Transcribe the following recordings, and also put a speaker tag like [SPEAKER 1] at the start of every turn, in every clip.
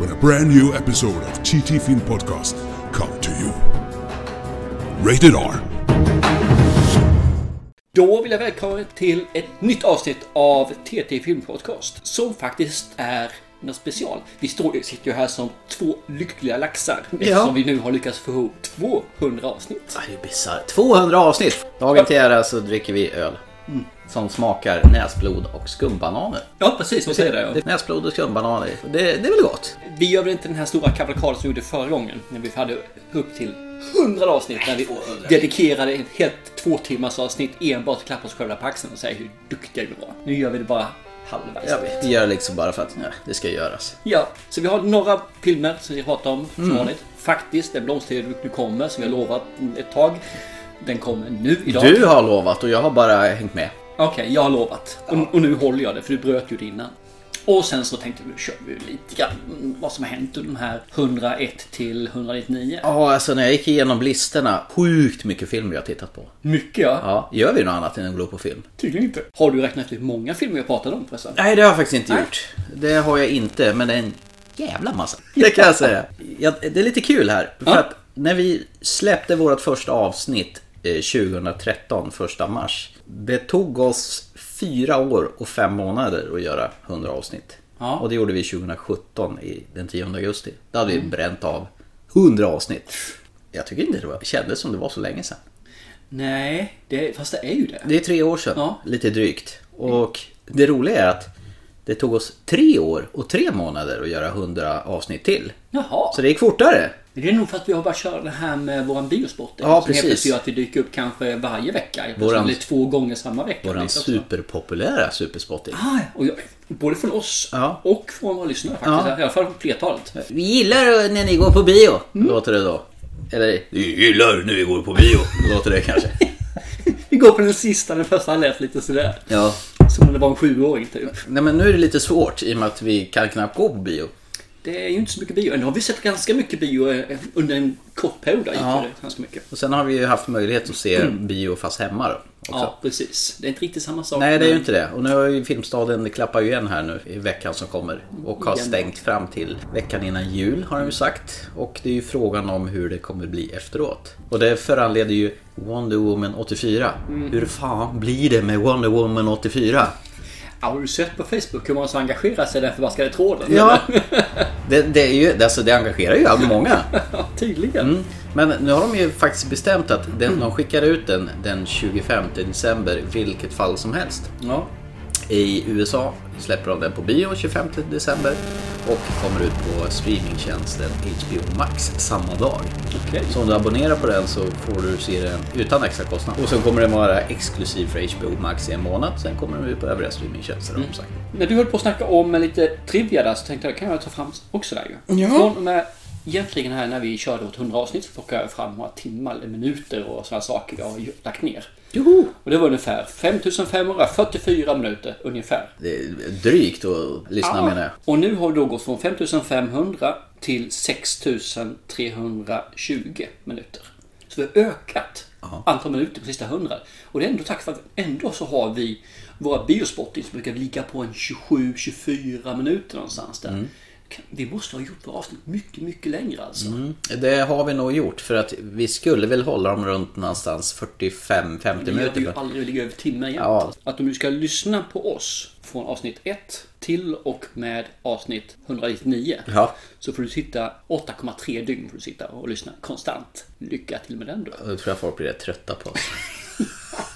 [SPEAKER 1] when a brand new episode of TT Film Podcast come to you. Rated R.
[SPEAKER 2] Då vill jag välkomna till ett nytt avsnitt av TT Filmpodcast som faktiskt är något special. Vi står, sitter ju här som två lyckliga laxar eftersom vi nu har lyckats få ihop 200 avsnitt.
[SPEAKER 3] Ja, Det är bisarrt. 200 avsnitt! Dagen till ära så dricker vi öl. Som smakar näsblod och skumbananer.
[SPEAKER 2] Ja, precis. Vad säger jag?
[SPEAKER 3] Näsblod och skumbananer. Det, det är väl gott?
[SPEAKER 2] Vi gör väl inte den här stora kavalkaden som vi gjorde förra gången när vi hade upp till 100 avsnitt när vi dedikerade ett helt två timmars avsnitt enbart till att klappa oss själva på axeln och säga hur duktiga vi var. Nu gör vi det bara halvvägs.
[SPEAKER 3] Jag vet. Vi gör det liksom bara för att nej, det ska göras.
[SPEAKER 2] Ja, så vi har några filmer som vi pratar om som vanligt. Faktiskt, den blomstertid nu kommer som jag lovat ett tag. Den kommer nu idag.
[SPEAKER 3] Du har lovat och jag har bara hängt med.
[SPEAKER 2] Okej, jag har lovat. Och, och nu håller jag det, för du bröt ju det innan. Och sen så tänkte vi, kör vi lite grann mm, vad som har hänt under de här 101 till 199.
[SPEAKER 3] Ja, alltså när jag gick igenom listorna. Sjukt mycket filmer jag har tittat på.
[SPEAKER 2] Mycket ja.
[SPEAKER 3] Ja, gör vi något annat än att glo på film?
[SPEAKER 2] Tydligen inte. Har du räknat ut hur många filmer jag pratade om förresten?
[SPEAKER 3] Nej, det har jag faktiskt inte gjort. Det har jag inte, men det är en jävla massa. Det kan jag säga. Ja, det är lite kul här. För
[SPEAKER 2] Ja.
[SPEAKER 3] att när vi släppte vårt första avsnitt eh, 2013, första mars. Det tog oss fyra år och fem månader att göra 100 avsnitt.
[SPEAKER 2] Ja.
[SPEAKER 3] Och det gjorde vi 2017, i, den 10 augusti. Då hade
[SPEAKER 2] Mm.
[SPEAKER 3] vi bränt av 100 avsnitt. Jag tycker inte det var, kändes som det var så länge sedan.
[SPEAKER 2] Nej, det, fast det är ju det.
[SPEAKER 3] Det är tre år sedan,
[SPEAKER 2] Ja.
[SPEAKER 3] lite drygt. Och det roliga är att det tog oss tre år och tre månader att göra 100 avsnitt till.
[SPEAKER 2] Jaha.
[SPEAKER 3] Så det gick fortare.
[SPEAKER 2] Det är nog för att vi har börjat köra det här med våran biosport.
[SPEAKER 3] Ja,
[SPEAKER 2] som helt
[SPEAKER 3] precis.
[SPEAKER 2] plötsligt gör att vi dyker upp kanske varje vecka. Helt plötsligt
[SPEAKER 3] Våran-
[SPEAKER 2] blir det två gånger samma vecka.
[SPEAKER 3] Våran
[SPEAKER 2] Lite också.
[SPEAKER 3] superpopulära Superspotting.
[SPEAKER 2] Ah, och jag, både från oss
[SPEAKER 3] Ja.
[SPEAKER 2] och från våra lyssnare faktiskt. I alla fall från flertalet.
[SPEAKER 3] Vi gillar när ni går på bio, låter det då. Eller, vi gillar när vi går på bio, låter det kanske.
[SPEAKER 2] Vi går på den sista, den första lät lite sådär.
[SPEAKER 3] Ja.
[SPEAKER 2] Som om det var en sjuåring typ.
[SPEAKER 3] Nej men nu är det lite svårt i och med att vi kan knappt gå på bio.
[SPEAKER 2] Det är ju inte så mycket bio. Nu har vi sett ganska mycket bio eh, under en kort period. Där gick
[SPEAKER 3] Ja.
[SPEAKER 2] det ganska mycket.
[SPEAKER 3] Och sen har vi ju haft möjlighet att se bio fast hemma då. Också.
[SPEAKER 2] Ja, precis. Det är inte riktigt samma sak.
[SPEAKER 3] Nej, det är ju
[SPEAKER 2] men-
[SPEAKER 3] inte det. Och nu har ju Filmstaden, det klappar ju igen här nu i veckan som kommer. Och har
[SPEAKER 2] Igen.
[SPEAKER 3] stängt fram till veckan innan jul har de ju sagt. Och det är ju frågan om hur det kommer bli efteråt. Och det föranleder ju Wonder Woman 84. Hur fan blir det med Wonder Woman 84?
[SPEAKER 2] Ja, har du sett på Facebook hur många som engagerar sig i den förbaskade tråden?
[SPEAKER 3] Ja, det, det, är ju, alltså, det engagerar ju all- många.
[SPEAKER 2] Ja, Tydligen.
[SPEAKER 3] Mm. Men nu har de ju faktiskt bestämt att den, de skickar ut den den 25 december i vilket fall som helst.
[SPEAKER 2] Ja.
[SPEAKER 3] I USA släpper de den på bio 25 december och kommer ut på streamingtjänsten HBO Max samma dag.
[SPEAKER 2] Okej.
[SPEAKER 3] Så om du abonnerar på den så får du se den utan extra kostnad. Och sen kommer den vara exklusiv för HBO Max i en månad. Sen kommer den ut på övriga streamingtjänster.
[SPEAKER 2] Mm.
[SPEAKER 3] har de sagt.
[SPEAKER 2] När du höll på att snacka om lite trivia där så tänkte jag, kan jag ta fram också där ju.
[SPEAKER 3] Ja.
[SPEAKER 2] Från och med egentligen här när vi körde åt 100 avsnitt så plockade jag fram några timmar eller minuter och sådana saker jag har ju- lagt ner.
[SPEAKER 3] Joho!
[SPEAKER 2] Och det var ungefär 5544 minuter ungefär.
[SPEAKER 3] Det är drygt att lyssna menar jag.
[SPEAKER 2] Och nu har vi då gått från 5500 till 6320 minuter. Så vi har ökat antal minuter på sista 100. Och det är ändå tack vare att ändå så har vi våra biospotting som brukar ligga på en 27-24 minuter någonstans
[SPEAKER 3] Mm.
[SPEAKER 2] där. Vi måste ha gjort våra avsnitt mycket, mycket längre alltså.
[SPEAKER 3] Mm. Det har vi nog gjort för att vi skulle väl hålla dem runt någonstans 45-50
[SPEAKER 2] Det gör vi ju
[SPEAKER 3] minuter.
[SPEAKER 2] aldrig ligga över timmen igen.
[SPEAKER 3] Ja.
[SPEAKER 2] Att om du ska lyssna på oss från avsnitt 1 till och med avsnitt 199
[SPEAKER 3] Ja.
[SPEAKER 2] så får du sitta 8,3 dygn får du sitta och lyssna konstant. Lycka till med den då.
[SPEAKER 3] Och Det tror jag folk blir rätt trötta på.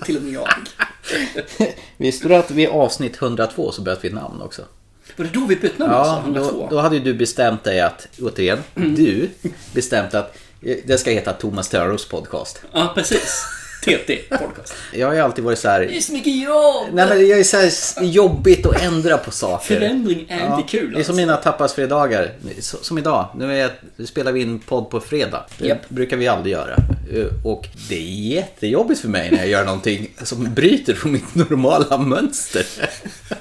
[SPEAKER 2] Till och med jag.
[SPEAKER 3] Visste du att vid avsnitt 102 så bytte vi namn också?
[SPEAKER 2] Var det då vi bytte namn
[SPEAKER 3] Ja,
[SPEAKER 2] alltså? 102?
[SPEAKER 3] då, då hade ju du bestämt dig att, återigen, du bestämt att eh, det ska heta Thomas Törnros podcast.
[SPEAKER 2] Ja, precis. TT podcast.
[SPEAKER 3] Jag har ju alltid varit så här...
[SPEAKER 2] Det är så mycket jobb!
[SPEAKER 3] Nej men jag är så här s- jobbigt att ändra på saker.
[SPEAKER 2] Förändring är inte kul,
[SPEAKER 3] Det är
[SPEAKER 2] alltså.
[SPEAKER 3] som mina tappas fredagar. Så- Som idag. Nu är jag, spelar vi in podd på fredag. Det
[SPEAKER 2] Japp.
[SPEAKER 3] brukar vi aldrig göra. Eh, Och det är jättejobbigt för mig när jag gör någonting som bryter från mitt normala mönster.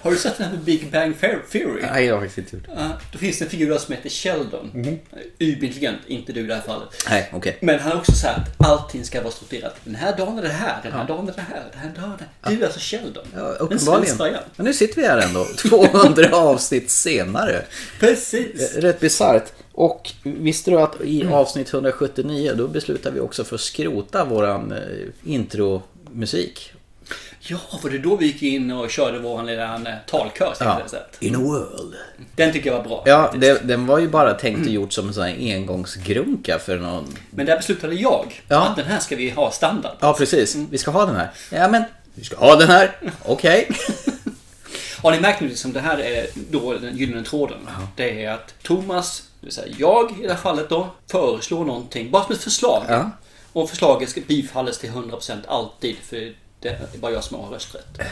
[SPEAKER 2] Har du sett den här med Big Bang Fair- Theory?
[SPEAKER 3] Nej, jag har faktiskt inte gjort. det.
[SPEAKER 2] Ja, då finns det en figur där som heter Sheldon. Überintelligent, inte du i det här fallet.
[SPEAKER 3] Mhm. Nej, okej.
[SPEAKER 2] Men han är också så här att allting ska vara strukturerat. Den här dagen är det här, den här dagen är det här, den här dagen är det här. Du är alltså Sheldon.
[SPEAKER 3] Ja,
[SPEAKER 2] en
[SPEAKER 3] uppenbarligen.
[SPEAKER 2] svensk variant.
[SPEAKER 3] Men nu sitter vi här ändå. 200 avsnitt senare.
[SPEAKER 2] Precis.
[SPEAKER 3] Eh, Rätt bisarrt. Och visste du att i avsnitt 179 då beslutar vi också för att skrota våran eh, intromusik.
[SPEAKER 2] Ja, för det är då vi gick in och körde vår lilla eh, talkör. Ja.
[SPEAKER 3] In a world.
[SPEAKER 2] Den tycker jag var bra.
[SPEAKER 3] Ja, det, den var ju bara tänkt och gjort som en sån här engångsgrunka för någon...
[SPEAKER 2] Men där beslutade jag
[SPEAKER 3] Ja.
[SPEAKER 2] att den här ska vi ha standard.
[SPEAKER 3] Ja, precis. Vi ska ha den här. Ja, men vi ska ha den här. Okej.
[SPEAKER 2] Har ni märkt nu liksom det här är då den gyllene tråden? Det är att Thomas, det vill säga jag i det här fallet då, föreslår någonting. Bara som ett förslag.
[SPEAKER 3] Ja.
[SPEAKER 2] Och förslaget ska bifallas till 100% alltid. För det är bara jag som har rösträtt.
[SPEAKER 3] Eh.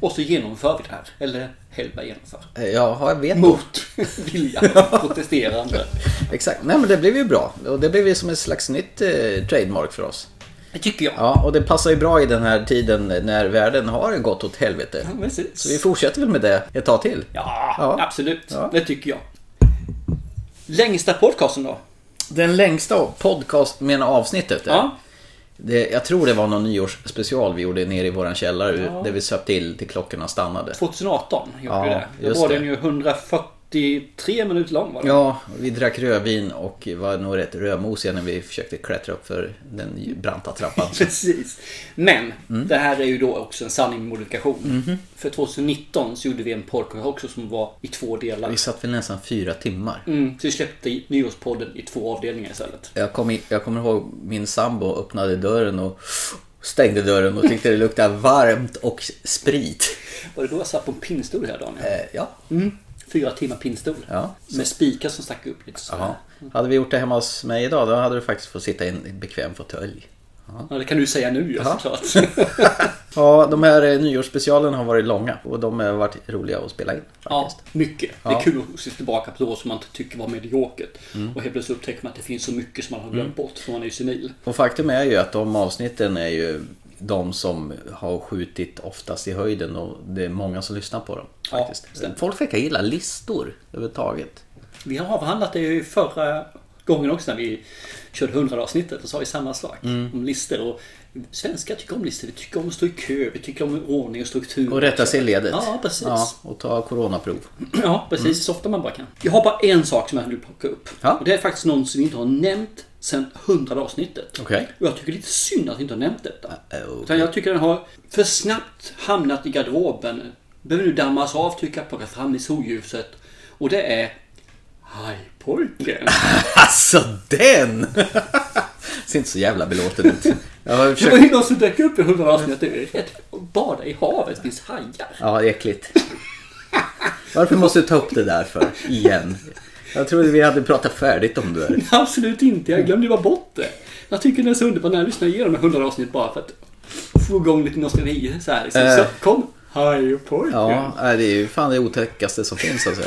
[SPEAKER 2] Och så genomför vi det här. Eller Hellberg genomför.
[SPEAKER 3] Eh, Ja, jag vet.
[SPEAKER 2] Mot viljan. Protesterande.
[SPEAKER 3] Exakt. Nej, men det blev ju bra. Och det blev ju som ett slags nytt eh, trademark för oss.
[SPEAKER 2] Det tycker jag.
[SPEAKER 3] Ja, och det passar ju bra i den här tiden när världen har gått åt helvete.
[SPEAKER 2] Precis.
[SPEAKER 3] Så vi fortsätter väl med det ett tag till.
[SPEAKER 2] Mm. Ja,
[SPEAKER 3] Ja.
[SPEAKER 2] absolut.
[SPEAKER 3] Ja.
[SPEAKER 2] Det tycker jag. Längsta podcasten då?
[SPEAKER 3] Den längsta podcast med en avsnittet.
[SPEAKER 2] Ja.
[SPEAKER 3] Det, jag tror det var någon nyårsspecial vi gjorde nere i våran källare där vi söp till till klockorna stannade.
[SPEAKER 2] 2018 gjorde
[SPEAKER 3] Ja,
[SPEAKER 2] vi det. Då
[SPEAKER 3] just
[SPEAKER 2] var
[SPEAKER 3] det.
[SPEAKER 2] den ju 143 minuter lång var den.
[SPEAKER 3] Ja, vi drack rödvin och var nog rätt rödmosiga när vi försökte klättra upp för den branta trappan.
[SPEAKER 2] Precis. Men
[SPEAKER 3] Mm.
[SPEAKER 2] det här är ju då också en sanning med modifikation.
[SPEAKER 3] Mhm.
[SPEAKER 2] För 2019 så gjorde vi en podcast också som var i två delar.
[SPEAKER 3] Vi satt väl nästan fyra timmar.
[SPEAKER 2] Mm, så vi släppte i- Nyårspodden i två avdelningar istället.
[SPEAKER 3] Jag, kom i, jag kommer ihåg min sambo öppnade dörren och stängde dörren och tyckte det luktade varmt och sprit.
[SPEAKER 2] Var det då jag satt på en pinnstol här dagen?
[SPEAKER 3] Eh, ja.
[SPEAKER 2] Mm. Fyra timmar pinnstol.
[SPEAKER 3] Ja.
[SPEAKER 2] Med spikar som stack upp lite så.
[SPEAKER 3] ja. Hade vi gjort det hemma hos mig idag då hade du faktiskt fått sitta i en bekväm fåtölj.
[SPEAKER 2] Ja, det kan du säga nu ju
[SPEAKER 3] Ja.
[SPEAKER 2] såklart.
[SPEAKER 3] Ja, de här eh, nyårsspecialerna har varit långa och de har varit roliga att spela in.
[SPEAKER 2] Ja,
[SPEAKER 3] Faktiskt.
[SPEAKER 2] mycket. Det
[SPEAKER 3] Ja. Mm.
[SPEAKER 2] är kul att se tillbaka på år som man inte tycker var mediokert. Och helt plötsligt upptäcker man att det finns så mycket som man har glömt bort för man är ju senil.
[SPEAKER 3] Och faktum är ju att de avsnitten är ju de som har skjutit oftast i höjden och det är många som lyssnar på dem.
[SPEAKER 2] Ja,
[SPEAKER 3] Faktiskt.
[SPEAKER 2] stämmer.
[SPEAKER 3] Folk verkar gilla listor överhuvudtaget.
[SPEAKER 2] Vi har avhandlat det ju förra gången också när vi körde 100 avsnittet och så har vi samma sak
[SPEAKER 3] Mm.
[SPEAKER 2] om listor. Och svenskar tycker om listor. Vi tycker om att stå i kö. Vi tycker om ordning och struktur.
[SPEAKER 3] Och rätta sig i ledet.
[SPEAKER 2] Ja, precis.
[SPEAKER 3] Ja, och ta coronaprov. Mm.
[SPEAKER 2] Ja, precis. Så ofta man bara kan. Jag har bara en sak som jag vill plocka upp.
[SPEAKER 3] Ja.
[SPEAKER 2] Och det är faktiskt någon som vi inte har nämnt sen 100 avsnittet.
[SPEAKER 3] Okej.
[SPEAKER 2] Och jag tycker det är lite synd att vi inte har nämnt detta.
[SPEAKER 3] Eh, okej.
[SPEAKER 2] Utan jag tycker den har för snabbt hamnat i garderoben. Behöver nu dammas av, tycker jag, plockas fram i solljuset. Och det är... Hajpojken.
[SPEAKER 3] Alltså den! Ser inte så jävla belåten ut. Jag har
[SPEAKER 2] Det var
[SPEAKER 3] försökt...
[SPEAKER 2] ju någon som dök upp i 100 avsnitt. Det är rätt. Bada i havet finns hajar.
[SPEAKER 3] Ja, äckligt. Varför måste du ta upp det där för? Igen. Jag trodde vi hade pratat färdigt om det där.
[SPEAKER 2] Absolut inte. Jag glömde ju bara bort det. Jag tycker det är så underbart när jag lyssnar igenom 100 avsnitt bara för att få igång lite nostalgi. Så, här, liksom.
[SPEAKER 3] Eh.
[SPEAKER 2] så kom hajpojken.
[SPEAKER 3] Ja, nej, det är ju fan det otäckaste som finns alltså.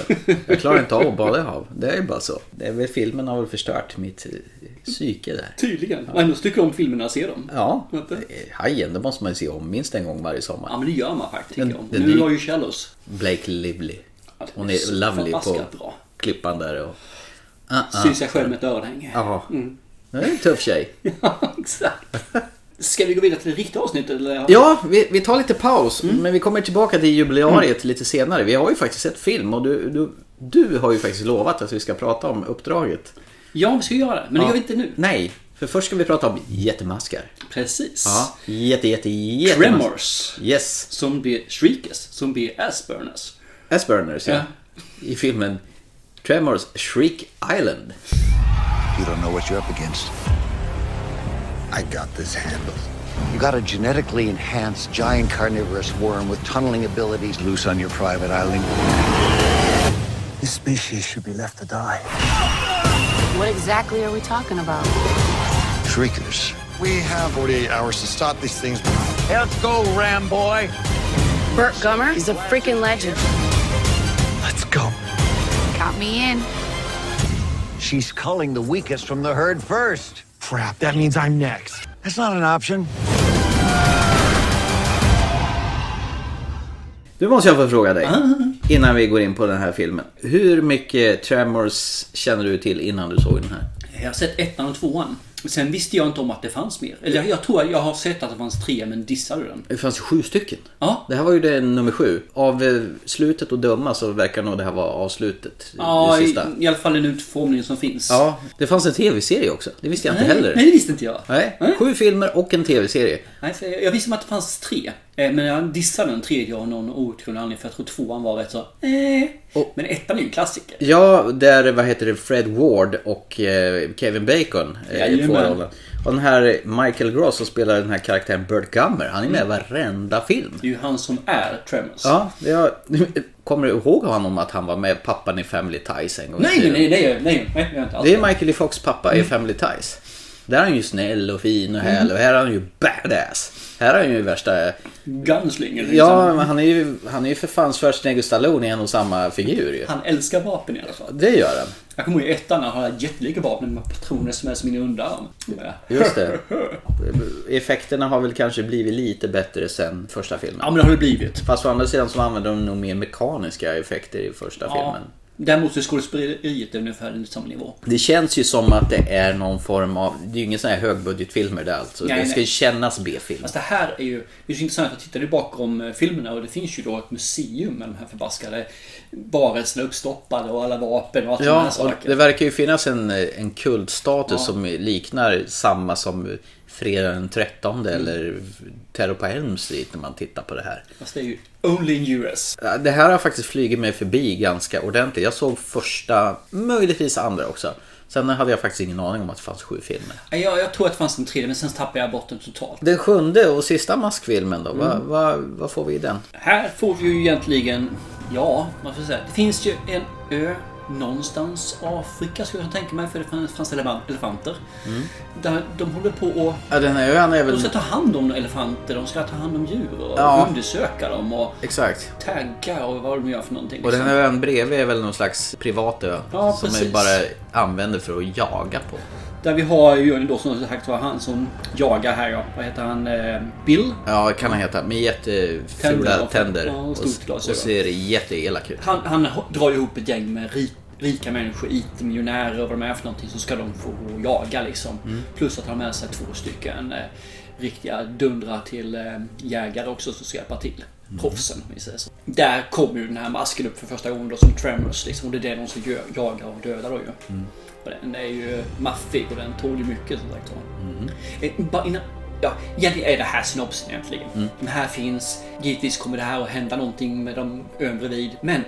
[SPEAKER 3] Jag klarar inte av att bada i hav. Det är ju bara så. Det är väl filmen har väl förstört mitt eh, psyke där.
[SPEAKER 2] Tydligen. Och ändå tycker jag om filmerna och ser dem.
[SPEAKER 3] Ja,
[SPEAKER 2] Vänta.
[SPEAKER 3] eh, Hajen, det måste man ju se om minst en gång varje
[SPEAKER 2] Ja
[SPEAKER 3] sommar.
[SPEAKER 2] men det gör man faktiskt. tycker
[SPEAKER 3] Men
[SPEAKER 2] jag om.
[SPEAKER 3] det-
[SPEAKER 2] nu
[SPEAKER 3] det-
[SPEAKER 2] har ju Shallows.
[SPEAKER 3] Blake Lively.
[SPEAKER 2] Ja, det
[SPEAKER 3] Hon
[SPEAKER 2] så
[SPEAKER 3] är lovely på
[SPEAKER 2] förbaskat bra.
[SPEAKER 3] klippan där och... Ah, ah.
[SPEAKER 2] Syns jag själv med ett örhänge.
[SPEAKER 3] Jaha.
[SPEAKER 2] Mm.
[SPEAKER 3] Det är en tuff tjej.
[SPEAKER 2] Ja, exakt. Ska vi gå vidare till det riktiga avsnittet eller?
[SPEAKER 3] Ja, vi, vi tar lite paus.
[SPEAKER 2] Mm.
[SPEAKER 3] Men vi kommer tillbaka till jubileariet lite senare. Vi har ju faktiskt sett film och du, du, du har ju faktiskt lovat att vi ska prata om uppdraget.
[SPEAKER 2] ja, vi ska göra det. Men det gör vi inte nu.
[SPEAKER 3] Nej, för först ska vi prata om jättemaskar.
[SPEAKER 2] Precis.
[SPEAKER 3] Ja. Jätte, jätte, jätte...
[SPEAKER 2] Tremors.
[SPEAKER 3] Yes.
[SPEAKER 2] Som blir Shriekers. Som blir Asburners.
[SPEAKER 3] Asburners, ja.
[SPEAKER 2] Ja.
[SPEAKER 3] I filmen Tremors Shriek Island.
[SPEAKER 4] You don't know what you're up against. I got this handled. You got a genetically enhanced giant carnivorous worm with tunneling abilities loose on your private island. This species should be left to die.
[SPEAKER 5] What exactly are we talking about?
[SPEAKER 4] Shriekers We have 48 hours to stop these things. Let's go, Ram boy.
[SPEAKER 5] Burt Gummer is a freaking legend.
[SPEAKER 4] Let's go.
[SPEAKER 5] Count me in.
[SPEAKER 4] She's culling the weakest from the herd first.
[SPEAKER 6] Crap, that means I'm next.
[SPEAKER 4] That's not an option.
[SPEAKER 3] Du måste jag få fråga dig,
[SPEAKER 2] Ah.
[SPEAKER 3] innan vi går in på den här filmen. Hur mycket Tremors känner du till innan du såg den här?
[SPEAKER 2] Jag har sett ettan och tvåan. Sen visste jag inte om att det fanns mer. Eller jag, jag tror jag har sett att det fanns tre, men dissade den.
[SPEAKER 3] Det fanns sju stycken.
[SPEAKER 2] Ja.
[SPEAKER 3] Det här var ju det nummer sju. Av eh, slutet att döma så verkar nog det här vara avslutet.
[SPEAKER 2] Ja,
[SPEAKER 3] det
[SPEAKER 2] i,
[SPEAKER 3] sista.
[SPEAKER 2] i alla fall den utformning som finns.
[SPEAKER 3] Ja, det fanns en tv-serie också. Det visste jag
[SPEAKER 2] Nej,
[SPEAKER 3] inte heller.
[SPEAKER 2] nej, det visste inte jag.
[SPEAKER 3] Nej, sju filmer och en tv-serie.
[SPEAKER 2] Nej, för jag jag visste om att det fanns tre. Eh, Men jag dissade den tredje av någon outgrundlig anledning för jag tror tvåan var rätt så... Eh.
[SPEAKER 3] Och-
[SPEAKER 2] Men ettan är ju en klassiker.
[SPEAKER 3] Ja, där vad heter det, Fred Ward och eh, Kevin Bacon eh, i
[SPEAKER 2] Jajamän.
[SPEAKER 3] två rollen. Och den här Michael Gross som spelar den här karaktären Burt Gummer, han är med i
[SPEAKER 2] Mm.
[SPEAKER 3] varenda film.
[SPEAKER 2] Det är ju han som är Tremors.
[SPEAKER 3] Ja, jag kommer du ihåg honom att han var med pappan i Family Ties en gång? i
[SPEAKER 2] Nej, nej,
[SPEAKER 3] tiden?
[SPEAKER 2] nej, Mm. nej, nej, nej, jag har inte alls.
[SPEAKER 3] Det är Michael E. Fox pappa i Family Ties. Där är han ju snäll och fin och
[SPEAKER 2] Mm.
[SPEAKER 3] härlig och här är han ju badass. Här är han ju värsta...
[SPEAKER 2] Gunslinger. Liksom.
[SPEAKER 3] Ja, men han är ju, han är ju för fan Schwarzenegger och Stallone i en och samma figur ju.
[SPEAKER 2] Han älskar vapen i alla fall.
[SPEAKER 3] Det gör han.
[SPEAKER 2] Jag kommer ihåg i ettan när han hade jättelika vapen med patroner som är som min underarm.
[SPEAKER 3] Just det. Effekterna har väl kanske blivit lite bättre sen första filmen.
[SPEAKER 2] Ja, men det har det blivit.
[SPEAKER 3] Fast å andra sidan så använder de nog mer mekaniska effekter i första
[SPEAKER 2] Ja.
[SPEAKER 3] filmen.
[SPEAKER 2] Däremot är skådespeleriet ungefär samma nivå.
[SPEAKER 3] Det känns ju som att det är någon form av... Det är ju ingen sån här högbudgetfilmer där alltså.
[SPEAKER 2] Nej,
[SPEAKER 3] det ska ju
[SPEAKER 2] nej.
[SPEAKER 3] kännas B-film.
[SPEAKER 2] Fast Alltså, det här är ju, det är så intressant att titta bakom eh, filmerna och det finns ju då ett museum med de här förbaskade varelserna uppstoppade och alla vapen och allt sådana
[SPEAKER 3] Ja,
[SPEAKER 2] här
[SPEAKER 3] och
[SPEAKER 2] saker.
[SPEAKER 3] det verkar ju finnas en, en kultstatus som liknar samma som Fredag den 13
[SPEAKER 2] Mm.
[SPEAKER 3] eller Terror på Elm Street när man tittar på det här.
[SPEAKER 2] Fast det är ju only in US.
[SPEAKER 3] Det här har faktiskt flugit mig förbi ganska ordentligt. Jag såg första, möjligtvis andra också. Sen hade jag faktiskt ingen aning om att det fanns sju filmer.
[SPEAKER 2] Nej, Jag, jag tror att det fanns en tredje men sen tappade jag bort den totalt.
[SPEAKER 3] Den sjunde och sista maskfilmen då, vad,
[SPEAKER 2] Mm.
[SPEAKER 3] vad, vad får vi i den?
[SPEAKER 2] Här får vi ju egentligen, ja, man får säga, det finns ju en ö någonstans Afrika skulle jag tänka mig för det fanns, fanns eleman- elefanter.
[SPEAKER 3] Mm.
[SPEAKER 2] Där de håller på och
[SPEAKER 3] Ja, den här ön är
[SPEAKER 2] de
[SPEAKER 3] väl...
[SPEAKER 2] ska ta hand om elefanter, de ska ta hand om djur och
[SPEAKER 3] Ja.
[SPEAKER 2] undersöka dem och
[SPEAKER 3] Exakt.
[SPEAKER 2] tagga och vad de gör för någonting.
[SPEAKER 3] Och den
[SPEAKER 2] liksom.
[SPEAKER 3] här ön bredvid är väl någon slags privat ö.
[SPEAKER 2] Ja,
[SPEAKER 3] som vi
[SPEAKER 2] precis.
[SPEAKER 3] bara använder för att jaga på.
[SPEAKER 2] Där vi har ju då som sagt var han som jagar här ja. Vad heter han? Eh, Bill?
[SPEAKER 3] Ja, kan han heta. Med
[SPEAKER 2] Tänder
[SPEAKER 3] jättefula
[SPEAKER 2] och-
[SPEAKER 3] tänder.
[SPEAKER 2] ja, och
[SPEAKER 3] och,
[SPEAKER 2] stort
[SPEAKER 3] och
[SPEAKER 2] glasögon.
[SPEAKER 3] ser jätteelak ut.
[SPEAKER 2] Han, han ho- drar ju ihop ett gäng med ri- rika människor, IT-miljonärer och vad de är för någonting. Så ska de få gå och jaga liksom. Plus att han har med sig två stycken eh, riktiga dundrar till eh, jägare också som ska hjälpa till. Proffsen om vi säger så. Där kommer ju den här masken upp för första gången då som Tremors liksom. Och det är det de som gö- jagar och dödar då ju. Och den är ju maffig och den tål ju mycket som sagt var. Eh, Bara innan, ja, egentligen är det här synopsen egentligen.
[SPEAKER 3] Mm.
[SPEAKER 2] Den här finns, givetvis kommer det här att hända någonting med de ön bredvid. Men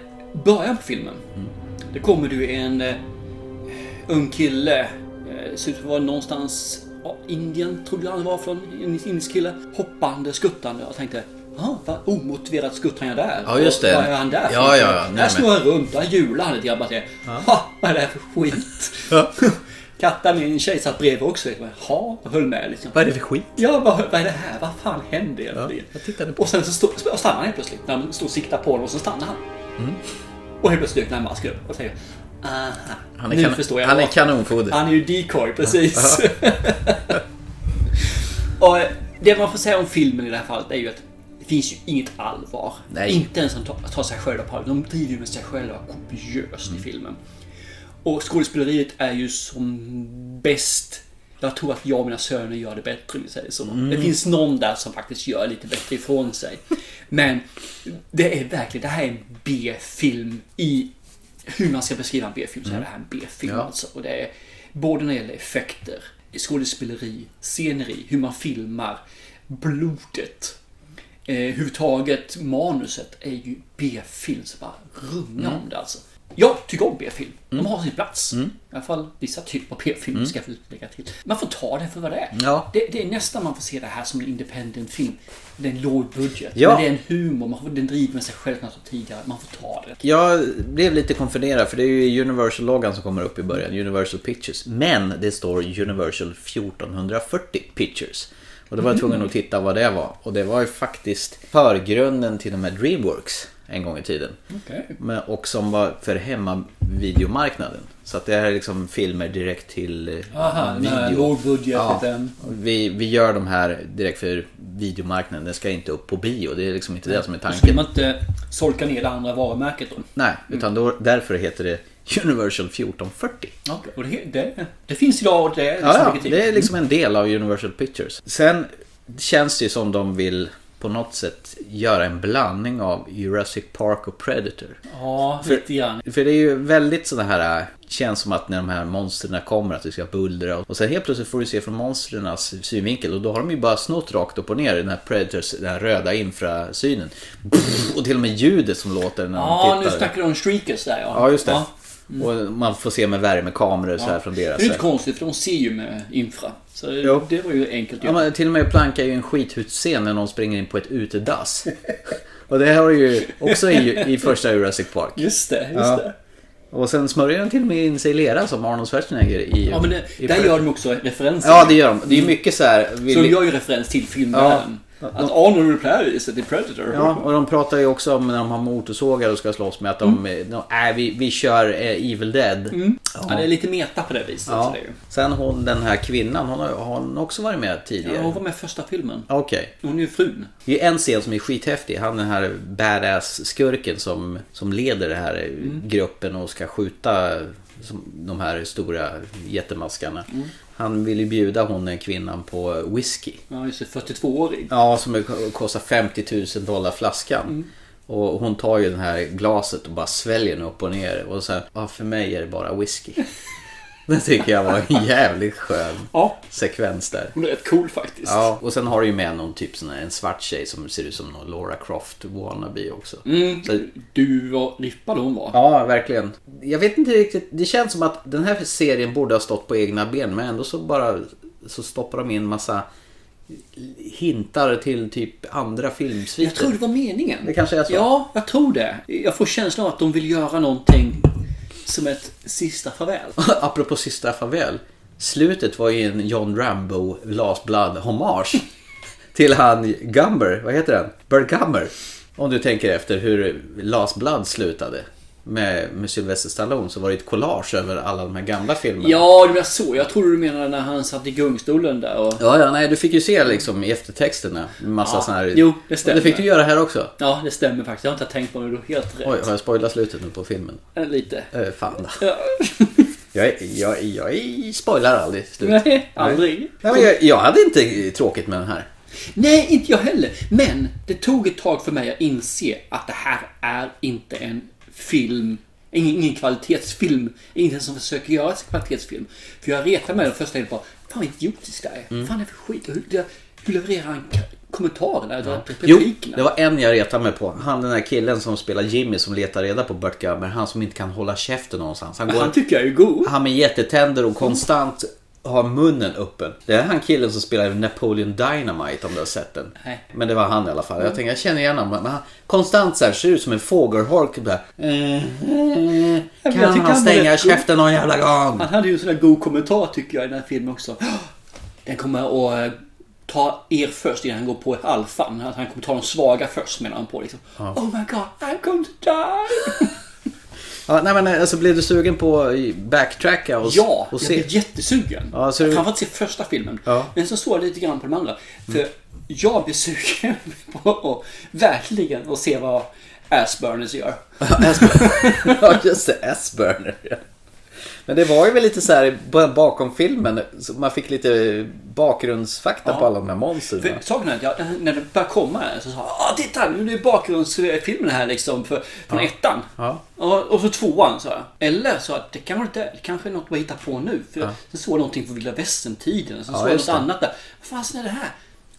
[SPEAKER 2] början på filmen,
[SPEAKER 3] Mm.
[SPEAKER 2] det kommer du en eh, ung kille, eh, ser ut att vara någonstans, ja, Indien trodde jag han var från, en indisk kille, hoppande, skuttande. Jag tänkte, jaha, vad omotiverat skuttar jag där?
[SPEAKER 3] Ja, just
[SPEAKER 2] Och
[SPEAKER 3] det.
[SPEAKER 2] Vad är han där? för
[SPEAKER 3] Ja,
[SPEAKER 2] någonting?
[SPEAKER 3] ja, ja. Nej,
[SPEAKER 2] Där
[SPEAKER 3] men-
[SPEAKER 2] snurrar han runt, där hjular han lite grann. Bara säger, ha, vad är det här för skit? Katten, min tjej, satt bredvid också. Jag bara, Ja, och höll med liksom.
[SPEAKER 3] Vad är det för skit?
[SPEAKER 2] Ja, vad, vad är det här? Vad fan hände egentligen?
[SPEAKER 3] jag tittade på-
[SPEAKER 2] Och sen så stod, och stannade han helt plötsligt. När han stod och siktade på honom och så stannade han.
[SPEAKER 3] Mm.
[SPEAKER 2] Och helt plötsligt dök den här masken upp och säger Aha,
[SPEAKER 3] Han är,
[SPEAKER 2] nu
[SPEAKER 3] kan-
[SPEAKER 2] förstår jag.
[SPEAKER 3] han är
[SPEAKER 2] varför."
[SPEAKER 3] kanonfoder.
[SPEAKER 2] Han är ju decoy, precis. och eh, det man får säga om filmen i det här fallet är ju att det finns ju inget allvar.
[SPEAKER 3] Nej.
[SPEAKER 2] Inte ens att ta, ta sig själva på allvar. De driver ju med sig själva kopiöst
[SPEAKER 3] Mm.
[SPEAKER 2] i filmen. Och skådespeleriet är ju som bäst. Jag tror att jag och mina söner gör det bättre om vi säger så. Det finns någon där som faktiskt gör lite bättre ifrån sig. Men det är verkligen, det här är en B-film i hur man ska beskriva en B-film så är det här en B-film
[SPEAKER 3] Ja.
[SPEAKER 2] alltså. Och det är både när det gäller effekter, skådespeleri, sceneri, hur man filmar, blodet.
[SPEAKER 3] Mm.
[SPEAKER 2] Eh, huvudtaget manuset är ju B-film så bara runga om det alltså. Jag tycker om B-film. De har sin plats. I alla fall vissa typer av B-film ska jag väl lägga till. Man får ta det för vad det är.
[SPEAKER 3] Mm. Ja.
[SPEAKER 2] Det, det är nästan man får se det här som en independent film. Det är en låg budget.
[SPEAKER 3] Ja.
[SPEAKER 2] Men det är en humor. Man får, den driver med sig själv som jag sa tidigare. Man får ta det.
[SPEAKER 3] Jag blev lite konfunderad för det är ju Universal-loggan som kommer upp i början, Universal Pictures. Men det står Universal 1440 Pictures. Och då var jag tvungen att titta vad det var. Och det var ju faktiskt förgrunden till de här Dreamworks en gång i tiden.
[SPEAKER 2] Okej.
[SPEAKER 3] Men, och som var för hemmavideomarknaden. Så att det här är liksom filmer direkt till eh,
[SPEAKER 2] Aha, den här lågbudget, liten.
[SPEAKER 3] Vi, vi gör de här direkt för videomarknaden. Den ska inte upp på bio. Det är liksom inte det som är
[SPEAKER 2] Då skulle
[SPEAKER 3] tanken.
[SPEAKER 2] man inte solka ner det andra varumärket då.
[SPEAKER 3] Nej, utan då, därför heter det Universal 1440.
[SPEAKER 2] Okej, Och det, det, det finns idag och det är liksom
[SPEAKER 3] Ja,
[SPEAKER 2] mycket
[SPEAKER 3] ja,
[SPEAKER 2] tid.
[SPEAKER 3] det är liksom en del av Universal Pictures. Sen känns det ju som de vill på något sätt göra en blandning av Jurassic Park och Predator.
[SPEAKER 2] Ja, lite grann.
[SPEAKER 3] För det är ju väldigt sådana här, äh, känns som att när de här monstren kommer att det ska bullra och sen helt plötsligt får du se från monstrens synvinkel och då har de ju bara snott rakt upp och ner den här Predators, den här röda infrasynen. Och till och med ljudet som låter när de
[SPEAKER 2] Ja, nu
[SPEAKER 3] tittar.
[SPEAKER 2] snackar du om streakers där ja.
[SPEAKER 3] Ja, just det. Mm. Och man får se med värmekameror så här från
[SPEAKER 2] Det är
[SPEAKER 3] deras
[SPEAKER 2] ju inte
[SPEAKER 3] sida.
[SPEAKER 2] konstigt för de ser ju med infra. Så
[SPEAKER 3] Jo.
[SPEAKER 2] det var ju enkelt
[SPEAKER 3] Ja,
[SPEAKER 2] att göra.
[SPEAKER 3] men till och med plankar ju en skithutscen när någon springer in på ett utedass. Och det här har ju också i, i första Jurassic Park.
[SPEAKER 2] Just det, just
[SPEAKER 3] Ja.
[SPEAKER 2] det.
[SPEAKER 3] Och sen smörjer den till och med in sig i lera som Arnold Schwarzenegger i...
[SPEAKER 2] Ja, men det,
[SPEAKER 3] i
[SPEAKER 2] där gör de också referenser. Mm.
[SPEAKER 3] Ja, det gör de. Det är mycket så här... vill-
[SPEAKER 2] Så de gör ju referens till filmvärlden. Att Arnold Paris är Predator.
[SPEAKER 3] Ja, och de pratar ju också om när de har motorsågar och ska slåss med att de... de nej, vi, vi kör eh, Evil Dead.
[SPEAKER 2] Mm. Ja, det är lite meta på det viset.
[SPEAKER 3] Ja.
[SPEAKER 2] Så det är ju.
[SPEAKER 3] Sen hon, den här kvinnan, hon har, har hon också varit med
[SPEAKER 2] Ja,
[SPEAKER 3] tidigare?
[SPEAKER 2] hon var med i första filmen.
[SPEAKER 3] Okej.
[SPEAKER 2] Hon är ju frun.
[SPEAKER 3] Det är en scen som är skithäftig. Han den här badass-skurken som, som leder den här gruppen och ska skjuta som, de här stora jättemaskarna. Han vill ju bjuda hon den kvinnan på whisky.
[SPEAKER 2] Ja, just det. 42-årig.
[SPEAKER 3] Ja, som är- kostar 50 000 dollar flaskan. Och hon tar ju det här glaset och bara sväljer den upp och ner. Och sen, ah, för mig är det bara whisky. Det tycker jag var en jävligt skön
[SPEAKER 2] Ja.
[SPEAKER 3] sekvens där.
[SPEAKER 2] Hon är rätt cool faktiskt.
[SPEAKER 3] Ja, och sen har du ju med någon typ sån här, en svart tjej som ser ut som någon Laura Croft wannabe också.
[SPEAKER 2] Mm.
[SPEAKER 3] Så,
[SPEAKER 2] Du, vad rippad hon var.
[SPEAKER 3] ja, verkligen. Jag vet inte riktigt, det känns som att den här serien borde ha stått på egna ben men ändå så bara så stoppar de in massa hintar till typ andra filmsviter.
[SPEAKER 2] Jag tror det var meningen.
[SPEAKER 3] Det kanske är så.
[SPEAKER 2] Ja, jag tror det. Jag får känslan av att de vill göra någonting som ett sista farväl.
[SPEAKER 3] Apropå sista farväl. Slutet var ju en John Rambo Last Blood hommage till han Gumber, vad heter han? Bert Gumber. Om du tänker efter hur Last Blood slutade med, med Sylvester Stallone så var det ett collage över alla de här gamla filmerna.
[SPEAKER 2] Ja, det var så. Jag tror du menade när han satt i gungstolen där och...
[SPEAKER 3] Ja, ja, nej, du fick ju se liksom i eftertexterna en massa
[SPEAKER 2] Ja,
[SPEAKER 3] sån här...
[SPEAKER 2] jo, det stämmer.
[SPEAKER 3] Det fick du göra här också.
[SPEAKER 2] Ja, det stämmer faktiskt. Jag har inte tänkt på det. Du har helt rätt.
[SPEAKER 3] Oj, har jag spoilat slutet nu på filmen?
[SPEAKER 2] Eh, Lite.
[SPEAKER 3] Äh, fan.
[SPEAKER 2] Ja.
[SPEAKER 3] Jag, är- jag, är- jag är- spoilar aldrig slut.
[SPEAKER 2] Nej, aldrig.
[SPEAKER 3] Nej, men jag, jag hade inte tråkigt med den här.
[SPEAKER 2] Nej, inte jag heller. Men det tog ett tag för mig att inse att det här är inte en film. Ingen, ingen kvalitetsfilm. Ingen som försöker göra en kvalitetsfilm. För jag retade mig den första tiden på Fan vad idiotiskt det här är.
[SPEAKER 3] Mm.
[SPEAKER 2] Fan det är för skit. Hur, det- hur levererar han k- kommentarerna? Eller
[SPEAKER 3] Jo,
[SPEAKER 2] replikerna?
[SPEAKER 3] det var en jag retade mig på. Han den här killen som spelar Jimmy som letar reda på Bert Gummer. Han som inte kan hålla käften någonstans. Han, går,
[SPEAKER 2] Han tycker jag är god.
[SPEAKER 3] han med jättetänder och konstant har munnen öppen. Det är han killen som spelar Napoleon Dynamite om du har sett den.
[SPEAKER 2] Nej.
[SPEAKER 3] Men det var han i alla fall. Jag tänkte, jag känner igen honom. Men han, konstant så här, ser ut som en fågelholk. Där.
[SPEAKER 2] jag
[SPEAKER 3] Kan
[SPEAKER 2] tycker
[SPEAKER 3] han
[SPEAKER 2] han är
[SPEAKER 3] stänga
[SPEAKER 2] rätt god.
[SPEAKER 3] käften någon jävla gång?
[SPEAKER 2] Han hade ju en sån där god kommentar tycker jag i den här filmen också. Den kommer att eh, ta er först innan han går på alfan. Att Han kommer ta de svaga först menar han på liksom. Oh my god, I'm going to die!
[SPEAKER 3] Ja, nej, men alltså, blev du sugen på att backtracka och,
[SPEAKER 2] Ja,
[SPEAKER 3] och
[SPEAKER 2] jag
[SPEAKER 3] se?
[SPEAKER 2] blev jättesugen.
[SPEAKER 3] Ja, så du-
[SPEAKER 2] Framförallt se första filmen.
[SPEAKER 3] Ja. Mm.
[SPEAKER 2] Men så såg jag lite grann på de andra. För jag blev sugen på att verkligen att se vad Asburners gör.
[SPEAKER 3] ja, just det. S-burner. Men det var ju väl lite så här bara bakom filmen. så Man fick lite bakgrundsfakta på alla de här monstren.
[SPEAKER 2] För saken är att jag, när det började komma här så sa jag ah, titta nu är bakgrundsfilmen här liksom för, från ettan.
[SPEAKER 3] Ja.
[SPEAKER 2] Och, och så tvåan sa jag. Eller så att det kanske inte är, det kanske är något vi hittar på nu. För Sen såg jag någonting från vilda västern-tiden. Sen såg jag något
[SPEAKER 3] just det.
[SPEAKER 2] annat där. Vad fasen är det här?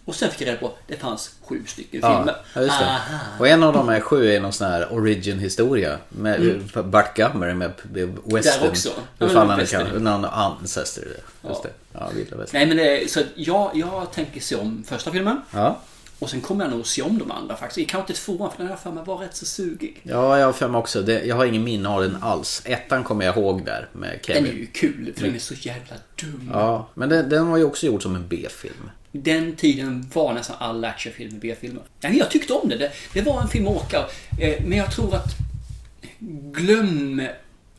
[SPEAKER 2] Och sen fick jag reda på att det fanns sju stycken
[SPEAKER 3] Ja,
[SPEAKER 2] filmer. Ah,
[SPEAKER 3] ja, just det.
[SPEAKER 2] Aha.
[SPEAKER 3] Och en av de här sju är någon sån här origin-historia. Med Bart Gummer med western.
[SPEAKER 2] Mm. Där också. Ja,
[SPEAKER 3] Hur
[SPEAKER 2] men
[SPEAKER 3] fan han
[SPEAKER 2] western.
[SPEAKER 3] kallar Någon ancestor. Just det. Ja, vilda västern.
[SPEAKER 2] Nej men det, är- så att jag, jag tänker se om första filmen.
[SPEAKER 3] Ja.
[SPEAKER 2] Och sen kommer jag nog se om de andra faktiskt. Kanske inte tvåan för den här för mig var rätt så sugig.
[SPEAKER 3] ja, jag har fem också. Det, jag har ingen minne av den alls. Ettan kommer jag ihåg där med
[SPEAKER 2] Den
[SPEAKER 3] Kevin.
[SPEAKER 2] är ju kul
[SPEAKER 3] Mm.
[SPEAKER 2] för den är så jävla dum.
[SPEAKER 3] Ja, men den, den var ju också gjord som en B-film.
[SPEAKER 2] Den tiden var nästan alla actionfilmer B-filmer. Nej, men jag tyckte om det. det. Det var en film att åka. Eh, Men jag tror att glöm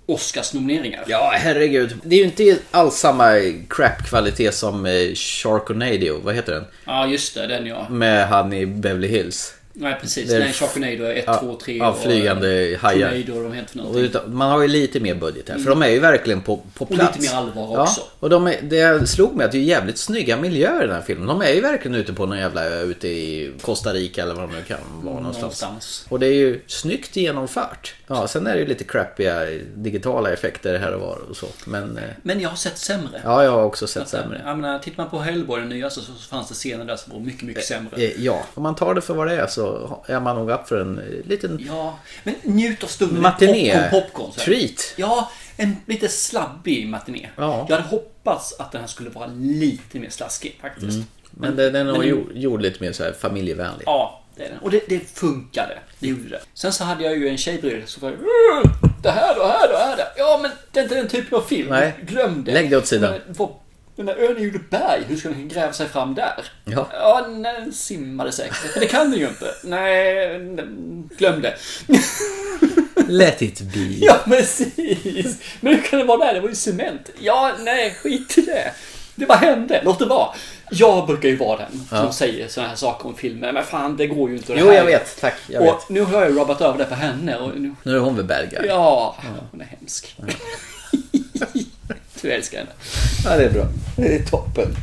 [SPEAKER 2] Oscars nomineringar.
[SPEAKER 3] Ja, herregud. Det är ju inte alls samma crap-kvalitet som eh, Sharknado. Vad heter den?
[SPEAKER 2] Ja, just det. Den ja.
[SPEAKER 3] Med han i Beverly Hills.
[SPEAKER 2] Nej, precis.
[SPEAKER 3] Det är-
[SPEAKER 2] Nej, Sharknado 1,
[SPEAKER 3] Ja,
[SPEAKER 2] 2, 3.
[SPEAKER 3] ja, flygande hajar.
[SPEAKER 2] eh, Tornado och de heter för
[SPEAKER 3] Och
[SPEAKER 2] någonting.
[SPEAKER 3] utav- Man har ju lite mer budget här, för de är ju verkligen på, på
[SPEAKER 2] Mm. lite
[SPEAKER 3] plats.
[SPEAKER 2] mer allvar
[SPEAKER 3] ja,
[SPEAKER 2] också.
[SPEAKER 3] Och de är, det slog mig att det är jävligt snygga miljöer i den här filmen. De är ju verkligen ute på någon jävla ö ute i Costa Rica eller vad de nu kan vara någonstans.
[SPEAKER 2] Mm, Någonstans.
[SPEAKER 3] Och det är ju snyggt genomfört. Ja, sen är det ju lite crappiga eh, digitala effekter här och var och så. Men eh,
[SPEAKER 2] Men jag har sett sämre.
[SPEAKER 3] ja, jag har också sett sämre.
[SPEAKER 2] Jag menar, tittar man på Hellboy, den nyaste, så fanns det scener där som var mycket, mycket sämre.
[SPEAKER 3] Eh, Ja, om man tar det för vad det är så är man nog upp för en eh, liten
[SPEAKER 2] Ja, men njut av stunden.
[SPEAKER 3] matiné
[SPEAKER 2] Popcorn, popcorn. så här.
[SPEAKER 3] treat.
[SPEAKER 2] Ja, en lite slabbig matiné.
[SPEAKER 3] Ja.
[SPEAKER 2] Jag hade hoppats att den här skulle vara lite mer slaskig faktiskt.
[SPEAKER 3] Mm. Men den, den var
[SPEAKER 2] men-
[SPEAKER 3] ju gjord lite mer så här familjevänlig.
[SPEAKER 2] Ja, det är den. Och det, det funkade. Det
[SPEAKER 3] Mm.
[SPEAKER 2] gjorde det. Sen så hade jag ju en tjej bredvid som var Det här då, här då, här då. Ja, men det är inte den typen av film.
[SPEAKER 3] Nej.
[SPEAKER 2] Glöm det.
[SPEAKER 3] Lägg det åt sidan.
[SPEAKER 2] Men vad- Den där ön är ju ett berg. Hur ska den gräva sig fram där?
[SPEAKER 3] Ja.
[SPEAKER 2] Ja, nej, den simmade säkert. Men det kan den ju inte. Nej, nej, glöm det.
[SPEAKER 3] Let it be.
[SPEAKER 2] Ja, precis. Men hur kan det vara där? Det var ju cement. Ja, nej, skit i det. Det bara hände. Låt det vara. Jag brukar ju vara den som säger sådana här saker om filmer. Men fan, det går ju inte. det
[SPEAKER 3] Jo,
[SPEAKER 2] här
[SPEAKER 3] jag
[SPEAKER 2] är-
[SPEAKER 3] vet. Tack. Jag
[SPEAKER 2] och
[SPEAKER 3] vet.
[SPEAKER 2] nu har jag ju rubbat över det på henne och nu...
[SPEAKER 3] Nu är hon väl bad guy?
[SPEAKER 2] Ja, hon är hemsk. du älskar henne.
[SPEAKER 3] Ja, det är bra. Det är toppen.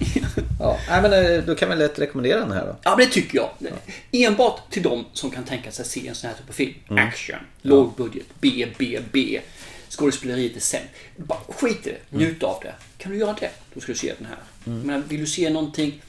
[SPEAKER 3] Ja, nej, men eh, då kan vi lätt rekommendera den här då.
[SPEAKER 2] Ja, men det tycker jag. Enbart till de som kan tänka sig se en sån här typ av film.
[SPEAKER 3] Mm.
[SPEAKER 2] Action, låg budget, B, B, B. Skådespeleriet är sämst. Bara Skit i
[SPEAKER 3] Mm.
[SPEAKER 2] det, njut av det. Kan du göra det, då ska du se den här. Men vill du se någonting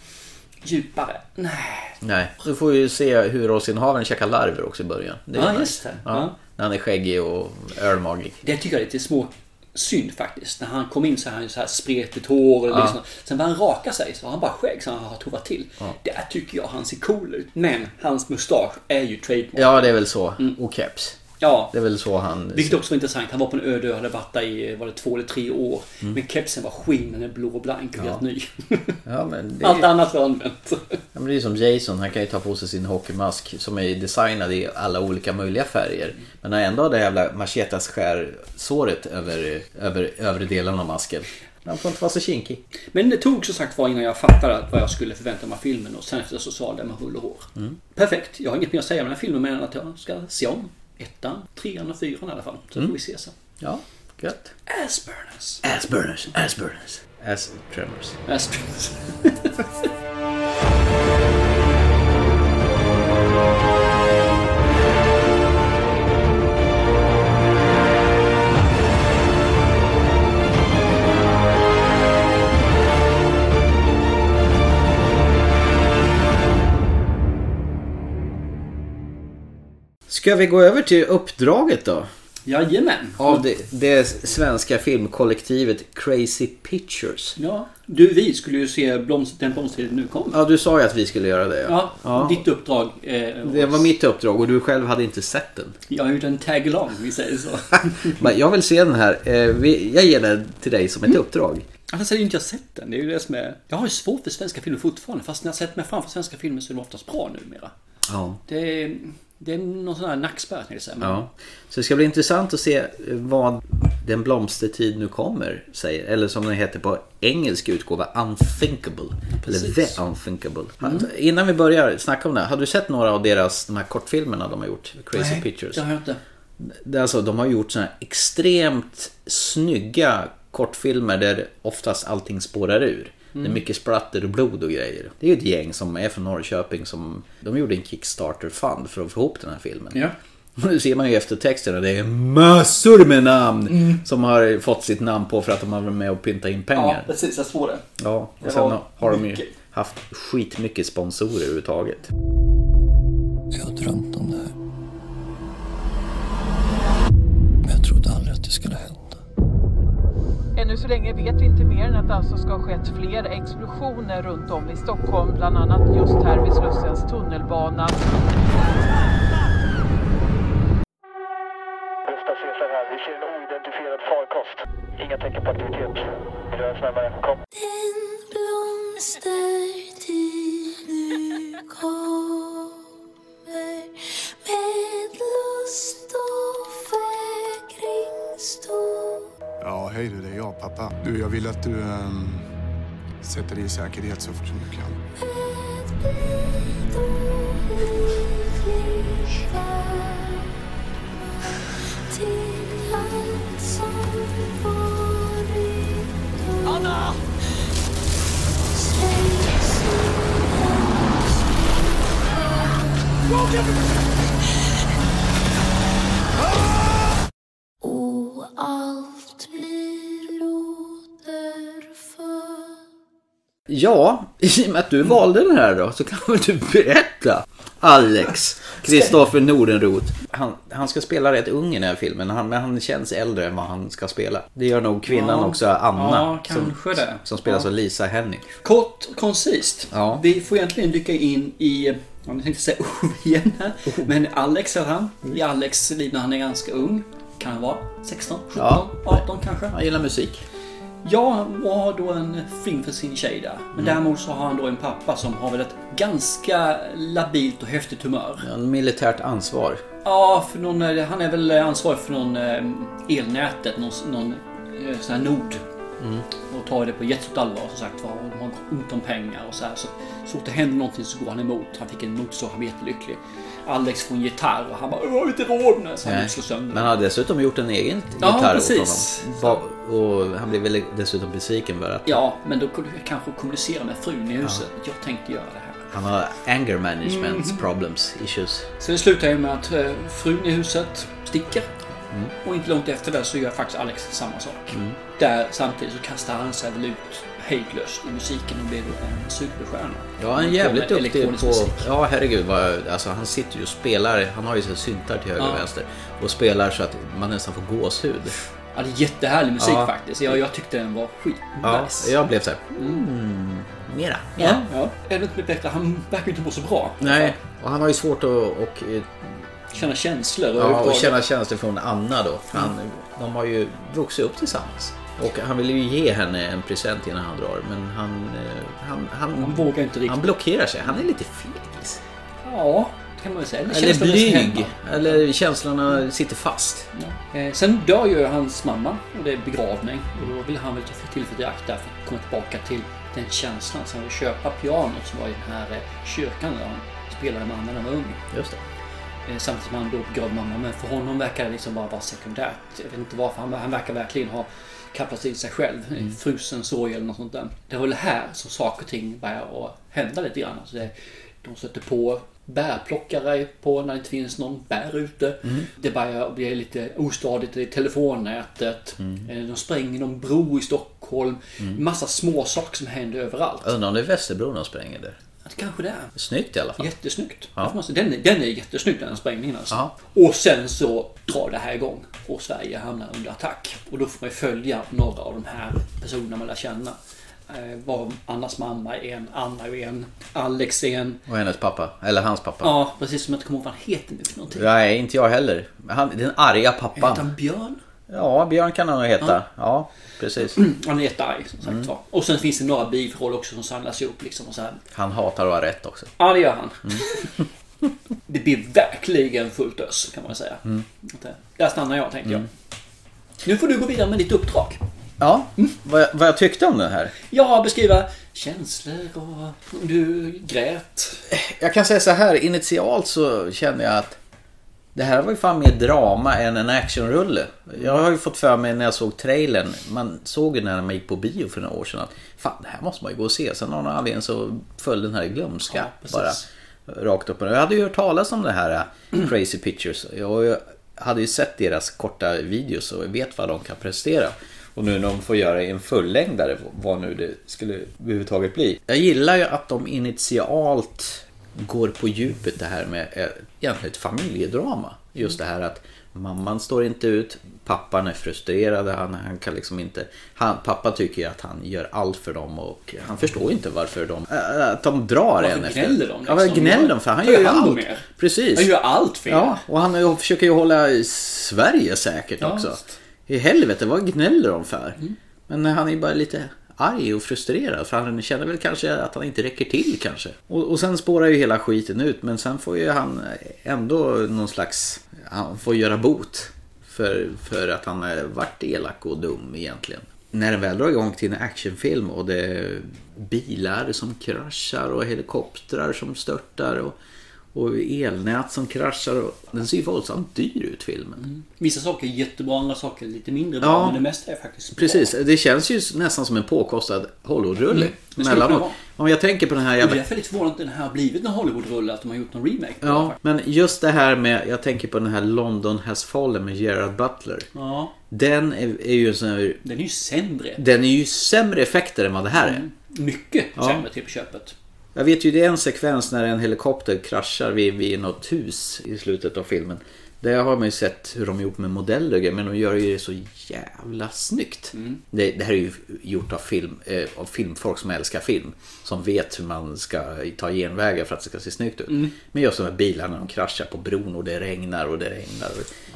[SPEAKER 2] djupare? Nej.
[SPEAKER 3] Nej, du får ju se hur rosinhaven käkar larver också i början. Det är
[SPEAKER 2] Ja,
[SPEAKER 3] nice.
[SPEAKER 2] just det.
[SPEAKER 3] Ja,
[SPEAKER 2] Ja.
[SPEAKER 3] När han är skäggig och ölmagig.
[SPEAKER 2] Det tycker jag är lite små synd faktiskt. När han kom in så hade han ju så här spretigt hår. Och liksom. Sen när han rakar sig så har han bara skägg så han har tovat till. Där tycker jag han ser cool ut. Men hans mustasch är ju trademark.
[SPEAKER 3] Ja, det är väl så. Och keps.
[SPEAKER 2] Ja.
[SPEAKER 3] Det är väl så han...
[SPEAKER 2] Mm. Vilket också var intressant. Han var på en öde ö och hade varit där i var det två eller tre år. Men kepsen var skinnande blå och blank och helt ny.
[SPEAKER 3] Ja, men Mm. det
[SPEAKER 2] Allt
[SPEAKER 3] är,
[SPEAKER 2] annat var använt.
[SPEAKER 3] ja, men det är ju som Jason. Han kan ju ta på sig sin hockeymask som är designad i alla olika möjliga färger. Men han ändå har det jävla machetas skärsåret över, över övre delen av masken. Han får inte vara så kinkig.
[SPEAKER 2] Men det tog som sagt var innan jag fattade vad jag skulle förvänta mig av filmen och sen efter så sa det med hull och hår.
[SPEAKER 3] Mm.
[SPEAKER 2] Perfekt. Jag har inget mer att säga om den här filmen men att jag ska se om ettan, trean och fyran i alla fall.
[SPEAKER 3] Mm.
[SPEAKER 2] Så får vi se sen.
[SPEAKER 3] Ja, gött.
[SPEAKER 2] Aspernas.
[SPEAKER 3] Asburners, Asburners. As Tremors.
[SPEAKER 2] Äh, Aspernas.
[SPEAKER 3] Ska vi gå över till uppdraget då?
[SPEAKER 2] Jajamän.
[SPEAKER 3] Av det, det svenska filmkollektivet Crazy Pictures.
[SPEAKER 2] Ja, du vi skulle ju se blomst, den blomstertid nu kommer.
[SPEAKER 3] Ja, du sa ju att vi skulle göra det.
[SPEAKER 2] Ja,
[SPEAKER 3] Ja.
[SPEAKER 2] ditt uppdrag. Eh,
[SPEAKER 3] Det var mitt uppdrag och du själv hade inte sett den.
[SPEAKER 2] Jag har gjort en tag-along, vi säger så.
[SPEAKER 3] Men jag vill se den här. Eh, vi- Jag ger den till dig som ett uppdrag.
[SPEAKER 2] Annars hade ju inte jag sett den. Det är ju det som är... Jag har ju svårt för svenska filmer fortfarande. Fast när jag sett mig framför svenska filmer så är de oftast bra numera.
[SPEAKER 3] Ja.
[SPEAKER 2] Det är, det är någon sån här nackspärr, tänkte jag säga. Men
[SPEAKER 3] ja. Så det ska bli intressant att se vad Den blomstertid nu kommer säger. Eller som den heter på engelsk utgåva, Unthinkable.
[SPEAKER 2] Precis.
[SPEAKER 3] Eller The Unthinkable. Innan vi börjar snacka om det här. Har du sett några av deras de här kortfilmerna de har gjort? Crazy
[SPEAKER 2] Nej,
[SPEAKER 3] Pictures.
[SPEAKER 2] Det har jag inte.
[SPEAKER 3] Det är alltså, de har gjort såna här extremt snygga kortfilmer där oftast allting spårar ur.
[SPEAKER 2] Mm.
[SPEAKER 3] Det är mycket splatter och blod och grejer. Det är ju ett gäng som är från Norrköping som... De gjorde en Kickstarter-fund för att få ihop den här filmen.
[SPEAKER 2] Ja.
[SPEAKER 3] Och nu ser man ju efter texten och det är massor med namn
[SPEAKER 2] Mm.
[SPEAKER 3] som har fått sitt namn på för att de har varit med och pyntat in
[SPEAKER 2] Ja,
[SPEAKER 3] pengar. Ja,
[SPEAKER 2] precis. Jag såg det.
[SPEAKER 3] och sen
[SPEAKER 2] var
[SPEAKER 3] har de ju
[SPEAKER 2] mycket.
[SPEAKER 3] haft skitmycket sponsorer överhuvudtaget.
[SPEAKER 7] Jag har drömt om det här. Men jag trodde aldrig att det skulle hända.
[SPEAKER 8] Ännu så länge vet vi inte mer än att det alltså ska ha skett fler explosioner runt om i Stockholm, bland annat just här vid Slussens tunnelbana.
[SPEAKER 9] Gustaf Cesar här. Vi ser en oidentifierad farkost. Inga tecken på aktivitet. Rör snabbare. Kom.
[SPEAKER 10] Ja, hej du, det är jag, pappa. Du, jag vill att du ehm, sätter dig i säkerhet så fort som du kan.
[SPEAKER 8] Anna!
[SPEAKER 3] Ja, i och med att du valde den här då så kan väl du berätta. Alex, Kristoffer Nordenroth. Han, han ska spela rätt ung i den här filmen, han, men han känns äldre än vad han ska spela. Det gör nog kvinnan
[SPEAKER 2] Ja.
[SPEAKER 3] också, Anna.
[SPEAKER 2] Ja, kanske
[SPEAKER 3] som,
[SPEAKER 2] det.
[SPEAKER 3] Som spelas av Lisa Henny.
[SPEAKER 2] Kort och koncist.
[SPEAKER 3] Ja.
[SPEAKER 2] Vi får egentligen dyka in i, ja, jag tänkte säga Ove igen här, men Alex är han.
[SPEAKER 3] Mm.
[SPEAKER 2] I Alex liv när han är ganska ung. Kan han vara 16, 17,
[SPEAKER 3] Ja.
[SPEAKER 2] 18 kanske?
[SPEAKER 3] Han gillar musik.
[SPEAKER 2] Ja, han har då en film för sin tjej där.
[SPEAKER 3] Mm.
[SPEAKER 2] Men däremot så har han då en pappa som har väl ett ganska labilt och häftigt humör.
[SPEAKER 3] En militärt ansvar.
[SPEAKER 2] Ja, för någon, eh, han är väl ansvarig för någon eh, elnätet, någon, någon eh, sån här nod.
[SPEAKER 3] Mm.
[SPEAKER 2] Och tar det på jättestort allvar som sagt var. Och De har ont om pengar och så här. Så, så fort det händer någonting så går han emot. Han fick en motorsåg, han blev jättelycklig. Alex får en gitarr och han bara "Jag har inte råd med det", så han
[SPEAKER 3] Nej.
[SPEAKER 2] slår sönder
[SPEAKER 3] Men han har dessutom gjort en egen
[SPEAKER 2] Ja,
[SPEAKER 3] gitarr
[SPEAKER 2] precis.
[SPEAKER 3] åt honom. Va- Och han blev väl dessutom besviken för att
[SPEAKER 2] Ja, men då kunde jag kanske kommunicera med frun i huset. att Jag tänkte göra det här.
[SPEAKER 3] han har anger management
[SPEAKER 2] Mm.
[SPEAKER 3] problems, issues.
[SPEAKER 2] Så det slutar ju med att eh, frun i huset sticker.
[SPEAKER 3] Mm.
[SPEAKER 2] Och inte långt efter det så gör faktiskt Alex samma sak. Där samtidigt så kastar han sig väl ut hejdlöst i musiken och blir då en superstjärna.
[SPEAKER 3] Ja, han är
[SPEAKER 2] Med
[SPEAKER 3] jävligt duktig
[SPEAKER 2] elektronisk
[SPEAKER 3] på...
[SPEAKER 2] musik.
[SPEAKER 3] Ja, herregud. Vad, alltså, han sitter ju och spelar. Han har ju sina syntar till höger
[SPEAKER 2] Ja.
[SPEAKER 3] och vänster. Och spelar så att man nästan får gåshud.
[SPEAKER 2] Ja, det är jättehärlig musik
[SPEAKER 3] Ja.
[SPEAKER 2] faktiskt. Jag, jag tyckte den var
[SPEAKER 3] Ja,
[SPEAKER 2] skitnice.
[SPEAKER 3] Jag blev så här... Mm, mera.
[SPEAKER 2] Ja, ja. Ändå inte blivit bättre. Han verkar inte må så bra.
[SPEAKER 3] Nej, och han har ju svårt att och, eh,
[SPEAKER 2] Känna känslor och, Mm.
[SPEAKER 3] ja, och
[SPEAKER 2] överhuvudtaget.
[SPEAKER 3] känna känslor från Anna då. För Han, De har ju vuxit upp tillsammans. Och han vill ju ge henne en present innan han drar, men han... eh, Han, han,
[SPEAKER 2] Han vågar inte riktigt.
[SPEAKER 3] han blockerar sig. Han är lite fegis.
[SPEAKER 2] Ja, det kan man ju säga.
[SPEAKER 3] Eller
[SPEAKER 2] känslorna är så hemma.
[SPEAKER 3] blyg. Eller känslorna sitter fast.
[SPEAKER 2] Eh, sen dör ju hans mamma och det är begravning och då vill han väl ta tillfället i akt där för att komma tillbaka till den känslan. Så han vill köpa pianot som var i den här eh, kyrkan där han spelade med när han var ung.
[SPEAKER 3] Just det.
[SPEAKER 2] Eh, samtidigt som han då begrav mamma. Men för honom verkar det liksom bara vara sekundärt. Jag vet inte varför. Han, han verkar verkligen ha kapslat in sig själv. Mm. Frusen sorg eller något sånt där. Det var väl här som saker och ting börjar att hända lite grann. Alltså det, de sätter på bärplockare på när det inte finns någon bär ute. Det börjar bli lite ostadigt i telefonnätet. Eh, De spränger någon bro i Stockholm. Massa små saker som händer överallt.
[SPEAKER 3] Undrar om det är Västerbron de spränger där.
[SPEAKER 2] Att Kanske det är.
[SPEAKER 3] Snyggt i alla fall.
[SPEAKER 2] Jättesnyggt. Ja. Den, är- den är jättesnygg den här sprängningen alltså.
[SPEAKER 3] Ja.
[SPEAKER 2] Och sen så drar det här igång och Sverige hamnar under attack. Och då får man ju följa några av de här personerna man lär känna. Eh, var Annas mamma är en, Anna är en, Alex är en.
[SPEAKER 3] Och hennes pappa. Eller hans pappa.
[SPEAKER 2] Ja, precis som jag inte kommer ihåg vad han heter nu för någonting.
[SPEAKER 3] Nej, inte jag heller. Han, den arga
[SPEAKER 2] Heter
[SPEAKER 3] pappan.
[SPEAKER 2] han Björn?
[SPEAKER 3] Ja, Björn kan han nog heta. Ja, precis.
[SPEAKER 2] Han är jättearg som sagt var. Och sen finns det några bifrågor också som samlas ihop liksom och så här.
[SPEAKER 3] Han hatar att ha rätt också.
[SPEAKER 2] Ja, det gör han. det blir verkligen fullt ös kan man säga.
[SPEAKER 3] Mm.
[SPEAKER 2] Att, eh, Där stannar jag tänkte jag. Nu får du gå vidare med ditt uppdrag.
[SPEAKER 3] Ja, Mm. vad, jag- vad jag tyckte om den här.
[SPEAKER 2] Ja, beskriva känslor och om du grät.
[SPEAKER 3] Jag kan säga så här, initialt så kände jag att det här var ju fan mer drama än en actionrulle. Jag har ju fått för mig när jag såg trailern, man såg ju när man gick på bio för några år sedan att fan, det här måste man ju gå och se. Sen av någon anledning så föll den här i glömska
[SPEAKER 2] precis.
[SPEAKER 3] bara. Rakt upp och ner. Jag hade ju hört talas om det här eh, Crazy Pictures. Och jag hade ju sett deras korta videos och vet vad de kan prestera. Och nu när de får göra en fullängdare, vad nu det skulle överhuvudtaget bli. Jag gillar ju att de initialt går på djupet det här med eh, egentligen ett familjedrama. Just det här att mamman står inte ut, pappan är frustrerad, han, han kan liksom inte... Han, pappa tycker ju att han gör allt för dem och han förstår inte varför de... eh, Att de drar
[SPEAKER 2] Varför
[SPEAKER 3] en
[SPEAKER 2] gnäller de
[SPEAKER 3] Ja, men
[SPEAKER 2] liksom?
[SPEAKER 3] gnäller de för han
[SPEAKER 2] Då
[SPEAKER 3] gör
[SPEAKER 2] gör de
[SPEAKER 3] allt.
[SPEAKER 2] mer.
[SPEAKER 3] Precis.
[SPEAKER 2] Han gör allt fel.
[SPEAKER 3] Ja, och han eh, försöker ju hålla Sverige säkert
[SPEAKER 2] Ja,
[SPEAKER 3] också.
[SPEAKER 2] visst. Mm.
[SPEAKER 3] I helvete, vad gnäller de för? Men han är ju bara lite arg och frustrerad för han känner väl kanske att han inte räcker till kanske. Och, och sen spårar ju hela skiten ut men sen får ju han ändå någon slags, han får göra bot. För, för att han har varit elak och dum egentligen. När den väl drar igång till en actionfilm och det är bilar som kraschar och helikoptrar som störtar och, och elnät som kraschar. Och, den ser ju våldsamt dyr ut filmen.
[SPEAKER 2] Mm. Vissa saker är jättebra, andra saker är lite mindre bra.
[SPEAKER 3] Ja.
[SPEAKER 2] Men det mesta är faktiskt bra.
[SPEAKER 3] Precis, det känns ju nästan som en påkostad Hollywood-rulle.
[SPEAKER 2] Mm, det skulle kunna
[SPEAKER 3] Mellanåt.
[SPEAKER 2] vara.
[SPEAKER 3] Om jag tänker på den här
[SPEAKER 2] Och
[SPEAKER 3] jävla...
[SPEAKER 2] därför är jag lite förvånad att den här har blivit en Hollywood-rulle, att de har gjort någon remake på den
[SPEAKER 3] Ja,
[SPEAKER 2] faktiskt.
[SPEAKER 3] men just det här med, jag tänker på den här London has fallen med Gerard Butler.
[SPEAKER 2] ja.
[SPEAKER 3] Den är, är ju en sån här,
[SPEAKER 2] Den är ju sämre.
[SPEAKER 3] Den är ju sämre effekter än vad det här
[SPEAKER 2] Mm.
[SPEAKER 3] är.
[SPEAKER 2] Mycket
[SPEAKER 3] Ja.
[SPEAKER 2] sämre till på köpet.
[SPEAKER 3] Jag vet ju det är en sekvens när en helikopter kraschar vid, vid något hus i slutet av filmen. Där har man ju sett hur de gjort med modeller och grejer, men de gör ju det så jävla snyggt. Det, det här är ju gjort av, film, eh, av filmfolk som älskar film. Som vet hur man ska ta genvägar för att det ska se snyggt ut. Men just de här bilarna, de kraschar på bron och det regnar och det regnar.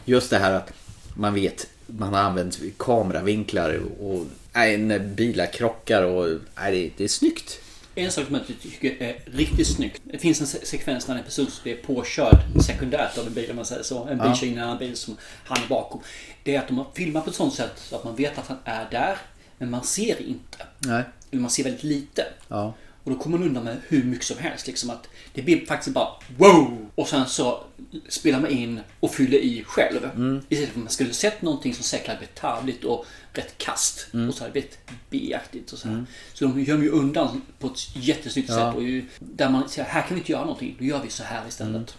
[SPEAKER 3] Just det här att man vet, man har använt kameravinklar och nej, när bilar krockar och nej, det, det är snyggt.
[SPEAKER 2] En sak som jag tycker är riktigt snyggt. Det finns en se- sekvens när en person blir påkörd sekundärt av en bil om man säger så. En bil kör in i en annan bil som han är bakom. Det är att de har filmat på ett sånt sätt så att man vet att han är där. Men man ser inte.
[SPEAKER 3] Nej.
[SPEAKER 2] Eller man ser väldigt lite.
[SPEAKER 3] Ja.
[SPEAKER 2] Och då kommer man undan med hur mycket som helst. Liksom att det blir faktiskt bara wow! Och sen så spelar man in och fyller i själv. Istället för att man skulle sett någonting som säkert hade blivit tarvligt och rätt kast. Och så hade det blivit B-aktigt. Och så, här. så de gömmer ju undan på ett jättesnyggt sätt. Och ju, där man säger här kan vi inte göra någonting. Då gör vi så här istället.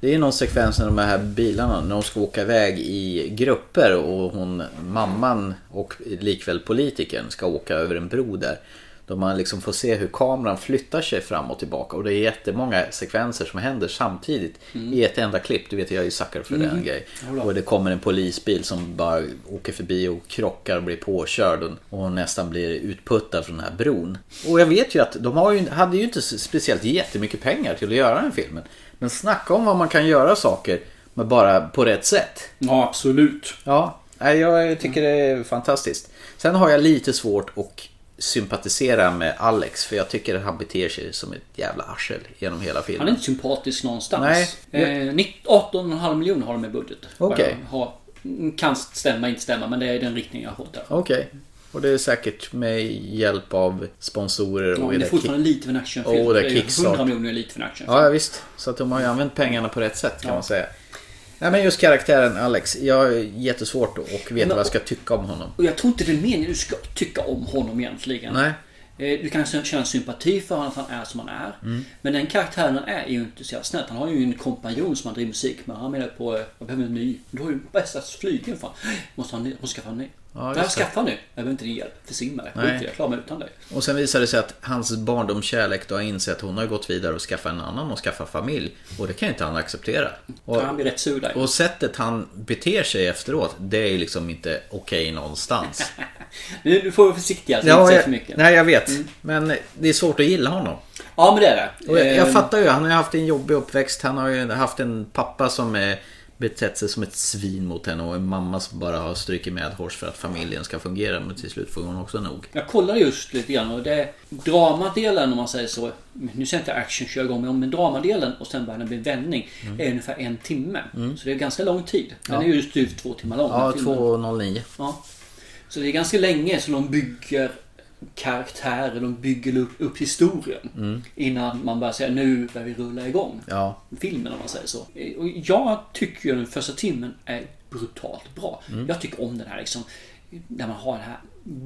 [SPEAKER 3] Det är någon sekvens när de här bilarna, när de ska åka iväg i grupper och hon, mamman och likväl politikern ska åka över en bro där. Då man liksom får se hur kameran flyttar sig fram och tillbaka och det är jättemånga sekvenser som händer samtidigt i ett enda klipp. Du vet jag är ju sucker för den grejen. Och det kommer en polisbil som bara åker förbi och krockar och blir påkörd och hon nästan blir utputtad från den här bron. Och jag vet ju att de har ju, hade ju inte speciellt jättemycket pengar till att göra den här filmen. Men snacka om vad man kan göra saker med bara på rätt sätt.
[SPEAKER 2] Ja, absolut.
[SPEAKER 3] Ja, nej, jag tycker det är fantastiskt. Sen har jag lite svårt att sympatisera med Alex för jag tycker att han beter sig som ett jävla arsel genom hela
[SPEAKER 2] Han är
[SPEAKER 3] filmen.
[SPEAKER 2] inte sympatisk någonstans.
[SPEAKER 3] Nej.
[SPEAKER 2] Eh, 19 18,5 miljoner har de i budget.
[SPEAKER 3] Okej.
[SPEAKER 2] Har- Kan stämma, inte stämma, men det är den riktning jag har fått där.
[SPEAKER 3] Okej, och det är säkert med hjälp av sponsorer
[SPEAKER 2] Ja,
[SPEAKER 3] och
[SPEAKER 2] men det är
[SPEAKER 3] det kick-
[SPEAKER 2] fortfarande lite för en actionfilm.
[SPEAKER 3] Och det är
[SPEAKER 2] ju
[SPEAKER 3] kickstart.
[SPEAKER 2] 100 miljoner är lite för en actionfilm.
[SPEAKER 3] Ja, ja, visst. Så att de har ju använt pengarna på rätt sätt kan man säga. Nej men just karaktären Alex, jag är jättesvårt att veta vad jag ska tycka om honom.
[SPEAKER 2] Och jag tror inte det är meningen du ska tycka om honom egentligen.
[SPEAKER 3] Nej.
[SPEAKER 2] Eh, Du kan känna sympati för honom, att han är som han är.
[SPEAKER 3] Mm.
[SPEAKER 2] Men den karaktären han är är ju inte så jävla snäll. Han har ju en kompanjon som han driver musik med. Han menar på, eh, jag behöver en ny. Du har ju bästa flygeln fan. Måste ha en ny? Måste skaffa en ny.
[SPEAKER 3] Ja,
[SPEAKER 2] Nej,
[SPEAKER 3] just det.
[SPEAKER 2] skaffa en ny. Jag behöver inte din hjälp. Försvinn med det.
[SPEAKER 3] Nej.
[SPEAKER 2] Skit i det. Jag klarar mig utan dig.
[SPEAKER 3] Och sen visar det sig att hans barndomskärlek då har insett att hon har gått vidare och skaffat en annan och skaffat familj. Och det kan ju inte han acceptera. Och,
[SPEAKER 2] Han blir rätt sur där.
[SPEAKER 3] och sättet han beter sig efteråt, det är ju liksom inte okej någonstans.
[SPEAKER 2] Nu nu får vi vara försiktiga så ja, inte säga för mycket. Mm.
[SPEAKER 3] nej, jag vet. Men det är svårt att gilla honom.
[SPEAKER 2] Ja men det är det.
[SPEAKER 3] Och jag,
[SPEAKER 2] Eh,
[SPEAKER 3] jag fattar ju, han har ju haft en jobbig uppväxt. Han har ju haft en pappa som är, betett sig som ett svin mot henne och en mamma som bara har strykit med hårs för att familjen ska fungera. Men till slut får hon också nog.
[SPEAKER 2] Jag kollade just lite grann och det dramadelen om man säger så. Nu säger jag inte action kör igång med om men dramadelen och sen börjar den bli vändning.
[SPEAKER 3] Mm.
[SPEAKER 2] Är ungefär en timme. Så det är ganska lång tid. Den är ju styvt två timmar lång.
[SPEAKER 3] Ja,
[SPEAKER 2] den filmen.
[SPEAKER 3] 2.09.
[SPEAKER 2] Ja. Så det är ganska länge som de bygger karaktärer, de bygger upp, upp historien. Innan man börjar säga nu börjar vi rulla igång
[SPEAKER 3] Mm. Ja.
[SPEAKER 2] filmen om man säger så. Eh, Och jag tycker ju den första timmen är brutalt bra.
[SPEAKER 3] Mm.
[SPEAKER 2] Jag tycker om den här liksom, när man har den här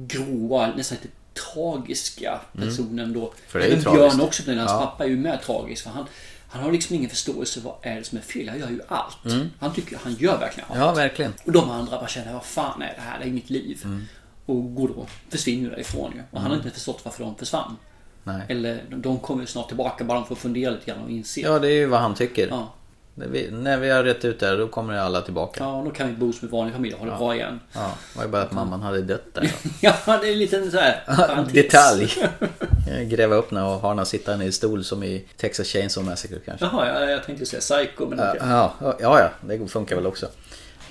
[SPEAKER 2] gråa, nästan lite tragiska personen då.
[SPEAKER 3] Mm. För det är ju
[SPEAKER 2] Även Björn
[SPEAKER 3] tragiskt.
[SPEAKER 2] också, men hans pappa är ju med tragisk. För han, Han har liksom ingen förståelse vad är det som är fel. Han gör ju allt. Han tycker han gör verkligen allt.
[SPEAKER 3] Mm. Ja, verkligen.
[SPEAKER 2] Och de andra bara känner, vad fan är det här? Det är inget liv.
[SPEAKER 3] Mm.
[SPEAKER 2] Och går då, försvinner därifrån ju. Och han har inte förstått varför de försvann.
[SPEAKER 3] Nej.
[SPEAKER 2] Eller de- de kommer ju snart tillbaka bara de får fundera lite grann och inse.
[SPEAKER 3] Ja, det är ju vad han tycker.
[SPEAKER 2] Ja.
[SPEAKER 3] När, vi, när vi har rätt ut det här, då kommer alla tillbaka.
[SPEAKER 2] Ja, då kan vi bo som en vanlig familj och ha det bra igen.
[SPEAKER 3] Ja, det var ju bara att mamman hade dött där.
[SPEAKER 2] Ja, det är en liten så här parentes.
[SPEAKER 3] Detalj. Eh, Gräva upp henne och ha henne sittande i stol som i Texas Chainsaw Massacre kanske.
[SPEAKER 2] Jaha, jag, jag tänkte säga psycho, men okej.
[SPEAKER 3] Ja, ja, ja, det funkar väl också.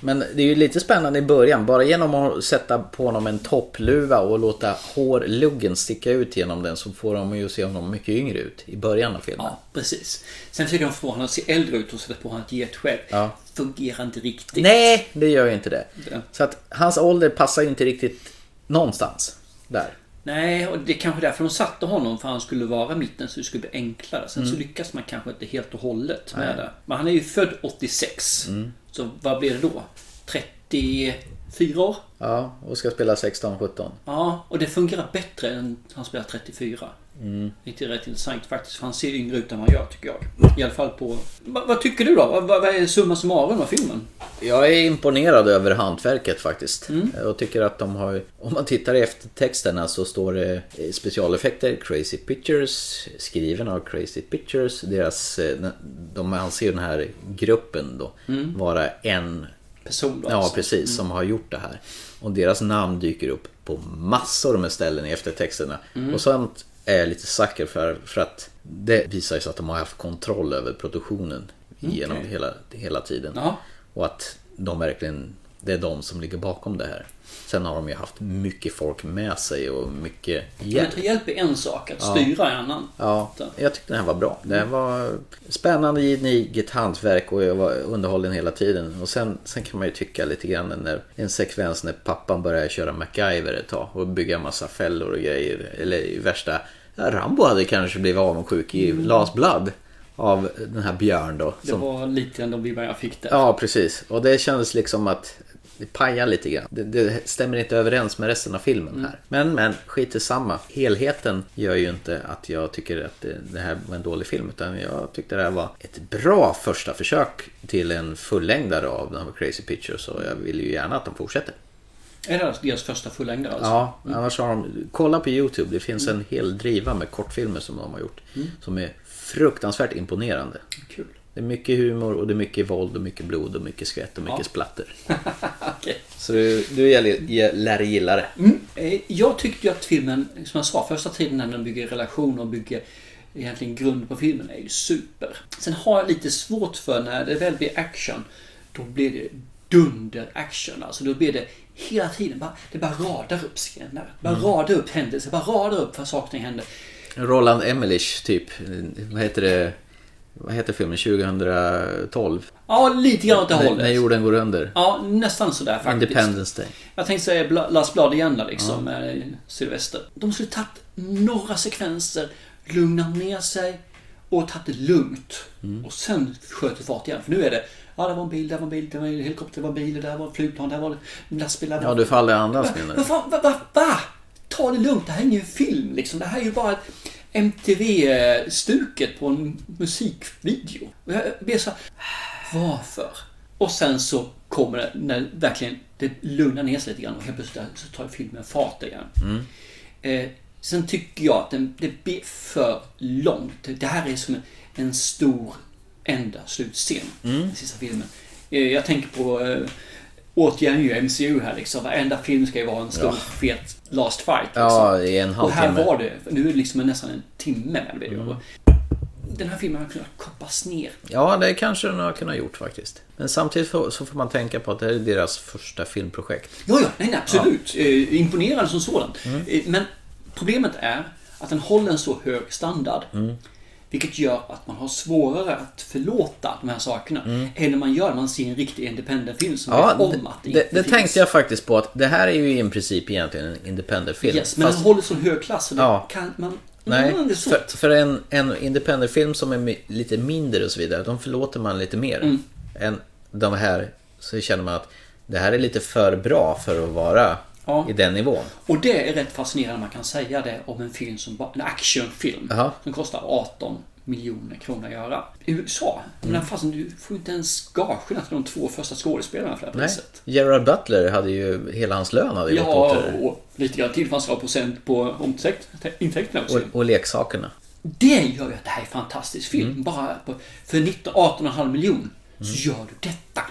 [SPEAKER 3] Men det är ju lite spännande i början. Bara genom att sätta på honom en toppluva och låta hårluggen sticka ut genom den så får de ju se honom mycket yngre ut i början av filmen.
[SPEAKER 2] Ja, precis. Sen försöker de få honom att se äldre ut och sätta på honom ett getskägg.
[SPEAKER 3] Ja.
[SPEAKER 2] Fungerar inte riktigt.
[SPEAKER 3] Nej, det gör ju inte det.
[SPEAKER 2] Det.
[SPEAKER 3] Så att hans ålder passar ju inte riktigt någonstans där.
[SPEAKER 2] Nej, och det är kanske därför de satte honom. För han skulle vara mitten så det skulle bli enklare. Sen
[SPEAKER 3] Mm.
[SPEAKER 2] så lyckas man kanske inte helt och hållet med det. Men han är ju född 86.
[SPEAKER 3] Mm.
[SPEAKER 2] Så vad blir det då? 34 år?
[SPEAKER 3] Ja, och ska spela 16-17.
[SPEAKER 2] Ja, och det fungerar bättre än han spelar 34. Mm. Det är rätt intressant faktiskt. För han ser yngre ut än vad han gör tycker jag. I alla fall på... Va, vad tycker du då? Vad, vad vad är summa summarum av filmen?
[SPEAKER 3] Jag är imponerad över hantverket faktiskt. Jag tycker att de har, om man tittar i eftertexterna så står det eh, specialeffekter, Crazy Pictures, skriven av Crazy Pictures. Deras, eh, de anser ju den här gruppen då vara en
[SPEAKER 2] Person då
[SPEAKER 3] Ja,
[SPEAKER 2] alltså.
[SPEAKER 3] precis. Som har gjort det här. Och deras namn dyker upp på massor med ställen i eftertexterna.
[SPEAKER 2] Mm.
[SPEAKER 3] Och sånt är jag lite sucker för, för att det visar ju sig att de har haft kontroll över produktionen genom
[SPEAKER 2] Okej.
[SPEAKER 3] hela, hela tiden.
[SPEAKER 2] Ja.
[SPEAKER 3] Och att de verkligen, det är de som ligger bakom det här. Sen har de ju haft mycket folk med sig och mycket
[SPEAKER 2] Men
[SPEAKER 3] hjälp.
[SPEAKER 2] att ta hjälp är en sak, att styra är en annan.
[SPEAKER 3] Ja, jag tyckte den här var bra. Den var spännande, gediget hantverk och jag var underhållen hela tiden. Och sen, sen kan man ju tycka lite grann när en sekvens när pappan börjar köra MacGyver ett tag och bygga massa fällor och grejer. Eller i värsta... Ja, Rambo hade kanske blivit avundsjuk i Last Blood av den här Björn då.
[SPEAKER 2] Det
[SPEAKER 3] som-
[SPEAKER 2] var lite den vibbar jag fick där.
[SPEAKER 3] Ja, precis. Och det kändes liksom att det pajar lite grann. Det, det stämmer inte överens med resten av filmen här. Men, men, skit i samma. Helheten gör ju inte att jag tycker att det, det här var en dålig film. Utan jag tyckte det här var ett bra första försök till en fullängdare av den här Crazy Pictures. Och jag vill ju gärna att de fortsätter.
[SPEAKER 2] Är det alltså deras första fullängdare alltså?
[SPEAKER 3] Ja, annars har de... Kolla på YouTube. Det finns en hel driva med kortfilmer som de har gjort. Som är fruktansvärt imponerande.
[SPEAKER 2] Kul.
[SPEAKER 3] Det är mycket humor och det är mycket våld och mycket blod och mycket skvätt och mycket
[SPEAKER 2] Ja.
[SPEAKER 3] splatter.
[SPEAKER 2] Okej.
[SPEAKER 3] Så du, du jag, jag lär gilla det.
[SPEAKER 2] Eh, Jag tyckte ju att filmen, som jag sa, första tiden när den bygger relationer och bygger egentligen grund på filmen är ju super. Sen har jag lite svårt för när det väl blir action, då blir det dunder-action. Alltså då blir det hela tiden, bara, det bara radar upp scener. Bara
[SPEAKER 3] Mm.
[SPEAKER 2] radar upp händelser, bara radar upp vad saker och ting händer.
[SPEAKER 3] Roland Emmerich typ. Vad heter det? Vad heter filmen? 2012?
[SPEAKER 2] Ja, lite grann åt det
[SPEAKER 3] När, när
[SPEAKER 2] hållet.
[SPEAKER 3] jorden går under.
[SPEAKER 2] Ja, nästan sådär faktiskt.
[SPEAKER 3] Independence Day.
[SPEAKER 2] Jag tänkte säga Bla- Lars Blad igen där liksom, med Sylvester. De skulle tagit några sekvenser, lugnat ner sig och tagit det lugnt. Och sen sköt det fart igen. För nu är det, ja det var en bil, där var en bil, där var en helikopter, det var en bil, det där var ett flygplan, där var en lastbil, där var
[SPEAKER 3] Ja, du får aldrig andas menar du?
[SPEAKER 2] vad fan, vad, vad, vad? Ta det lugnt, det här är ingen film liksom. Det här är ju bara ett MTV-stuket på en musikvideo. Och jag blir så här, varför? Och sen så kommer det, när verkligen det lugnar ner sig lite grann och helt plötsligt så tar filmen fart igen. Eh, sen tycker jag att den, det blir för långt. Det här är som en, en stor enda slutscen.
[SPEAKER 3] Mm.
[SPEAKER 2] Den sista filmen. Eh, jag tänker på eh, återigen ju MCU här liksom. Varenda film ska ju vara en stor fet last fight. Liksom.
[SPEAKER 3] Ja, i en
[SPEAKER 2] och här
[SPEAKER 3] halvtimme.
[SPEAKER 2] var det. Nu är det liksom nästan en timme. Med det.
[SPEAKER 3] Mm.
[SPEAKER 2] Och Den här filmen har kunnat koppas ner.
[SPEAKER 3] Ja, det kanske den har kunnat gjort faktiskt. Men samtidigt får- så får man tänka på att det här är deras första filmprojekt.
[SPEAKER 2] Ja, ja, nej, nej, absolut. Eh, imponerande som sådant.
[SPEAKER 3] Mm.
[SPEAKER 2] Eh, men problemet är att den håller en så hög standard.
[SPEAKER 3] Mm.
[SPEAKER 2] Vilket gör att man har svårare att förlåta de här sakerna. Än när man gör när man ser en riktig independent-film som
[SPEAKER 3] Mm. Ja,
[SPEAKER 2] vet om att
[SPEAKER 3] det, det, det
[SPEAKER 2] finns.
[SPEAKER 3] tänkte jag faktiskt på att det här är ju i princip egentligen en independent film.
[SPEAKER 2] Yes, men den håller så hög klass så det
[SPEAKER 3] Ja.
[SPEAKER 2] kan man...
[SPEAKER 3] Nej,
[SPEAKER 2] Mm, det är svårt.
[SPEAKER 3] för, för en, en independent-film som är mi- lite mindre och så vidare, de förlåter man lite mer.
[SPEAKER 2] Mm.
[SPEAKER 3] Än de här, så känner man att det här är lite för bra för att vara
[SPEAKER 2] Ja.
[SPEAKER 3] i den nivån.
[SPEAKER 2] Och det är rätt fascinerande man kan säga det om en film som bara, en actionfilm
[SPEAKER 3] Jaha.
[SPEAKER 2] som kostar 18 miljoner kronor göra. I USA,
[SPEAKER 3] Mm.
[SPEAKER 2] men fasen, du får ju inte ens gagerna till de två första skådespelarna för det här
[SPEAKER 3] Nej.
[SPEAKER 2] priset.
[SPEAKER 3] Gerard Butler hade ju hela hans lön hade ju gått åt
[SPEAKER 2] Ja,
[SPEAKER 3] det där.
[SPEAKER 2] och lite grann till för han ska ha procent på omtäkt- intäkterna också.
[SPEAKER 3] och, och leksakerna.
[SPEAKER 2] Det gör ju att det här är en fantastisk film.
[SPEAKER 3] Mm.
[SPEAKER 2] Bara på, för 19, 18,5 miljon så gör du detta.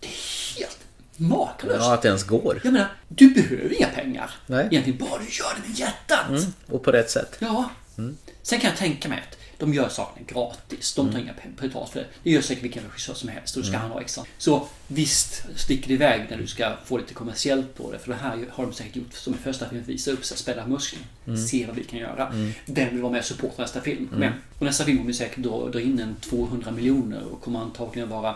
[SPEAKER 2] Det är helt makalöst.
[SPEAKER 3] Mm. Ja, att det ens går.
[SPEAKER 2] Jag menar, du behöver inga pengar.
[SPEAKER 3] Nej. Mm.
[SPEAKER 2] Egentligen bara du gör det med hjärtat.
[SPEAKER 3] Och på rätt sätt.
[SPEAKER 2] Ja.
[SPEAKER 3] Mm.
[SPEAKER 2] Sen kan jag tänka mig att de gör sakerna gratis. De tar
[SPEAKER 3] Mm.
[SPEAKER 2] inga pen- betalt för det. Det gör säkert vilken regissör som helst. Då ska han ha extra. Så visst, sticker det iväg när du ska få lite kommersiellt på det. För det här har de säkert gjort som en första film. Visa upp sig, spänna musklerna.
[SPEAKER 3] Mm.
[SPEAKER 2] Se vad vi kan göra. Vem vill vara med och supporta nästa film? Men, och nästa film kommer säkert dra, dra in en 200 miljoner och kommer antagligen vara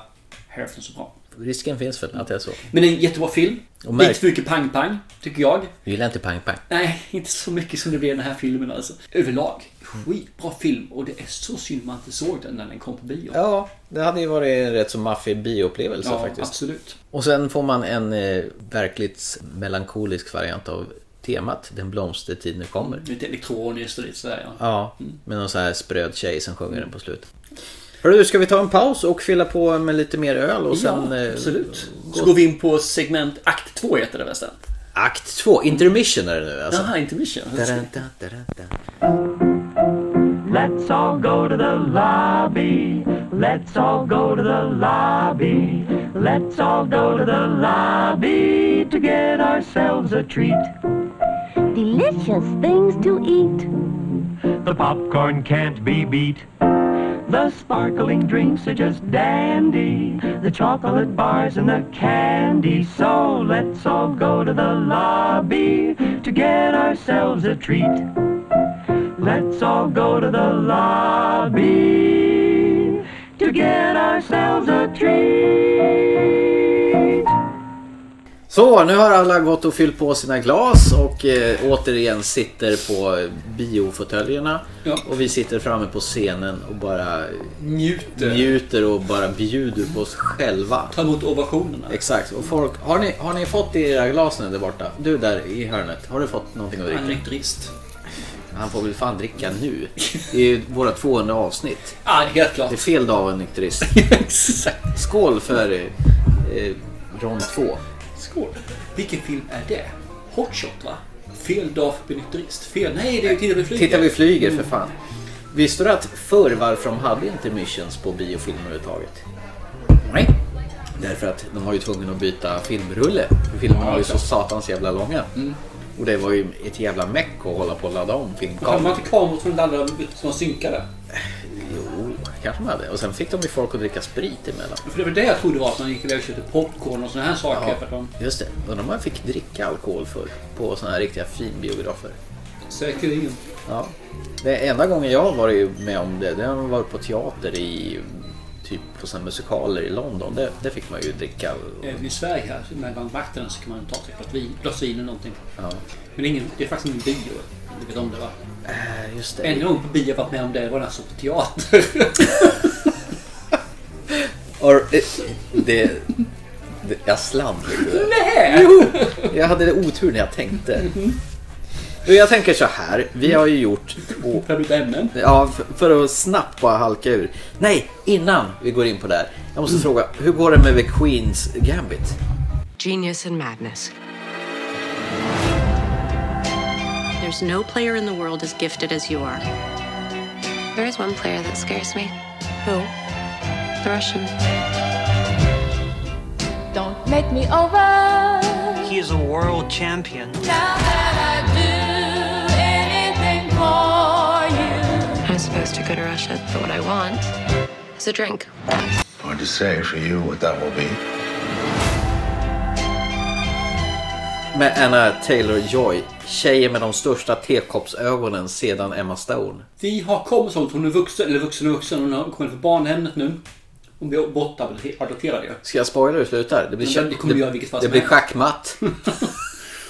[SPEAKER 2] hälften så bra.
[SPEAKER 3] Risken finns väl att det är så.
[SPEAKER 2] Men det är en jättebra film.
[SPEAKER 3] Och märk-
[SPEAKER 2] Lite för mycket pang-pang, tycker jag.
[SPEAKER 3] Vi gillar inte Pang Pang.
[SPEAKER 2] Nej, inte så mycket som det blev i den här filmen alltså. Överlag, skitbra film och det är så synd man inte såg den när den kom på bio.
[SPEAKER 3] Ja, det hade ju varit en rätt så maffig bioupplevelse
[SPEAKER 2] Ja,
[SPEAKER 3] faktiskt.
[SPEAKER 2] absolut.
[SPEAKER 3] Och sen får man en eh, verkligt melankolisk variant av temat. Den blomstertid nu kommer.
[SPEAKER 2] Lite elektroniskt och lite sådär ja.
[SPEAKER 3] Mm. Ja, med någon sån här spröd tjej som sjunger den på slutet. Hörru, ska vi ta en paus och fylla på med lite mer öl och sen...
[SPEAKER 2] ja,
[SPEAKER 3] eh,
[SPEAKER 2] absolut. Så
[SPEAKER 3] gå-
[SPEAKER 2] går vi in på segment akt 2 heter det väl
[SPEAKER 3] Akt två, intermission är det nu alltså.
[SPEAKER 2] Jaha, inte Mission.
[SPEAKER 3] Da-da-da, da-da-da.
[SPEAKER 6] Let's all go to the lobby. Let's all go to the lobby. Let's all go to the lobby to get ourselves a treat.
[SPEAKER 11] Delicious things to eat.
[SPEAKER 6] The popcorn can't be beat. The sparkling drinks are just dandy. The chocolate bars and the candy. So let's all go to the lobby to get ourselves a treat. Let's all go to the lobby to get ourselves a treat.
[SPEAKER 3] Så, nu har alla gått och fyllt på sina glas och eh, återigen sitter på eh, biofåtöljerna.
[SPEAKER 2] Ja.
[SPEAKER 3] Och vi sitter framme på scenen och bara
[SPEAKER 2] Njuter.
[SPEAKER 3] njuter och bara bjuder på oss själva.
[SPEAKER 2] Ta emot ovationerna.
[SPEAKER 3] Exakt. Och folk, har, ni, har ni fått i era glas nu där borta? Du där i hörnet, har du fått någonting att
[SPEAKER 2] Han är
[SPEAKER 3] dricka?
[SPEAKER 2] nykterist.
[SPEAKER 3] Han får väl fan dricka nu. Det är ju våra 200 avsnitt.
[SPEAKER 2] Ja, helt klart.
[SPEAKER 3] Det är fel dag att vara nykterist.
[SPEAKER 2] Exakt.
[SPEAKER 3] Skål för eh, eh, rond två.
[SPEAKER 2] Skål. Vilken film är det? Hot Shot va? Fel dag för att bli nykterist. Fel... Nej, det är ju Titta vi flyger.
[SPEAKER 3] Titta vi flyger för fan. Visste du att förr varför de hade inte missions på biofilmer överhuvudtaget? Nej. Därför att de var ju tvungna att byta filmrulle. För filmerna var ju så satans jävla långa. Och det var ju ett jävla meck att hålla på och ladda om
[SPEAKER 2] Hade man
[SPEAKER 3] filmkameran.
[SPEAKER 2] inte kameror från laddade som synkade?
[SPEAKER 3] Jo, kanske de hade. Och sen fick de ju folk att dricka sprit emellan.
[SPEAKER 2] För det var det jag trodde var att man gick iväg och köpte popcorn och såna här saker. För att de
[SPEAKER 3] Just det. Och de här fick dricka alkohol för på såna här riktiga finbiografer.
[SPEAKER 2] Säkerligen.
[SPEAKER 3] Ja. Det enda gången jag har varit med om det, det har varit på teater i typ på såna musikaler i London. Det, det fick man ju dricka.
[SPEAKER 2] Även eh, i Sverige här, mellan vakterna så kan man ta sig ett glas vin- glas vin eller någonting.
[SPEAKER 3] Ja.
[SPEAKER 2] Men ingen, det är faktiskt ingen bio. Du vet om det va?
[SPEAKER 3] Äh, Just det.
[SPEAKER 2] En gång på bio jag varit med om det var när jag såg på teater.
[SPEAKER 3] Or, eh, det, det, jag slant lite.
[SPEAKER 2] Nej!
[SPEAKER 3] Jag hade det otur när jag tänkte. Du, Jag tänker så här. Vi har ju gjort två
[SPEAKER 2] Har du ett ämne?
[SPEAKER 3] Ja, för, för att snabbt bara halka ur. Nej, innan vi går in på det här. Jag måste
[SPEAKER 2] Mm.
[SPEAKER 3] fråga, hur går det med The Queens Gambit?
[SPEAKER 12] Genius and madness. There's no player in the world as gifted as you are.
[SPEAKER 5] There is one player that scares me.
[SPEAKER 12] Who?
[SPEAKER 5] The Russian.
[SPEAKER 13] Don't make me over.
[SPEAKER 6] He is a world champion.
[SPEAKER 13] Now that I do anything for you.
[SPEAKER 5] I'm supposed to go to Russia, but what I want is a drink.
[SPEAKER 4] Hard to say for you what that will be.
[SPEAKER 3] Med Anna Taylor-Joy, tjejen med de största tekoppsögonen sedan Emma Stone.
[SPEAKER 2] Vi har kommit så långt. Hon är vuxen, eller vuxen och vuxen. Hon har kommit från barnhemmet nu. Hon blir bortadopterad ju.
[SPEAKER 3] Ska jag spoila hur det slutar? Det blir,
[SPEAKER 2] Men det kommer vi göra i vilket fall
[SPEAKER 3] det,
[SPEAKER 2] som
[SPEAKER 3] det blir
[SPEAKER 2] helst.
[SPEAKER 3] schackmatt.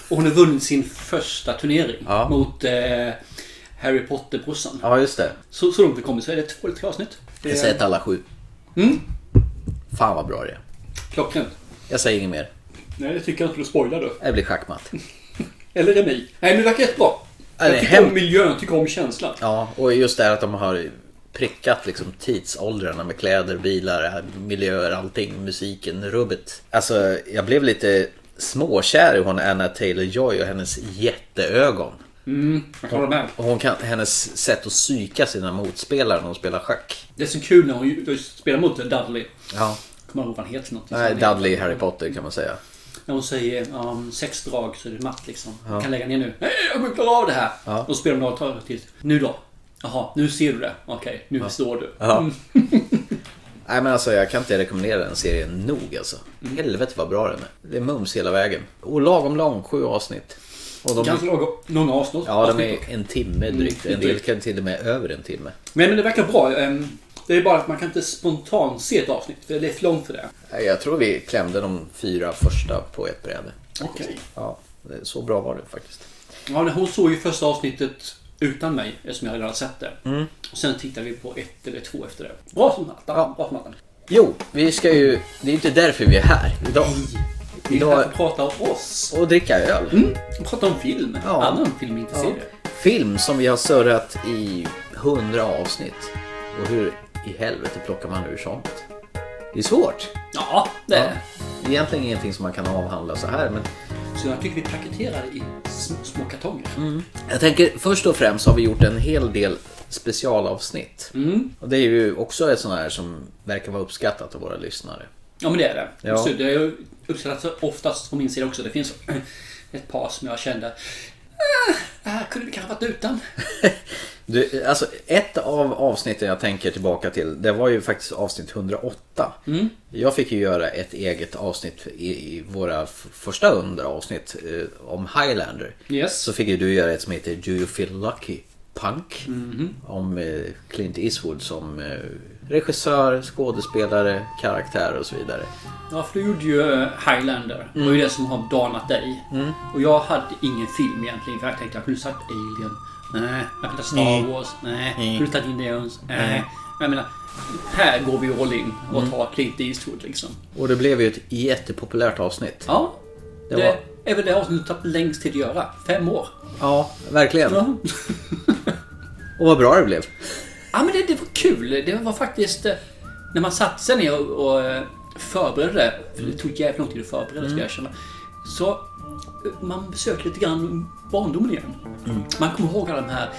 [SPEAKER 2] Och hon har vunnit sin första turnering
[SPEAKER 3] Ja.
[SPEAKER 2] mot eh, Harry Potter-brorsan.
[SPEAKER 3] Ja, just det.
[SPEAKER 2] Så, så långt vi kommit så är det två eller tre avsnitt. Det
[SPEAKER 3] Jag
[SPEAKER 2] är- Mm.
[SPEAKER 3] säger till alla sju. Fan vad bra det är.
[SPEAKER 2] Klockrent.
[SPEAKER 3] Jag säger inget mer.
[SPEAKER 2] Nej, det tycker jag inte du spoilar då.
[SPEAKER 3] Det blir schackmatt.
[SPEAKER 2] Eller remi. Nej, men det verkar jättebra.
[SPEAKER 3] Ja, det är
[SPEAKER 2] Jag tycker om
[SPEAKER 3] hem-
[SPEAKER 2] miljön, jag tycker om känslan.
[SPEAKER 3] Ja, och just det här att de har prickat liksom tidsåldrarna med kläder, bilar, miljöer, allting, musiken, rubbet. Alltså, jag blev lite småkär i hon Anna Taylor-Joy och hennes jätteögon.
[SPEAKER 2] Mm, jag håller med.
[SPEAKER 3] Och hon kan, hennes sätt att psyka sina motspelare när hon spelar schack.
[SPEAKER 2] Det är så kul när hon ju- spelar mot Dudley.
[SPEAKER 3] Ja.
[SPEAKER 2] Kommer jag ihåg vad han heter för någonting.
[SPEAKER 3] Nej, Dudley i Harry Potter kan man säga.
[SPEAKER 2] När hon säger um, sex drag så är det matt liksom.
[SPEAKER 3] Ja.
[SPEAKER 2] Jag kan lägga ner nu. Nej, jag kommer klara av det här.
[SPEAKER 3] Ja.
[SPEAKER 2] Och så spelar de några tag till. Nu då? Jaha, nu ser du det. Okej, nu förstår du.
[SPEAKER 3] Ja.
[SPEAKER 2] Mm.
[SPEAKER 3] Nej men alltså jag kan inte rekommendera den serien nog alltså. Helvete vad bra den är. Det är mums hela vägen. Och lagom lång, sju avsnitt. Och
[SPEAKER 2] Ganska lång- långa avsnitt.
[SPEAKER 3] Ja, de
[SPEAKER 2] avsnitt.
[SPEAKER 3] är en timme drygt.
[SPEAKER 2] Mm,
[SPEAKER 3] En del
[SPEAKER 2] drygt.
[SPEAKER 3] kan till och med över en timme.
[SPEAKER 2] Men, men det verkar bra. Ehm, Det är bara att man kan inte spontant se ett avsnitt. För det är för långt för det.
[SPEAKER 3] Nej, Jag tror vi klämde de fyra första på ett bräde.
[SPEAKER 2] Okej.
[SPEAKER 3] Ja, så bra var det faktiskt.
[SPEAKER 2] Ja, men hon såg ju första avsnittet utan mig eftersom jag redan hade sett det.
[SPEAKER 3] Mm.
[SPEAKER 2] Och sen tittade vi på ett eller två efter det. Bra som attan. Bra som attan.
[SPEAKER 3] Jo, vi ska ju... Det är ju inte därför vi är här idag.
[SPEAKER 2] Vi är här för
[SPEAKER 3] Idag...
[SPEAKER 2] att prata om oss.
[SPEAKER 3] Och dricka öl.
[SPEAKER 2] Mm. Och prata om film. Annan filmintresserad.
[SPEAKER 3] Film som vi har surrat i hundra avsnitt. Och hur i helvete plockar man ur sånt? Det är svårt.
[SPEAKER 2] Ja, det är det.
[SPEAKER 3] Det är egentligen ingenting som man kan avhandla så här. Men
[SPEAKER 2] Så jag tycker vi paketerar i sm- små kartonger.
[SPEAKER 3] jag tänker först och främst har vi gjort en hel del specialavsnitt.
[SPEAKER 2] Mm.
[SPEAKER 3] Och det är ju också ett sånt här som verkar vara uppskattat av våra lyssnare.
[SPEAKER 2] Ja men det är det.
[SPEAKER 3] Ja.
[SPEAKER 2] Så det är ju uppskattat oftast från min sida också. Det finns ett par som jag kände "Eh, det här kunde vi kanske varit utan.
[SPEAKER 3] Du, alltså ett av avsnitten jag tänker tillbaka till, det var ju faktiskt avsnitt 108.
[SPEAKER 2] Mm.
[SPEAKER 3] Jag fick ju göra ett eget avsnitt i, i våra f- första 100 avsnitt eh, om Highlander.
[SPEAKER 2] Yes.
[SPEAKER 3] Så fick ju du göra ett som heter Do You Feel Lucky? Punk.
[SPEAKER 2] Mhm.
[SPEAKER 3] Om eh, Clint Eastwood som eh, regissör, skådespelare, karaktär och så vidare.
[SPEAKER 2] Ja för du gjorde ju eh, Highlander. Det var ju det som har danat dig.
[SPEAKER 3] Mm.
[SPEAKER 2] Och jag hade ingen film egentligen. För jag tänkte jag kunde sagt Alien. Nej. Jag kunde ha
[SPEAKER 3] Nej.
[SPEAKER 2] Star Wars. Nej.
[SPEAKER 3] Nej.
[SPEAKER 2] Jag kunde tagit Indians. Nej.
[SPEAKER 3] Nej.
[SPEAKER 2] Jag menar. Här går vi all in och tar Clint Eastwood liksom.
[SPEAKER 3] Och det blev ju ett jättepopulärt avsnitt.
[SPEAKER 2] Ja.
[SPEAKER 3] Det
[SPEAKER 2] Det,
[SPEAKER 3] var-
[SPEAKER 2] är väl det avsnittet du tagit längst tid att göra. Fem år.
[SPEAKER 3] Ja, verkligen.
[SPEAKER 2] Ja.
[SPEAKER 3] Och vad bra det blev.
[SPEAKER 2] Ja men det, det var kul. Det var faktiskt eh, när man satte sig ner och, och eh, förberedde det. För det tog jävligt lång tid att förbereda
[SPEAKER 3] Mm.
[SPEAKER 2] ska jag erkänna. Så eh, man besöker lite grann barndomen igen.
[SPEAKER 3] Mm.
[SPEAKER 2] Man kommer ihåg alla de här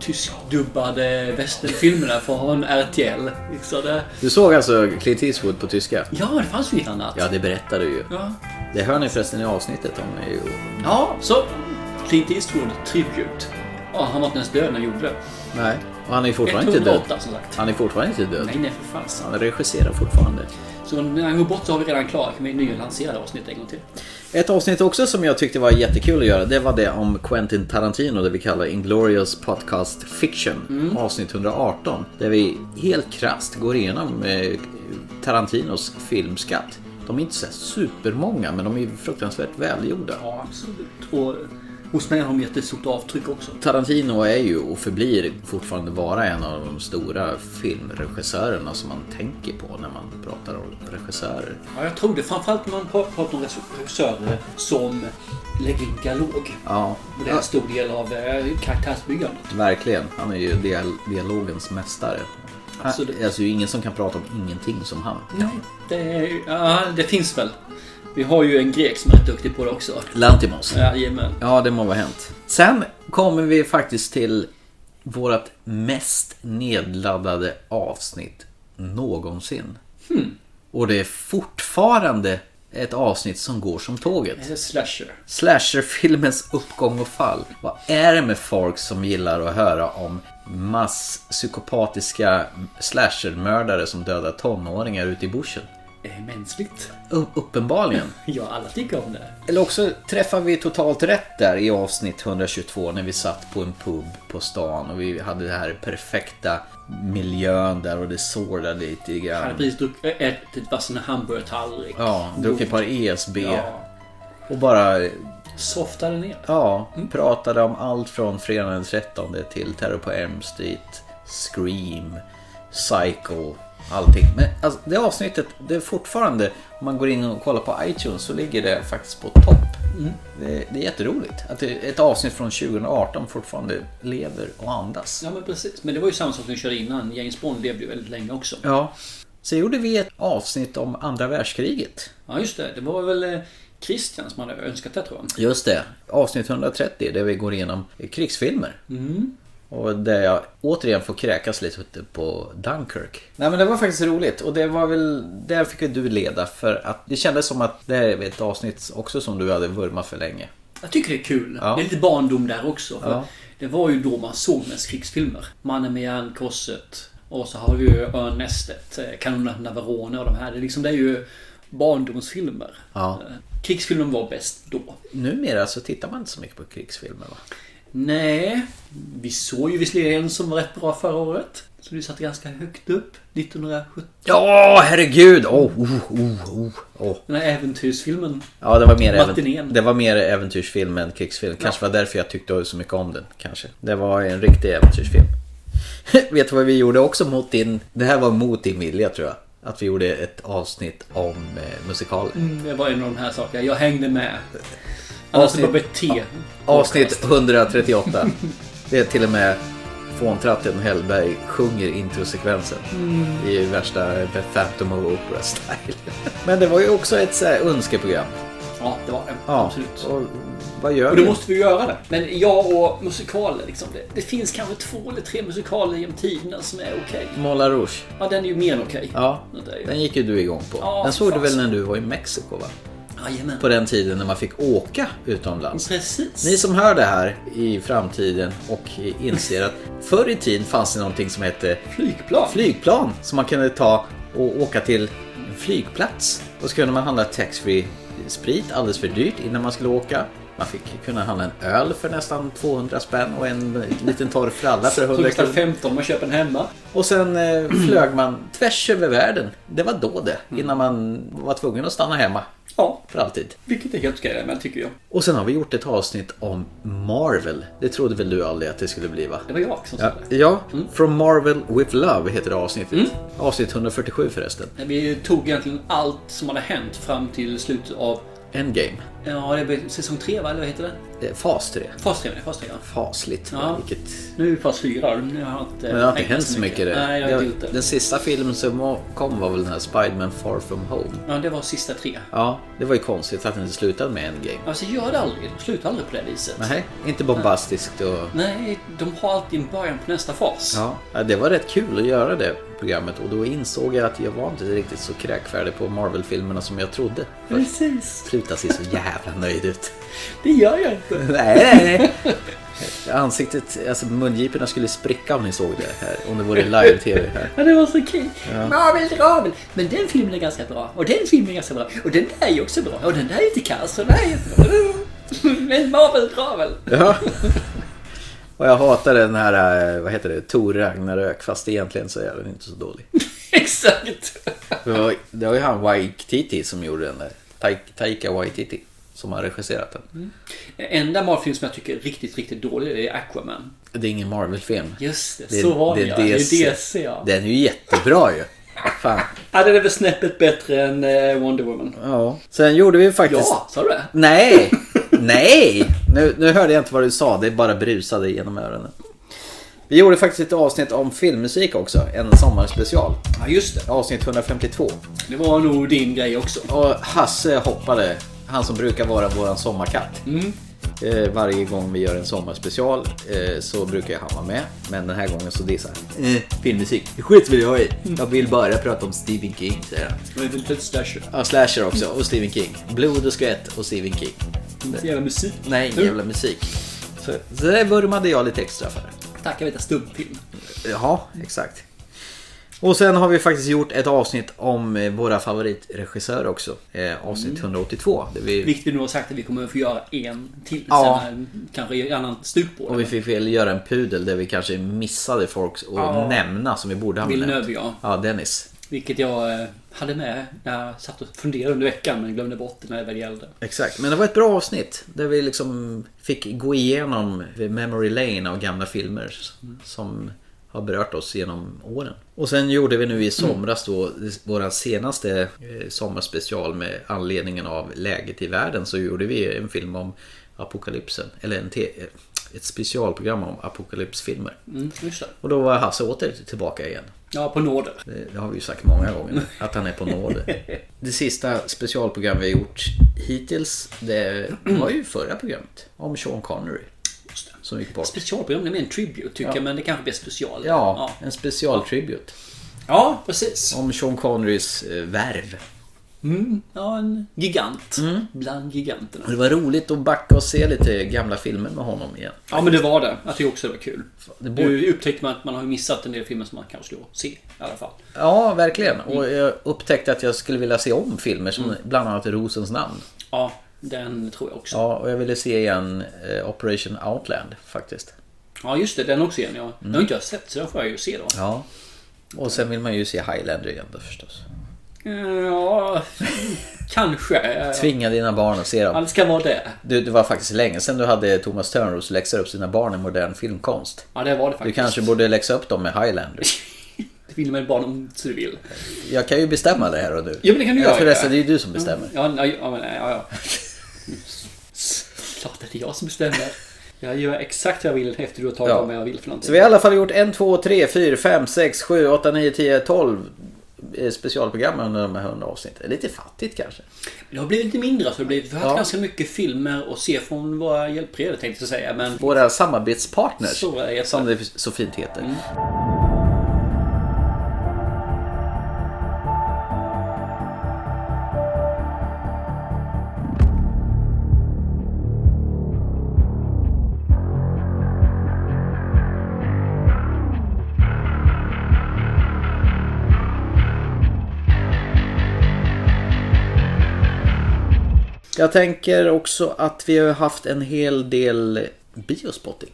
[SPEAKER 2] tyskdubbade västernfilmerna från RTL. Så liksom. det,
[SPEAKER 3] Du såg alltså Clint Eastwood på tyska?
[SPEAKER 2] ja, det fanns ju inget annat.
[SPEAKER 3] Ja, det berättar du ju.
[SPEAKER 2] Ja.
[SPEAKER 3] Det hör ni förresten i avsnittet om mig. och-
[SPEAKER 2] ja, så Clint Eastwood tribute. Ja, han var inte ens död när han gjorde det.
[SPEAKER 3] Nej, och han är ju fortfarande inte död.
[SPEAKER 2] 108 som sagt.
[SPEAKER 3] Han är fortfarande inte död.
[SPEAKER 2] Nej, nej för fan. sant.
[SPEAKER 3] Han regisserar fortfarande.
[SPEAKER 2] Så när han går bort så har vi redan klarat. Kan vi nylansera avsnittet en gång till?
[SPEAKER 3] Ett avsnitt också som jag tyckte var jättekul att göra, det var det om Quentin Tarantino, det vi kallar Inglourious Podcast Fiction, avsnitt 118. Där vi helt krasst går igenom eh, Tarantinos filmskatt. De är inte så här supermånga, men de är fruktansvärt välgjorda.
[SPEAKER 2] Ja, absolut. Och eh, hos mig har de gett ett stort avtryck också.
[SPEAKER 3] Tarantino är ju och förblir fortfarande vara en av de stora filmregissörerna som man tänker på när man pratar om regissörer.
[SPEAKER 2] Ja, jag tror det. Framförallt när man pra- pratar om regissörer som lägger in dialog.
[SPEAKER 3] Ja,
[SPEAKER 2] Och det är en stor del av eh, karaktärsbyggandet.
[SPEAKER 3] verkligen. Han är ju dial- dialogens mästare.
[SPEAKER 2] Alltså,
[SPEAKER 3] Alltså,
[SPEAKER 2] det-
[SPEAKER 3] det... alltså det är ju ingen som kan prata om ingenting som han.
[SPEAKER 2] Nej, det, är- ja, det finns väl. Vi har ju en grek som är rätt duktig på det också.
[SPEAKER 3] Lantimos.
[SPEAKER 2] Jajamän.
[SPEAKER 3] Ja, det må vara hänt. Sen kommer vi faktiskt till vårt mest nedladdade avsnitt någonsin. Och det är fortfarande ett avsnitt som går som tåget.
[SPEAKER 2] Det är Eh, Slasher.
[SPEAKER 3] Slasherfilmens uppgång och fall. Vad är det med folk som gillar att höra om masspsykopatiska slashermördare som dödar tonåringar ute i bushen?
[SPEAKER 2] Det är Eh, mänskligt.
[SPEAKER 3] U- uppenbarligen.
[SPEAKER 2] Ja, alla tycker om det.
[SPEAKER 3] Eller också träffar vi totalt rätt där i avsnitt 122 när vi satt på en pub på stan och vi hade den här perfekta miljön där och det sårade lite
[SPEAKER 2] Han hade
[SPEAKER 3] grann.
[SPEAKER 2] precis druck- ä- ätit vassen hamburgertallrik.
[SPEAKER 3] Ja, druckit ett par ESB
[SPEAKER 2] Ja.
[SPEAKER 3] och bara
[SPEAKER 2] Softade ner.
[SPEAKER 3] Ja, pratade om allt från fredagen den 13 till Terror på Elm Street, Scream, Psycho, allting. Men alltså, det avsnittet, det är fortfarande, om man går in och kollar på iTunes så ligger det faktiskt på topp. Det, det är jätteroligt att det, ett avsnitt från 2018 fortfarande lever och andas.
[SPEAKER 2] Ja, men precis. Men det var ju samma sak vi körde innan. James Bond levde ju väldigt länge också.
[SPEAKER 3] Ja. Sen gjorde vi ett avsnitt om andra världskriget.
[SPEAKER 2] Ja, just det. Det var väl eh, Christian som hade önskat det, tror jag.
[SPEAKER 3] Just det. Avsnitt 130 där vi går igenom krigsfilmer.
[SPEAKER 2] Mm.
[SPEAKER 3] Och där jag återigen får kräkas lite på Dunkirk. Nej men det var faktiskt roligt och det var väl, där fick ju du leda för att det kändes som att det här är ett avsnitt också som du hade vurmat för länge.
[SPEAKER 2] Jag tycker det är kul.
[SPEAKER 3] Ja.
[SPEAKER 2] Det är lite barndom där också. För
[SPEAKER 3] Ja.
[SPEAKER 2] Det var ju då man såg mest krigsfilmer. Mannen med järnkorset. Och så har vi ju Örnnästet, eh, Kanonerna på Navarone och de här. Det är, liksom, det är ju barndomsfilmer. Eh,
[SPEAKER 3] Ja.
[SPEAKER 2] Krigsfilmen var bäst då.
[SPEAKER 3] Numera så tittar man inte så mycket på krigsfilmer va?
[SPEAKER 2] Nej, vi såg ju visserligen en som var rätt bra förra året. Så du satt ganska högt upp. 1970.
[SPEAKER 3] Ja, herregud! Åh, oh, oh, oh, oh.
[SPEAKER 2] Den här äventyrsfilmen.
[SPEAKER 3] Ja, det var, mer
[SPEAKER 2] Matinén.
[SPEAKER 3] även, det var mer äventyrsfilm än krigsfilm. Kanske var därför jag tyckte så mycket om den. Kanske. Det var en riktig äventyrsfilm. Vet du vad vi gjorde också mot din... Det här var mot din vilja tror jag. Att vi gjorde ett avsnitt om eh, musikaler.
[SPEAKER 2] Mm, det var en av de här sakerna. Jag hängde med. Annars det
[SPEAKER 3] Avsnitt-
[SPEAKER 2] var bara T.
[SPEAKER 3] Avsnitt 138. Det är till och med fåntratten Hellberg sjunger introsekvensen.
[SPEAKER 2] Mm.
[SPEAKER 3] Det är ju värsta eh, Phantom of Opera-style. Men det var ju också ett så här önskeprogram.
[SPEAKER 2] Ja, det var det.
[SPEAKER 3] Ja,
[SPEAKER 2] Absolut.
[SPEAKER 3] och vad gör
[SPEAKER 2] Och då
[SPEAKER 3] vi?
[SPEAKER 2] måste vi göra det. Men jag och musikaler liksom. Det, det finns kanske två eller tre musikaler genom tiderna som är okej.
[SPEAKER 3] Moulin Rouge.
[SPEAKER 2] Ja, den är ju mer än okej.
[SPEAKER 3] Ja,
[SPEAKER 2] Det är ju-
[SPEAKER 3] den gick ju du igång på.
[SPEAKER 2] Ja,
[SPEAKER 3] den såg du
[SPEAKER 2] fan.
[SPEAKER 3] väl när du var i Mexiko va?
[SPEAKER 2] Jajamän.
[SPEAKER 3] På den tiden när man fick åka utomlands.
[SPEAKER 2] Precis.
[SPEAKER 3] Ni som hör det här i framtiden och inser att förr i tiden fanns det någonting som hette
[SPEAKER 2] flygplan.
[SPEAKER 3] flygplan som man kunde ta och åka till en flygplats. Och så kunde man handla taxfree sprit alldeles för dyrt innan man skulle åka. Man fick kunna handla en öl för nästan 200 spänn och en liten torr fralla för 100
[SPEAKER 2] kostar
[SPEAKER 3] kronor.
[SPEAKER 2] 15 man köper den hemma.
[SPEAKER 3] Och sen eh,
[SPEAKER 2] Mm.
[SPEAKER 3] flög man tvärs över världen. Det var då det, innan man var tvungen att stanna hemma.
[SPEAKER 2] Ja.
[SPEAKER 3] För alltid.
[SPEAKER 2] Vilket är helt okej med tycker jag.
[SPEAKER 3] Och sen har vi gjort ett avsnitt om Marvel. Det trodde väl du aldrig att det skulle bli va?
[SPEAKER 2] Det var jag som sa
[SPEAKER 3] Ja, ja
[SPEAKER 2] Mm.
[SPEAKER 3] From Marvel with Love heter det avsnittet. Avsnitt 147 förresten.
[SPEAKER 2] det. Vi tog egentligen allt som hade hänt fram till slutet av...
[SPEAKER 3] Endgame.
[SPEAKER 2] Ja, det blev säsong 3 va? Eller vad heter det?
[SPEAKER 3] Eh, Fas 3.
[SPEAKER 2] Fas 3 var det. Fas 3 ja.
[SPEAKER 3] Fasligt.
[SPEAKER 2] Ja.
[SPEAKER 3] Vilket...
[SPEAKER 2] Nu är vi fas 4. Nu har jag inte
[SPEAKER 3] Men det har inte
[SPEAKER 2] tänkt
[SPEAKER 3] hänt så mycket det.
[SPEAKER 2] Nej, jag har
[SPEAKER 3] Jag-
[SPEAKER 2] inte gjort det.
[SPEAKER 3] Den sista filmen som kom var väl den här Spiderman Far From Home.
[SPEAKER 2] Ja, det var sista tre.
[SPEAKER 3] Ja, det var ju konstigt att den slutade med Endgame.
[SPEAKER 2] Alltså gör det aldrig. Sluta aldrig på det viset.
[SPEAKER 3] Nej, inte bombastiskt och...
[SPEAKER 2] Nej, de har alltid en början på nästa fas.
[SPEAKER 3] Ja, ja, det var rätt kul att göra det programmet och då insåg jag att jag var inte riktigt så kräkfärdig på Marvel-filmerna som jag trodde.
[SPEAKER 2] Precis.
[SPEAKER 3] Sluta se så jävla nöjd ut.
[SPEAKER 2] Det gör jag inte.
[SPEAKER 3] Nej, nej, nej. Ansiktet, alltså mungiporna skulle spricka om ni såg det här. Om det vore live-tv här.
[SPEAKER 2] Ja, det var så kul.
[SPEAKER 3] Ja.
[SPEAKER 2] Marvel Dravel. Men den filmen är ganska bra. Och den filmen är ganska bra. Och den där är ju också bra. Och den där är inte kass. Och den där är jättebra. Men Marvel Dravel.
[SPEAKER 3] Ja. Och jag hatar den här, eh, vad heter det, Tor Ragnarök. Fast egentligen så är den inte så dålig.
[SPEAKER 2] Exakt.
[SPEAKER 3] Det var, det var ju han Waititi som gjorde den där. Ta- Taika Waititi. Som har regisserat den.
[SPEAKER 2] Enda Marvel-film som jag tycker är riktigt, riktigt dålig det är Aquaman.
[SPEAKER 3] Det är ingen Marvel-film.
[SPEAKER 2] Just det, så var det, ja. Det är DC, ja.
[SPEAKER 3] Den är ju jättebra ju. Fan.
[SPEAKER 2] Ja, den är väl snäppet bättre än eh, Wonder Woman.
[SPEAKER 3] Ja. Sen gjorde vi faktiskt...
[SPEAKER 2] Ja, sa du det?
[SPEAKER 3] Nej! Nej! Nu, nu hörde jag inte vad du sa, det bara brusade genom öronen. Vi gjorde faktiskt ett avsnitt om filmmusik också, en sommarspecial.
[SPEAKER 2] Ja, just det.
[SPEAKER 3] Avsnitt 152.
[SPEAKER 2] Det var nog din grej också.
[SPEAKER 3] Och Hasse hoppade, han som brukar vara våran sommarkatt. Eh, varje gång vi gör en sommarspecial eh, så brukar jag han vara med. Men den här gången så dissar han. Eh, filmmusik, det skit vill jag i. Jag vill bara prata om Stephen King, säger han.
[SPEAKER 2] Det var väl lite slasher.
[SPEAKER 3] Ja, slasher också och Stephen King. Blod och skvätt och Stephen King.
[SPEAKER 2] Inte jävla musik.
[SPEAKER 3] Nej, ingen jävla musik. Så, så det vurmade jag lite extra för.
[SPEAKER 2] Tack, jag vet en stubbfilm.
[SPEAKER 3] Ja, exakt. Och sen har vi faktiskt gjort ett avsnitt om eh, våra favoritregissörer också. Eh, avsnitt 182. Där vi,
[SPEAKER 2] Vilket vi nu har sagt att vi kommer att få göra en till.
[SPEAKER 3] Ja.
[SPEAKER 2] Sen, eh, kanske i annan stuk på
[SPEAKER 3] och vi fick väl göra en pudel där vi kanske missade folk att
[SPEAKER 2] Ja.
[SPEAKER 3] nämna som vi borde ha
[SPEAKER 2] Villeneuve, ja.
[SPEAKER 3] Ja, Dennis.
[SPEAKER 2] Vilket jag eh, hade med när jag satt och funderade under veckan men glömde bort det när det väl gällde.
[SPEAKER 3] Exakt, men det var ett bra avsnitt där vi liksom fick gå igenom memory lane av gamla filmer som har berört oss genom åren. Och sen gjorde vi nu i somras då våran senaste eh, sommarspecial med anledningen av läget i världen så gjorde vi en film om apokalypsen. Eller en te- ett specialprogram om apokalypsfilmer.
[SPEAKER 2] Mm, just det.
[SPEAKER 3] Och då var Hasse åter tillbaka igen.
[SPEAKER 2] Ja, på nåder.
[SPEAKER 3] Det, det har vi ju sagt många gånger, att han är på nåder. Det sista specialprogram vi har gjort hittills, det var ju förra programmet. Om Sean Connery. Som gick bort.
[SPEAKER 2] Specialprogram är mer en tribute tycker jag, men det kanske blir special.
[SPEAKER 3] Ja, en specialtribut.
[SPEAKER 2] Ja, precis.
[SPEAKER 3] Om Sean Connerys eh, värv.
[SPEAKER 2] Mm, ja, en gigant.
[SPEAKER 3] Mm.
[SPEAKER 2] Bland giganterna.
[SPEAKER 3] Och Det var roligt att backa och se lite gamla filmer med honom igen.
[SPEAKER 2] Ja, men det var det. Jag tycker också det var kul.
[SPEAKER 3] Det borde-
[SPEAKER 2] Nu upptäckte man att man har ju missat en del filmer som man kanske skulle se i alla fall.
[SPEAKER 3] Ja, verkligen. Och jag upptäckte att jag skulle vilja se om filmer som bland annat Rosens namn.
[SPEAKER 2] Ja, den tror jag också. Ja,
[SPEAKER 3] Ja, och jag ville se igen eh, Operation Outland faktiskt.
[SPEAKER 2] just det. Den också igen. Ja. Den har inte jag sett, så den får jag ju se då.
[SPEAKER 3] Mm. Ja. Och sen vill man ju se Highlander igen då förstås.
[SPEAKER 2] Eh, Ja, kanske.
[SPEAKER 3] Tvinga dina barn att se dem.
[SPEAKER 2] Allt ska vara det.
[SPEAKER 3] Du, det var faktiskt länge sedan du hade Thomas Törnros läxa upp sina barn i modern filmkonst.
[SPEAKER 2] Ja, det var det
[SPEAKER 3] Du
[SPEAKER 2] faktiskt.
[SPEAKER 3] kanske borde läxa upp dem med Highlander.
[SPEAKER 2] Vill med barn om så du vill.
[SPEAKER 3] Jag kan ju bestämma det här och nu.
[SPEAKER 2] Ja, men det kan du
[SPEAKER 3] Ja,
[SPEAKER 2] göra.
[SPEAKER 3] Förresten, det är ju du som bestämmer.
[SPEAKER 2] Ja, ja, ja, men, ja, ja. Klart att det är jag som bestämmer. Jag gör exakt vad jag vill efter du har tagit
[SPEAKER 3] Ja.
[SPEAKER 2] om vad jag vill för någonting.
[SPEAKER 3] Så vi har i alla fall gjort 1, 2, 3, 4, 5, 6, 7, 8, 9, 10, 12 eh, specialprogram under de här 100 avsnitten. Lite fattigt kanske.
[SPEAKER 2] Det har blivit lite mindre så det blir, vi har haft
[SPEAKER 3] Ja.
[SPEAKER 2] ganska mycket filmer att se från våra hjälpredare tänkte jag säga. Men
[SPEAKER 3] Våra samarbetspartners,
[SPEAKER 2] Så är det.
[SPEAKER 3] som det så fint heter. Jag tänker också att vi har haft en hel del biospotting.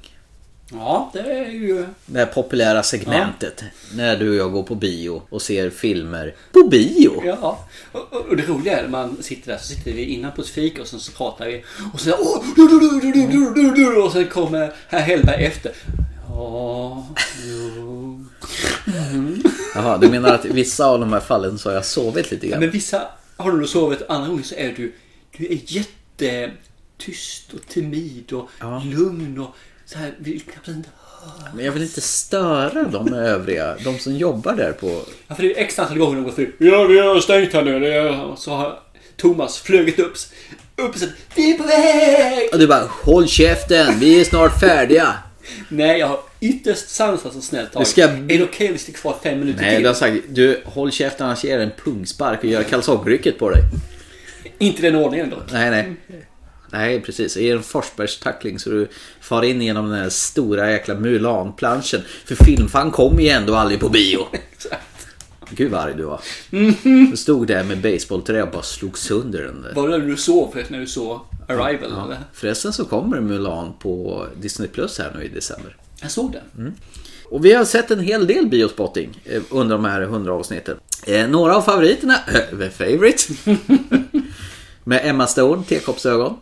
[SPEAKER 2] ja, det är ju...
[SPEAKER 3] Det här populära segmentet. När du och jag går på bio och ser filmer på bio.
[SPEAKER 2] Ja, och, och- och det roliga är när man sitter där så sitter vi innan på ett fik och sen så pratar vi och så åh, du, du, du, du, du, du, du, du, och sen kommer herr Hellberg efter. Ja, jo.
[SPEAKER 3] Jaha, du menar att i vissa av de här fallen så har jag sovit lite
[SPEAKER 2] Ja,
[SPEAKER 3] grann?
[SPEAKER 2] Men vissa har du sovit, andra gånger så är du, du är jättetyst och timid och lugn och så här, vill knappt inte höra.
[SPEAKER 3] Men jag vill inte störa de övriga, de som jobbar där på...
[SPEAKER 2] Ja, för det är x antal gånger de går förbi. Ja, vi har stängt här nu. Det är... och Så har Thomas flugit upp. Upp och sagt, vi är på väg!
[SPEAKER 3] Och du bara HÅLL KÄFTEN! Vi är snart färdiga!
[SPEAKER 2] Nej, jag har ytterst sansat och snällt tag.
[SPEAKER 3] Det ska-
[SPEAKER 2] Är det okej om vi sitter kvar fem minuter
[SPEAKER 3] Nej,
[SPEAKER 2] till?
[SPEAKER 3] du har sagt du håll käften annars ger jag en pungspark och gör kalsongrycket på dig.
[SPEAKER 2] Inte den ordningen dock.
[SPEAKER 3] Nej, nej. Nej, precis. Ger en Forsbergstackling så du far in genom den här stora jäkla Mulan-planschen. För filmfan kom ju ändå aldrig på bio. Gud vad arg du var. Du stod där med basebollträ och bara slog sönder den där.
[SPEAKER 2] Var det när du sov förresten, när du såg Arrival? Eller?
[SPEAKER 3] Förresten så kommer Mulan på Disney Plus här nu i december.
[SPEAKER 2] Jag såg den.
[SPEAKER 3] Mm. Och vi har sett en hel del biospotting eh, under de här 100 avsnitten. Eh, Några av favoriterna, eh, the favorite, med Emma Stone, tekoppsögon.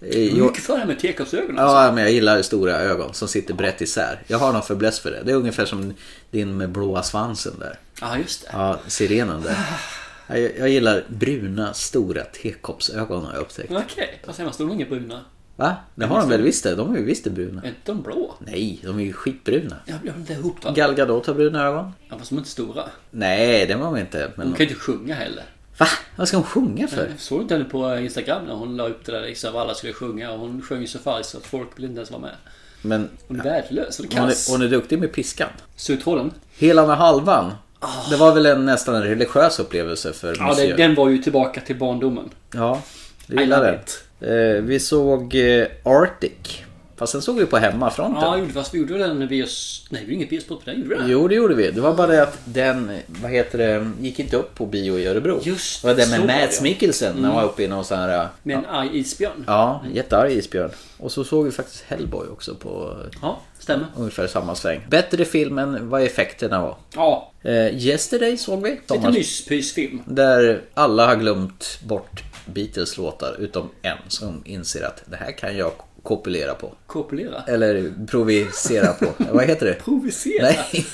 [SPEAKER 3] Eh, jag-
[SPEAKER 2] Mycket för det här med tekoppsögon alltså.
[SPEAKER 3] Ja, men jag gillar stora ögon som sitter brett isär. Jag har någon fäbless för det. Det är ungefär som din med blåa svansen där.
[SPEAKER 2] Ja, just det.
[SPEAKER 3] Ja, sirenen där. Ja, Jag, jag gillar bruna, stora tekoppsögon har jag upptäckt.
[SPEAKER 2] Okej, fast hemma stod de inga bruna.
[SPEAKER 3] Va? Det har de väl visst det? De är ju visst det bruna.
[SPEAKER 2] Är inte de blå?
[SPEAKER 3] Nej, de är ju skitbruna.
[SPEAKER 2] Jag blir inte ihop dem.
[SPEAKER 3] Gal Gadot har bruna ögon.
[SPEAKER 2] Ja, fast de är inte stora.
[SPEAKER 3] Nej, det var hon inte. Men...
[SPEAKER 2] Hon kan ju inte sjunga heller.
[SPEAKER 3] Va? Vad ska hon sjunga för?
[SPEAKER 2] Jag såg du inte henne på eh, Instagram när hon la upp det där liksom, alla skulle sjunga och hon sjöng ju så falskt så att folk ville inte ens vara med.
[SPEAKER 3] Men
[SPEAKER 2] Hon är värdelös, hon är
[SPEAKER 3] hon
[SPEAKER 2] kass.
[SPEAKER 3] är, hon är duktig med piskan.
[SPEAKER 2] Sugtråden?
[SPEAKER 3] Hela med halvan. Det var väl en, nästan en religiös upplevelse för
[SPEAKER 2] Ja, det,
[SPEAKER 3] monsieur.
[SPEAKER 2] den var ju tillbaka till barndomen.
[SPEAKER 3] Ja,
[SPEAKER 2] I
[SPEAKER 3] jag gillar
[SPEAKER 2] love
[SPEAKER 3] den. Eh, vi såg eh, Arctic. Fast sen såg vi på hemmafronten.
[SPEAKER 2] Ja, gjorde, fast vi gjorde den bios... Nej, vi gjorde ingen biospot på den. Gjorde vi det?
[SPEAKER 3] Jo, det gjorde vi. Det var bara det att den, eh, vad heter det, gick inte upp på bio i Örebro.
[SPEAKER 2] Just
[SPEAKER 3] det. var det
[SPEAKER 2] så
[SPEAKER 3] med
[SPEAKER 2] var
[SPEAKER 3] Mads
[SPEAKER 2] det.
[SPEAKER 3] Mikkelsen när han var
[SPEAKER 2] Mm.
[SPEAKER 3] uppe i någon sån här... eh,
[SPEAKER 2] Med en arg isbjörn.
[SPEAKER 3] Ja, jättearg isbjörn. Och så såg vi faktiskt Hellboy också på eh,
[SPEAKER 2] Ja, stämmer.
[SPEAKER 3] ungefär samma sväng. Bättre film än vad effekterna var.
[SPEAKER 2] Ja,
[SPEAKER 3] Eh, Yesterday såg vi.
[SPEAKER 2] lite
[SPEAKER 3] Sommars-
[SPEAKER 2] myspysfilm.
[SPEAKER 3] Där alla har glömt bort Beatles låtar utom en som inser att det här kan jag Kopulera på.
[SPEAKER 2] Kopulera?
[SPEAKER 3] Eller provisera på. Vad heter det?
[SPEAKER 2] Provisera?
[SPEAKER 3] Nej.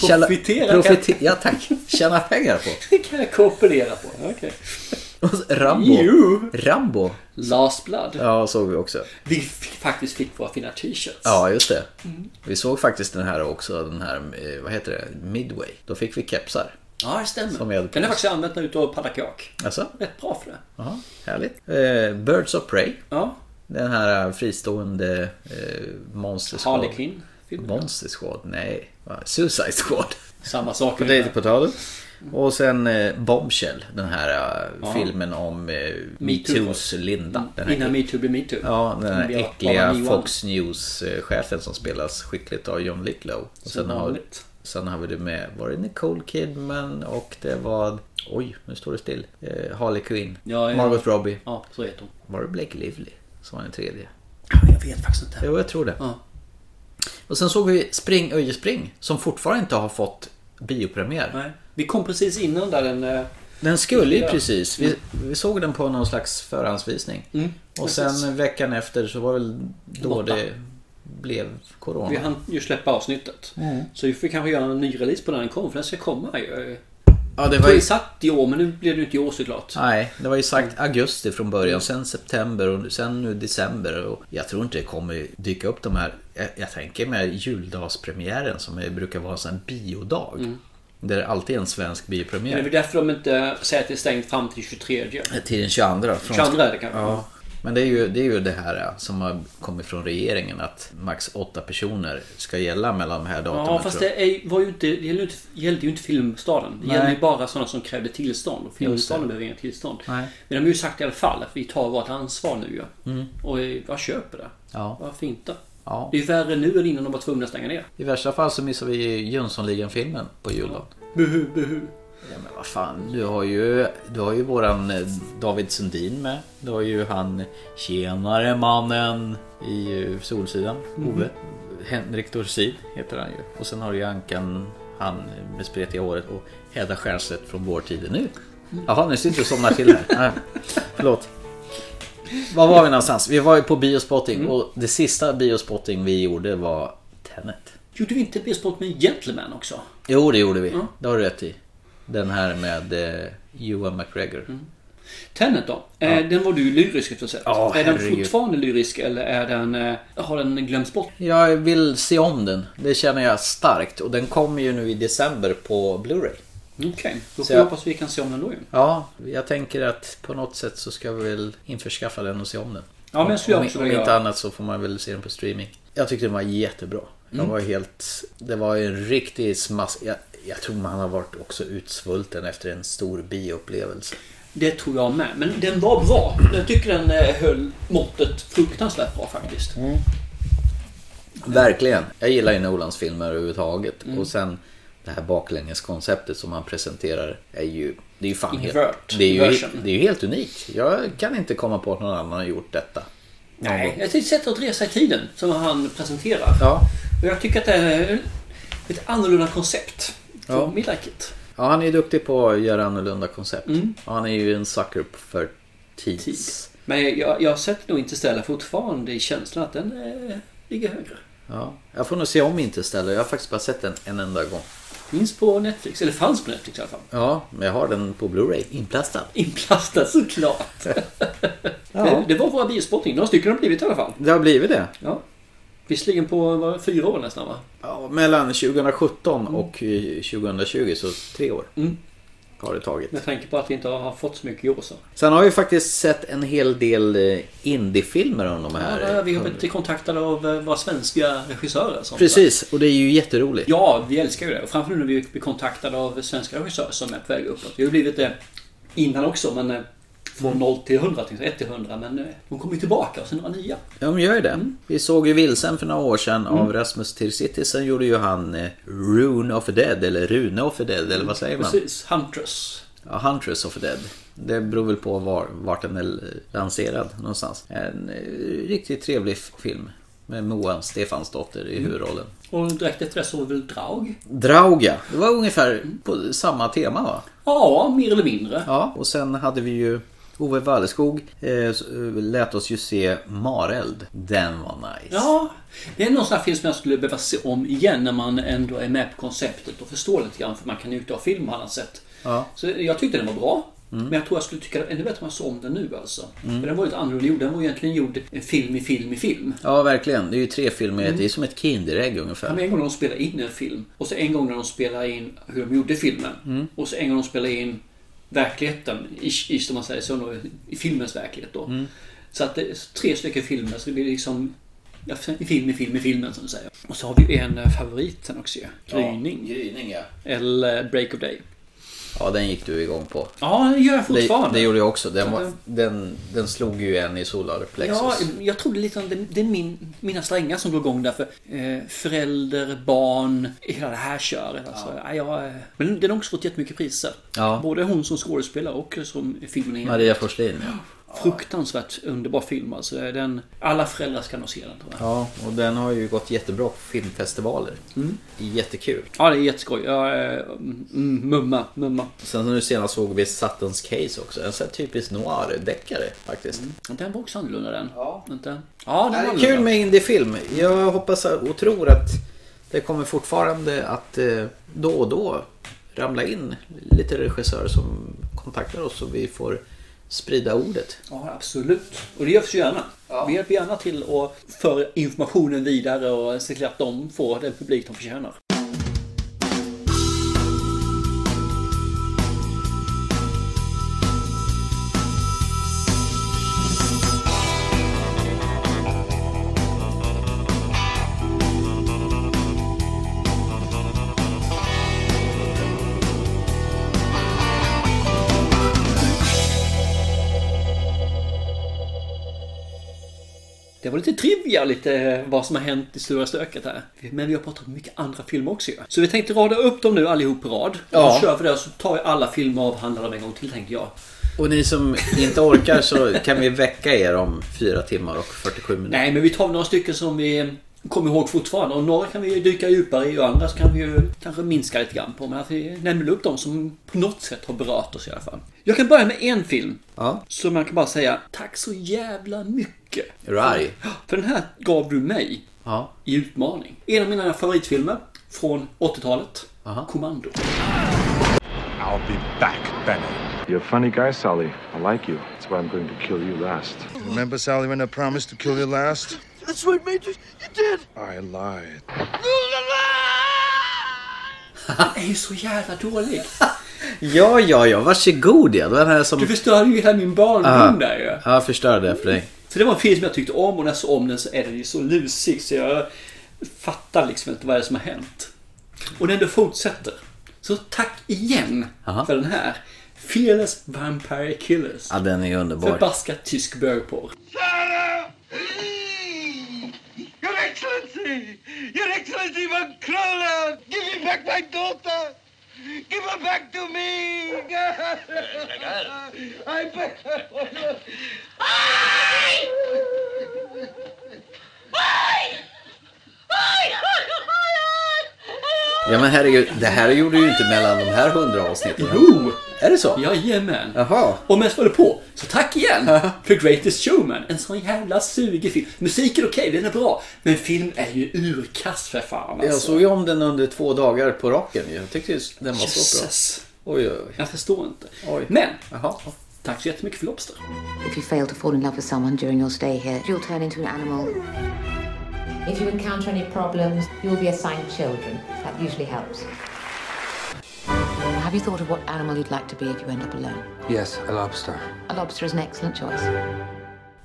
[SPEAKER 2] Tjäna- Profitera
[SPEAKER 3] Profite- Ja tack. Tjäna pengar på.
[SPEAKER 2] Det kan jag kopulera på. Okej.
[SPEAKER 3] Och så Rambo.
[SPEAKER 2] Jo.
[SPEAKER 3] Rambo.
[SPEAKER 2] Last Blood.
[SPEAKER 3] Ja, såg vi också.
[SPEAKER 2] Vi fick, faktiskt fick våra fina t-shirts.
[SPEAKER 3] Ja, just det.
[SPEAKER 2] Mm.
[SPEAKER 3] Vi såg faktiskt den här också, den här, eh, vad heter det, Midway. Då fick vi kepsar.
[SPEAKER 2] Ja, det stämmer.
[SPEAKER 3] Som vi hade på
[SPEAKER 2] Den har
[SPEAKER 3] oss.
[SPEAKER 2] faktiskt använt när jag var ute och paddlat kajak.
[SPEAKER 3] Alltså?
[SPEAKER 2] Rätt bra för det.
[SPEAKER 3] Jaha, härligt. Eh, Birds of Prey.
[SPEAKER 2] Ja.
[SPEAKER 3] Den här eh, fristående eh, Monster Squad.
[SPEAKER 2] Harley Quinn.
[SPEAKER 3] Monster Squad? Nej. va? Suicide Squad.
[SPEAKER 2] Samma sak.
[SPEAKER 3] Potato Potato. Och sen eh, Bombshell. Den här eh,
[SPEAKER 2] Ja.
[SPEAKER 3] filmen om eh,
[SPEAKER 2] Metoo.
[SPEAKER 3] metoos Linda. Den här
[SPEAKER 2] Innan metoo blev metoo.
[SPEAKER 3] Ja, den här
[SPEAKER 2] Som vi har-
[SPEAKER 3] äckliga
[SPEAKER 2] har Johan.
[SPEAKER 3] Fox News-chefen som spelas skickligt av John Lithlow. Och sen,
[SPEAKER 2] Som
[SPEAKER 3] har,
[SPEAKER 2] vanligt.
[SPEAKER 3] sen har vi det med, var det Nicole Kidman och det var, oj nu står det still, eh, Harley Quinn,
[SPEAKER 2] Ja, ja.
[SPEAKER 3] Margot Robbie.
[SPEAKER 2] Ja, så heter hon.
[SPEAKER 3] Var det Blake Lively som var den tredje?
[SPEAKER 2] Jag vet faktiskt inte.
[SPEAKER 3] Jo, jag tror det.
[SPEAKER 2] Ja.
[SPEAKER 3] Och sen såg vi Spring Öje Spring som fortfarande inte har fått biopremiär.
[SPEAKER 2] Nej. Vi kom precis innan där den... eh,
[SPEAKER 3] Den skulle ju
[SPEAKER 2] Ja.
[SPEAKER 3] precis. Vi, vi såg den på någon slags förhandsvisning.
[SPEAKER 2] Mm,
[SPEAKER 3] och sen
[SPEAKER 2] precis.
[SPEAKER 3] veckan efter så var väl då
[SPEAKER 2] Borta.
[SPEAKER 3] det blev corona.
[SPEAKER 2] Vi hann ju släppa avsnittet.
[SPEAKER 3] Mm.
[SPEAKER 2] Så vi får kanske göra en ny release på när den kommer. För den ska komma ju.
[SPEAKER 3] Ja, det
[SPEAKER 2] Jag
[SPEAKER 3] var
[SPEAKER 2] tror
[SPEAKER 3] ju...
[SPEAKER 2] det satt i år, men nu blev det ju inte i år såklart.
[SPEAKER 3] Nej, det var ju sagt augusti från början, sen september och sen nu december. Och jag tror inte det kommer dyka upp de här, jag, jag tänker med juldagspremiären som är- brukar vara en sån här biodag. Där det alltid är en svensk
[SPEAKER 2] Mm. Men det är väl
[SPEAKER 3] biopremiär.
[SPEAKER 2] därför de inte säger att det är stängt fram till 23.
[SPEAKER 3] Till den 22. Från...
[SPEAKER 2] 22 är det kanske.
[SPEAKER 3] Ja. Men det är, ju, det är ju det här eh, som har kommit från regeringen att max åtta personer ska gälla mellan de här datumen.
[SPEAKER 2] Ja, fast
[SPEAKER 3] tror
[SPEAKER 2] det
[SPEAKER 3] jag.
[SPEAKER 2] är, var ju inte, det gällde, ju inte, gällde ju inte Filmstaden. Det
[SPEAKER 3] Nej.
[SPEAKER 2] gällde ju bara sådana som krävde tillstånd. Och Filmstaden
[SPEAKER 3] Just det.
[SPEAKER 2] behöver inga tillstånd.
[SPEAKER 3] Nej.
[SPEAKER 2] Men de har ju sagt i alla fall att vi tar vårt ansvar nu ju.
[SPEAKER 3] Mm.
[SPEAKER 2] Och eh, jag köper det.
[SPEAKER 3] Ja.
[SPEAKER 2] Varför inte?
[SPEAKER 3] Ja.
[SPEAKER 2] Det är ju värre nu än innan de var tvungna att stänga ner.
[SPEAKER 3] I värsta fall så missar vi ju Jönssonligan-filmen på juldagen.
[SPEAKER 2] Buhu, buhu.
[SPEAKER 3] Ja men vad fan, du har ju, du har ju våran eh, David Sundin med. Du har ju han Tjenare mannen i eh, Solsidan,
[SPEAKER 2] Mhm.
[SPEAKER 3] Ove. Henrik Dorsin heter han ju. Och sen har du ju Ankan, han med spretiga håret och Hedda Stiernstedt från Vår tid är nu.
[SPEAKER 2] Mm.
[SPEAKER 3] Jaha, nu sitter du och somnar till här. Nej, förlåt. Var var vi någonstans? Vi var ju på biospotting
[SPEAKER 2] Mm.
[SPEAKER 3] och det sista biospotting vi gjorde var Tenet.
[SPEAKER 2] Gjorde vi inte B-sport med Gentleman också?
[SPEAKER 3] Jo, det gjorde vi.
[SPEAKER 2] Ja.
[SPEAKER 3] Det har du rätt i. Den här med eh, Ewan McGregor.
[SPEAKER 2] Mm. Tenet då? Eh, den var du ju lyrisk efter att ha sett.
[SPEAKER 3] Ja,
[SPEAKER 2] är den
[SPEAKER 3] herregud.
[SPEAKER 2] fortfarande lyrisk eller är den, eh, har den glömts bort?
[SPEAKER 3] Jag vill se om den. Det känner jag starkt. Och den kommer ju nu i december på Blu-ray.
[SPEAKER 2] Okej, då
[SPEAKER 3] Så
[SPEAKER 2] får jag
[SPEAKER 3] jag-
[SPEAKER 2] hoppas vi kan se om den då ju.
[SPEAKER 3] Ja, jag tänker att på något sätt så ska vi väl införskaffa den och se om den.
[SPEAKER 2] Ja, men jag skulle
[SPEAKER 3] om,
[SPEAKER 2] också
[SPEAKER 3] om
[SPEAKER 2] vilja
[SPEAKER 3] inte
[SPEAKER 2] göra.
[SPEAKER 3] annat så får man väl se den på streaming. Jag tyckte den var jättebra. Den
[SPEAKER 2] Mm.
[SPEAKER 3] var helt... Det var ju en riktig smask... Jag, jag tror man har varit också utsvulten efter en stor bioupplevelse.
[SPEAKER 2] Det tror jag med. Men den var bra. Jag tycker den eh, höll måttet fruktansvärt bra faktiskt.
[SPEAKER 3] Mm. Verkligen. Jag gillar ju Nolans filmer överhuvudtaget.
[SPEAKER 2] Mm.
[SPEAKER 3] Och sen det här baklängeskonceptet som han presenterar är ju... Det är ju fan helt...
[SPEAKER 2] Invert.
[SPEAKER 3] Det är ju,
[SPEAKER 2] Inversion.
[SPEAKER 3] det är ju helt unikt. Jag kan inte komma på att någon annan har gjort detta. Någon
[SPEAKER 2] Nej,
[SPEAKER 3] gång.
[SPEAKER 2] jag tycker sättet att resa i tiden som han presenterar.
[SPEAKER 3] Ja.
[SPEAKER 2] Och jag tycker att det är ett annorlunda koncept.
[SPEAKER 3] Ja.
[SPEAKER 2] Ja. Me like it.
[SPEAKER 3] ja, han är ju duktig på att göra annorlunda koncept.
[SPEAKER 2] Mm.
[SPEAKER 3] Och han är ju en sucker för tids...
[SPEAKER 2] Men jag, jag sätter nog inte ställa fortfarande i känslan att den eh, ligger högre.
[SPEAKER 3] Ja. Jag får nog se om inte istället. Jag har faktiskt bara sett den en enda gång.
[SPEAKER 2] Finns på Netflix, eller fanns på Netflix i alla fall.
[SPEAKER 3] Ja, men jag har den på Blu-ray inplastad.
[SPEAKER 2] Inplastad såklart. Det, det var våra biospotting. Några stycken har det blivit i alla fall.
[SPEAKER 3] Det har blivit det.
[SPEAKER 2] Ja. Visserligen på vad, fyra år nästan va?
[SPEAKER 3] Ja, mellan 2017 och eh, 2020, så tre år
[SPEAKER 2] Mm.
[SPEAKER 3] har det tagit.
[SPEAKER 2] Med tanke på att vi inte har fått så mycket i år så.
[SPEAKER 3] Sen har vi faktiskt sett en hel del eh, indiefilmer om de här.
[SPEAKER 2] Ja, vi har blivit kontaktade av eh, våra svenska regissörer. Som
[SPEAKER 3] Precis, och det är ju jätteroligt.
[SPEAKER 2] Ja, vi älskar ju det. Och framförallt nu när vi blir kontaktade av svenska regissörer som är på väg uppåt. Vi har ju blivit det innan också, men eh, från 0 till 100, tänkte jag, 1 till 100. Men eh, de kommer ju tillbaka och sen några nya.
[SPEAKER 3] Ja, de gör ju det.
[SPEAKER 2] Mm.
[SPEAKER 3] Vi såg ju Vilsen för några år sedan av Rasmus Tirsitisen gjorde ju han eh, Rune of the Dead, eller Rune of the Dead, eller vad säger man?
[SPEAKER 2] Precis, Huntress.
[SPEAKER 3] Ja, Huntress of the Dead. Det beror väl på var, vart den är lanserad någonstans. En eh, riktigt trevlig f- film. Med Moa Stefansdotter
[SPEAKER 2] Mm.
[SPEAKER 3] i huvudrollen.
[SPEAKER 2] Och direkt efter det såg vi väl Draug.
[SPEAKER 3] Drauga, det var ungefär på samma tema va?
[SPEAKER 2] Ja, mer eller mindre.
[SPEAKER 3] Ja, och sen hade vi ju Ove Walleskog eh, s- eh, lät oss ju se Mareld. Den var nice.
[SPEAKER 2] Ja, det är någon sån här film som jag skulle behöva se om igen när man ändå är med på konceptet och förstår lite grann för man kan njuta av film på annat sätt.
[SPEAKER 3] Ja.
[SPEAKER 2] Så jag tyckte den var bra.
[SPEAKER 3] Mm.
[SPEAKER 2] Men jag tror jag skulle tycka ännu bättre om jag såg om den nu alltså.
[SPEAKER 3] Mm.
[SPEAKER 2] För den var lite annorlunda gjord. Den var egentligen gjord eh, film i film i film.
[SPEAKER 3] Ja, verkligen. Det är ju tre filmer.
[SPEAKER 2] Mm.
[SPEAKER 3] Det är som ett Kinderägg ungefär.
[SPEAKER 2] Ja, men en gång när de spelade in en film och så en gång när de spelade in hur de gjorde filmen.
[SPEAKER 3] Mm.
[SPEAKER 2] Och så en gång när de spelade in verkligheten, ish, ish, om man säger så, då, i filmens verklighet då.
[SPEAKER 3] Mm.
[SPEAKER 2] Så att det är tre stycken filmer, så det blir liksom ja, i film i film i filmen som du säger. Och så har vi ju en eh, favorit sen också ju. Gryning.
[SPEAKER 3] Ja, gryning, ja.
[SPEAKER 2] Eller eh, Break of Day.
[SPEAKER 3] Ja, den gick du igång på.
[SPEAKER 2] Ja, det gör jag fortfarande.
[SPEAKER 3] Det, det gjorde jag också. Den,
[SPEAKER 2] Så
[SPEAKER 3] var,
[SPEAKER 2] den-
[SPEAKER 3] den, den slog ju en i solarplexus.
[SPEAKER 2] Ja, jag tror det är lite grann- det, det är min, mina strängar som går igång där. För, eh, förälder, barn, hela det här köret. Alltså, ja. jag, eh, men den har också fått jättemycket priser.
[SPEAKER 3] Ja.
[SPEAKER 2] Både hon som skådespelare och som filmen är.
[SPEAKER 3] Maria Forslin. Ja.
[SPEAKER 2] Fruktansvärt underbar film alltså. Den, alla föräldrar ska nog se den tror jag.
[SPEAKER 3] ja, och den har ju gått jättebra på filmfestivaler.
[SPEAKER 2] Mm.
[SPEAKER 3] Jättekul.
[SPEAKER 2] Ja, det är jätteskoj. Ja, eh, mm, mumma, mumma.
[SPEAKER 3] Sen nu senast såg vi Suttons Case också. En sån här typisk noir-deckare faktiskt.
[SPEAKER 2] Den var också annorlunda den. Ja. Inte? Ja, den var
[SPEAKER 3] Kul
[SPEAKER 2] annorlunda.
[SPEAKER 3] med indiefilm. Jag hoppas och tror att det kommer fortfarande att eh, då och då ramla in lite regissörer som kontaktar oss så vi får sprida ordet.
[SPEAKER 2] Ja, absolut. Och det görs ju gärna. Vi hjälper gärna till att föra informationen vidare och se till att de får den publik de förtjänar. Det var lite trivia, lite eh, vad som har hänt i stora stöket här. Men vi har pratat om mycket andra filmer också ju. Så vi tänkte rada upp dem nu allihop på rad.
[SPEAKER 3] Ja.
[SPEAKER 2] Och så kör vi det och så tar vi alla filmer och avhandlar dem en gång till tänker jag.
[SPEAKER 3] Och ni som inte orkar så kan vi väcka er om 4 timmar och 47 minuter.
[SPEAKER 2] Nej, men vi tar några stycken som vi eh, kommer ihåg fortfarande. Och några kan vi ju dyka djupare i och andra så kan vi ju kanske minska lite grann på. Men att vi nämner upp dem som på något sätt har berört oss i alla fall. Jag kan börja med en film.
[SPEAKER 3] Ja.
[SPEAKER 2] Så man kan bara säga tack så jävla mycket.
[SPEAKER 3] Är du arg?
[SPEAKER 2] För den här gav du mig
[SPEAKER 3] Ja.
[SPEAKER 2] i utmaning. En av mina favoritfilmer från 80-talet. Kommando.
[SPEAKER 14] I'll be back, Benny. You're a funny guy, Sally. I like you. That's why I'm going to kill you last.
[SPEAKER 15] Remember, Sally, when I promised to kill you last?
[SPEAKER 14] That's right, Major. You did.
[SPEAKER 15] I lied.
[SPEAKER 2] Den är ju så jävla dålig.
[SPEAKER 3] Ja, ja, ja. Varsågod ja. Det var den här som...
[SPEAKER 2] Du förstörde ju hela min barndom där ju.
[SPEAKER 3] Ja, jag förstörde det för dig.
[SPEAKER 2] Så det var en film som jag tyckte om och när jag såg om den så är den ju så lusig så jag fattar liksom inte vad det är som har hänt. Och den ändå fortsätter. Så tack igen för den här. Fearless Vampire Killers.
[SPEAKER 3] Ja, den är underbar.
[SPEAKER 2] Förbaskat tysk bögporr.
[SPEAKER 13] Your Excellency! Your Excellency von Kroller! Give me back my daughter! Give her back to me! I beg...
[SPEAKER 3] Ja, men herregud. Det här gjorde du ju inte mellan de här 100 avsnitten.
[SPEAKER 2] Jo!
[SPEAKER 3] Är det så?
[SPEAKER 2] Jajamän!
[SPEAKER 3] Jaha.
[SPEAKER 2] Och medan vi håller på, så tack igen för Greatest Showman. En sån jävla sugig film. Musiken är okej, den är bra. Men film är ju urkass för fan
[SPEAKER 3] Jag
[SPEAKER 2] alltså.
[SPEAKER 3] såg ju om den under två dagar på raken. ju. Jag tyckte just den var så bra.
[SPEAKER 2] Jesus.
[SPEAKER 3] Oj, oj, oj.
[SPEAKER 2] Jag förstår inte.
[SPEAKER 3] Oj.
[SPEAKER 2] Men, tack så jättemycket för Lobster.
[SPEAKER 16] If you fail to fall in love with someone during your stay here, you'll turn into an animal.
[SPEAKER 17] If you encounter any problems, you'll be assigned children. That usually helps.
[SPEAKER 16] Have you thought of what animal you'd like to be if you end up alone?
[SPEAKER 3] Yes, a lobster.
[SPEAKER 16] A lobster is an excellent choice.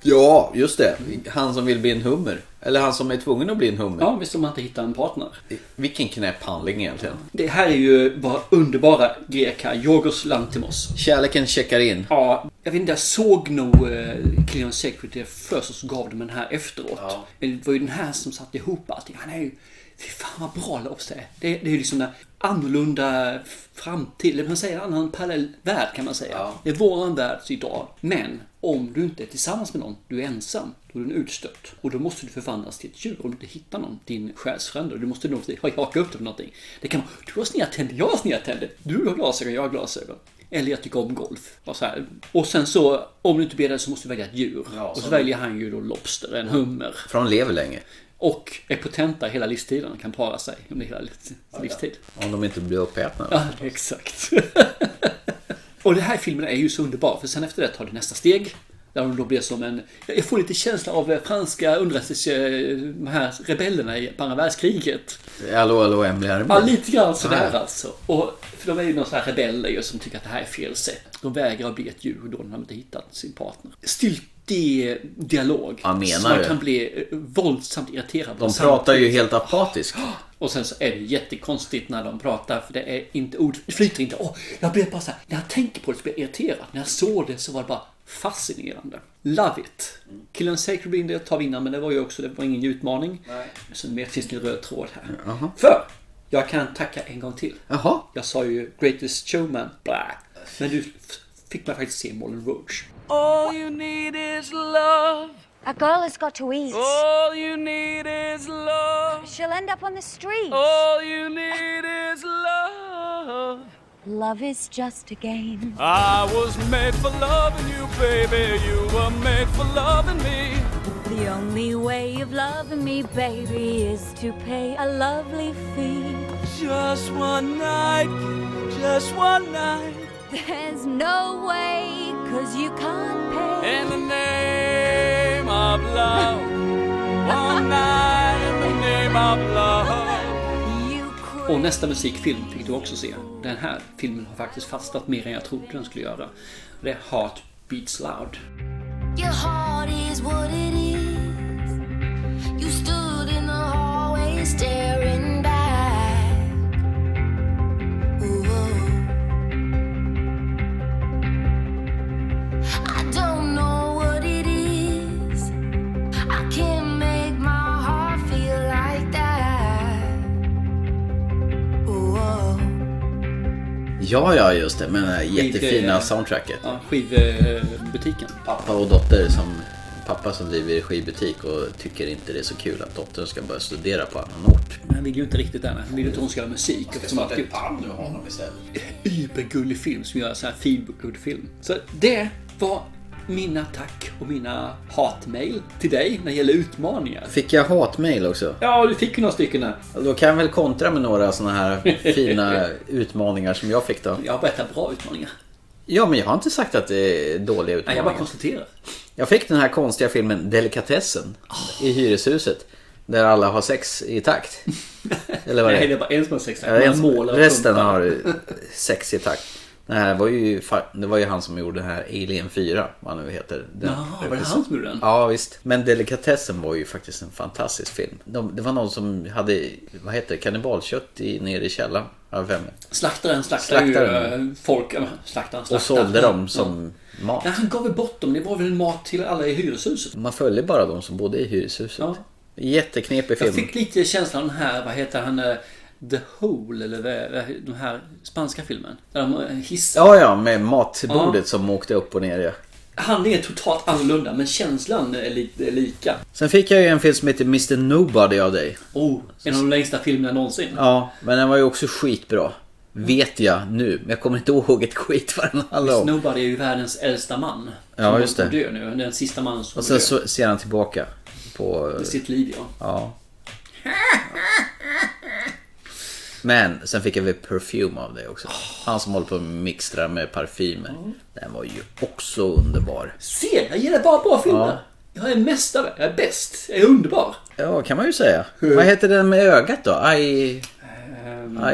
[SPEAKER 3] Ja, just det. Han som vill bli en hummer. Eller han som är tvungen att bli en hummer.
[SPEAKER 2] Ja, visst om man inte hittar en partner.
[SPEAKER 3] Vilken knäpp handling egentligen.
[SPEAKER 2] Det här är ju bara underbara greka, Yorgos Lantimos.
[SPEAKER 3] Kärleken checkar in.
[SPEAKER 2] Ja, jag vet inte, jag såg nog eh, Cleon Secretary först och så gav de den här efteråt. Men det var ju den här som satte ihop allting. Han är ju, fy fan vad bra Lobster är. Det, det är ju liksom den annorlunda framtid, eller man säger en annan parallell värld kan man säga. Det är våran värld idag. Men om du inte är tillsammans med någon, du är ensam, då är du en utstött. Och då måste du förvandlas till ett djur om du inte hittar någon, din själsfrände. Du måste nog haka upp dig på någonting. Det kan vara, du har sneda tänder, jag har sneda tänder. Du har glasögon, jag har glasögon. Eller jag tycker om golf. Och, så här. och sen så, om du inte ber dig så måste du välja ett djur. och så
[SPEAKER 3] så-
[SPEAKER 2] väljer han ju då Lobster, en hummer.
[SPEAKER 3] För de lever länge.
[SPEAKER 2] Och är potenta hela livstiden, kan para sig under hela livs- livstid.
[SPEAKER 3] Om de inte blir uppätna.
[SPEAKER 2] Ja, exakt. och det här filmen är ju så underbar, för sen efter det tar det nästa steg. Där de då blir som en... Jag får lite känsla av eh, franska underrättelse... eh, De här rebellerna i andra världskriget.
[SPEAKER 3] Hallå, hallå, Emily
[SPEAKER 2] Ja,
[SPEAKER 3] Armstrong.
[SPEAKER 2] lite grann sådär
[SPEAKER 3] Ja.
[SPEAKER 2] alltså. Och, för de är ju någon sån här rebeller ju som tycker att det här är fel sätt. De vägrar att bli ett djur då när de inte hittat sin partner. Stiltig dialog.
[SPEAKER 3] Ja, menar
[SPEAKER 2] så man
[SPEAKER 3] du?
[SPEAKER 2] kan bli eh, våldsamt irriterad.
[SPEAKER 3] De
[SPEAKER 2] Samtidigt-
[SPEAKER 3] pratar ju helt apatiskt.
[SPEAKER 2] Och sen så är det jättekonstigt när de pratar för det är inte ord, det flyter inte. Åh, jag blev bara så här, när jag tänker på det så blir jag irriterad. När jag såg det så var det bara fascinerande. Love it! Killen Sacred Bean, det tar vi innan men det var ju också, det var ingen utmaning. Nej. Så mer finns det en röd tråd här.
[SPEAKER 3] Jaha.
[SPEAKER 2] För jag kan tacka en gång till.
[SPEAKER 3] Jaha.
[SPEAKER 2] Jag sa ju Greatest Showman, blä. Men du f- fick mig faktiskt se Moulin Rouge.
[SPEAKER 13] All you need is love.
[SPEAKER 18] A girl has got to eat.
[SPEAKER 13] All you need is love.
[SPEAKER 18] She'll end up on the street.
[SPEAKER 13] All you need is love.
[SPEAKER 18] Love is just a game.
[SPEAKER 13] I was made for loving you, baby. You were made for loving me.
[SPEAKER 18] The only way of loving me, baby, is to pay a lovely fee.
[SPEAKER 13] Just one night, just one night.
[SPEAKER 18] There's no way, cause you can't pay.
[SPEAKER 13] In the name of love. One night in the name of love.
[SPEAKER 2] Och nästa musikfilm fick du också se. Den här filmen har faktiskt fastnat mer än jag trodde den skulle göra. Det är Heart Beats Loud.
[SPEAKER 19] Your heart is what it is. You stood in the hallway staring back. Ooh. I don't know what it is. I can't make my heart feel like that. Ooh.
[SPEAKER 3] Ja, ja, just det. Med det här jättefina
[SPEAKER 2] Skid-
[SPEAKER 3] soundtracket.
[SPEAKER 2] Ja, skivbutiken.
[SPEAKER 3] Pappa och dotter som... Pappa som driver skivbutik och tycker inte det är så kul att dottern ska börja studera på annan ort.
[SPEAKER 2] Men han vill ju inte riktigt där. Han vill ju inte att hon ska göra musik. eftersom
[SPEAKER 3] starta
[SPEAKER 2] alltihop-
[SPEAKER 3] ett band med honom istället.
[SPEAKER 2] Ybergullig film som gör så här feelgood film. Så det var mina tack och mina hatmail till dig när det gäller utmaningar.
[SPEAKER 3] Fick jag hatmejl också?
[SPEAKER 2] Ja, du fick ju några stycken där.
[SPEAKER 3] Då kan jag väl kontra med några sådana här fina utmaningar som jag fick då.
[SPEAKER 2] Jag har berättat bra utmaningar.
[SPEAKER 3] Ja, men jag har inte sagt att det är dåliga
[SPEAKER 2] Nej,
[SPEAKER 3] utmaningar.
[SPEAKER 2] jag bara konstaterar.
[SPEAKER 3] Jag fick den här konstiga filmen Delikatessen
[SPEAKER 2] Ah.
[SPEAKER 3] i hyreshuset. Där alla har sex i takt. Eller vad det
[SPEAKER 2] Nej,
[SPEAKER 3] är.
[SPEAKER 2] det är bara en som har sex.
[SPEAKER 3] Ja, det är en
[SPEAKER 2] Man
[SPEAKER 3] som-
[SPEAKER 2] målar och
[SPEAKER 3] resten
[SPEAKER 2] pumpar.
[SPEAKER 3] har sex i takt. Det här var ju, fa- det var ju han som gjorde den här Alien 4, vad han nu heter. Den
[SPEAKER 2] Jaha, var det han som gjorde den?
[SPEAKER 3] Ja, visst. Men Delikatessen var ju faktiskt en fantastisk film. De, det var någon som hade, vad heter det, kannibalkött i, nere i källaren. har jag för mig.
[SPEAKER 2] Slaktaren slaktade
[SPEAKER 3] Slaktaren.
[SPEAKER 2] ju eh, folk. ja, men Slaktaren slaktade.
[SPEAKER 3] Och sålde dem som mat.
[SPEAKER 2] Ja, han gav väl bort dem. Det var väl mat till alla i hyreshuset.
[SPEAKER 3] Man följde bara de som bodde i hyreshuset. Jätteknepig film.
[SPEAKER 2] Jag fick lite känslan av den här, vad heter han, eh, The Hole eller vad- vad- den här spanska filmen. Där de eh, hissar.
[SPEAKER 3] Ja, ja, med matbordet
[SPEAKER 2] Ja.
[SPEAKER 3] som åkte upp och ner. Ja.
[SPEAKER 2] Han är totalt annorlunda men känslan är, li- är lika.
[SPEAKER 3] Sen fick jag ju en film som heter Mr Nobody av dig.
[SPEAKER 2] Oh, en av de längsta filmerna någonsin.
[SPEAKER 3] Ja, men den var ju också skitbra. Vet jag nu, men jag kommer inte ihåg ett skit vad den handlar om.
[SPEAKER 2] Snowbody är ju världens äldsta man.
[SPEAKER 3] Ja,
[SPEAKER 2] Som
[SPEAKER 3] just det.
[SPEAKER 2] dör nu. Den sista mannen som
[SPEAKER 3] Och sen
[SPEAKER 2] dör.
[SPEAKER 3] så ser han tillbaka på...
[SPEAKER 2] I sitt liv ja.
[SPEAKER 3] Ja. Men sen fick jag väl Perfume av dig också. Han som håller på och mixtrar med parfymer. Den var ju också underbar.
[SPEAKER 2] Se, jag gillar bara bra filmer.
[SPEAKER 3] Ja.
[SPEAKER 2] Jag är mästare, jag är bäst, jag är underbar.
[SPEAKER 3] Ja, kan man ju säga. Vad heter den med ögat då? I...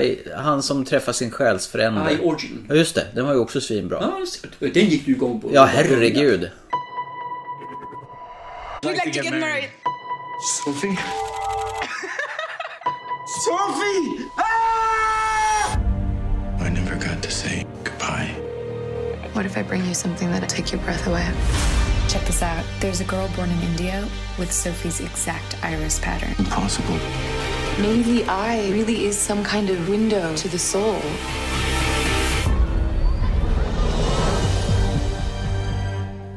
[SPEAKER 3] I... Han som träffar sin själsfrände.
[SPEAKER 2] I Origin.
[SPEAKER 3] Ja, just det. Den var ju också svinbra.
[SPEAKER 2] Ja, just- den gick du igång på.
[SPEAKER 3] Ja, herregud.
[SPEAKER 13] We'd like to get married. Sophie? Sophie!
[SPEAKER 20] I never got to say goodbye.
[SPEAKER 21] What if I bring you something that'll take your breath away? Check this out. There's a girl born in India with Sophie's exact iris pattern.
[SPEAKER 20] Impossible.
[SPEAKER 21] Maybe the eye really is some kind of window to the soul.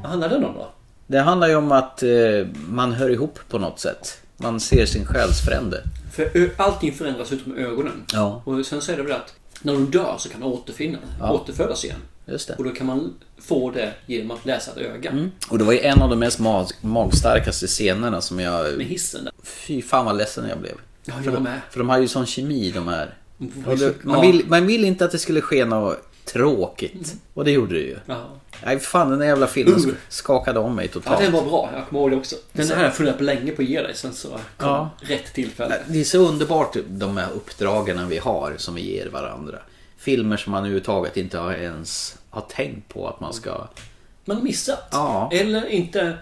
[SPEAKER 2] Vad handlar den om då?
[SPEAKER 3] Det handlar ju om att eh, man hör ihop på något sätt. Man ser sin själsfrände.
[SPEAKER 2] För ö- allting förändras utom ögonen.
[SPEAKER 3] Ja.
[SPEAKER 2] Och sen så är det väl att när de dör så kan de återfinna,
[SPEAKER 3] Ja.
[SPEAKER 2] återfödas igen.
[SPEAKER 3] Just det.
[SPEAKER 2] Och då kan man få det genom att läsa ett öga.
[SPEAKER 3] Och det var ju en av de mest mag- magstarkaste scenerna som jag...
[SPEAKER 2] Med hissen där.
[SPEAKER 3] Fy fan vad ledsen jag blev.
[SPEAKER 2] Ja,
[SPEAKER 3] för,
[SPEAKER 2] jag
[SPEAKER 3] de,
[SPEAKER 2] med.
[SPEAKER 3] för de har ju sån kemi de här.
[SPEAKER 2] Mm.
[SPEAKER 3] Och det, man,
[SPEAKER 2] Ja.
[SPEAKER 3] vill, man vill inte att det skulle ske något tråkigt.
[SPEAKER 2] Mm.
[SPEAKER 3] Och det gjorde det ju.
[SPEAKER 2] Ja.
[SPEAKER 3] Nej, fan den där jävla filmen
[SPEAKER 2] Uh.
[SPEAKER 3] sk- skakade om mig
[SPEAKER 2] Ja,
[SPEAKER 3] totalt.
[SPEAKER 2] den var bra. Jag kommer ihåg det också. Den
[SPEAKER 3] Så-
[SPEAKER 2] här har jag funderat på länge på att ge dig. Sen så kom
[SPEAKER 3] Ja.
[SPEAKER 2] rätt tillfälle.
[SPEAKER 3] Det är så underbart de här uppdragen vi har som vi ger varandra. Filmer som man överhuvudtaget inte har ens har tänkt på att man ska...
[SPEAKER 2] Man har missat.
[SPEAKER 3] Ja.
[SPEAKER 2] Eller inte...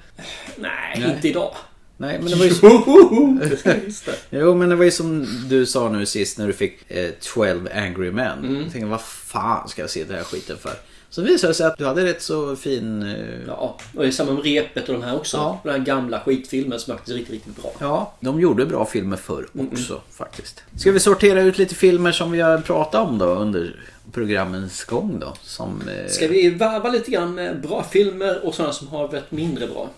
[SPEAKER 2] Nej,
[SPEAKER 3] Nej.
[SPEAKER 2] inte idag.
[SPEAKER 3] Nej, men det var ju
[SPEAKER 2] Jo, det ska jag just det.
[SPEAKER 3] Jo, men det var ju som du sa nu sist när du fick eh, 12 Angry Men.
[SPEAKER 2] Mm.
[SPEAKER 3] Jag tänkte, vad fan ska jag se den här skiten för? Så visade det sig att du hade rätt så fin... Eh...
[SPEAKER 2] Ja, och det är samma med repet och de här också.
[SPEAKER 3] Ja.
[SPEAKER 2] Den här gamla skitfilmen som faktiskt är riktigt, riktigt bra.
[SPEAKER 3] Ja, de gjorde bra filmer förr också faktiskt. Ska vi sortera ut lite filmer som vi har pratat om då under programmens gång då? Som, eh...
[SPEAKER 2] Ska vi varva lite grann med bra filmer och sådana som har varit mindre bra?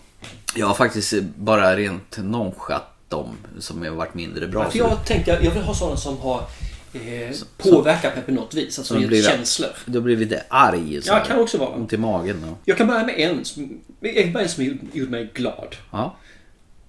[SPEAKER 3] Jag har faktiskt eh, bara rent nonchatt dem som har varit mindre bra.
[SPEAKER 2] För jag tänker, jag vill ha sådana som har eh, påverkat mig på något vis. Alltså
[SPEAKER 3] Som
[SPEAKER 2] gett
[SPEAKER 3] blir-
[SPEAKER 2] känslor.
[SPEAKER 3] Då blir vi lite arg. Så
[SPEAKER 2] Ja,
[SPEAKER 3] här.
[SPEAKER 2] kan också vara.
[SPEAKER 3] Ont i magen. Då.
[SPEAKER 2] Jag kan börja med en som, jag kan börja med en som gjorde- gjorde mig glad.
[SPEAKER 3] Ja.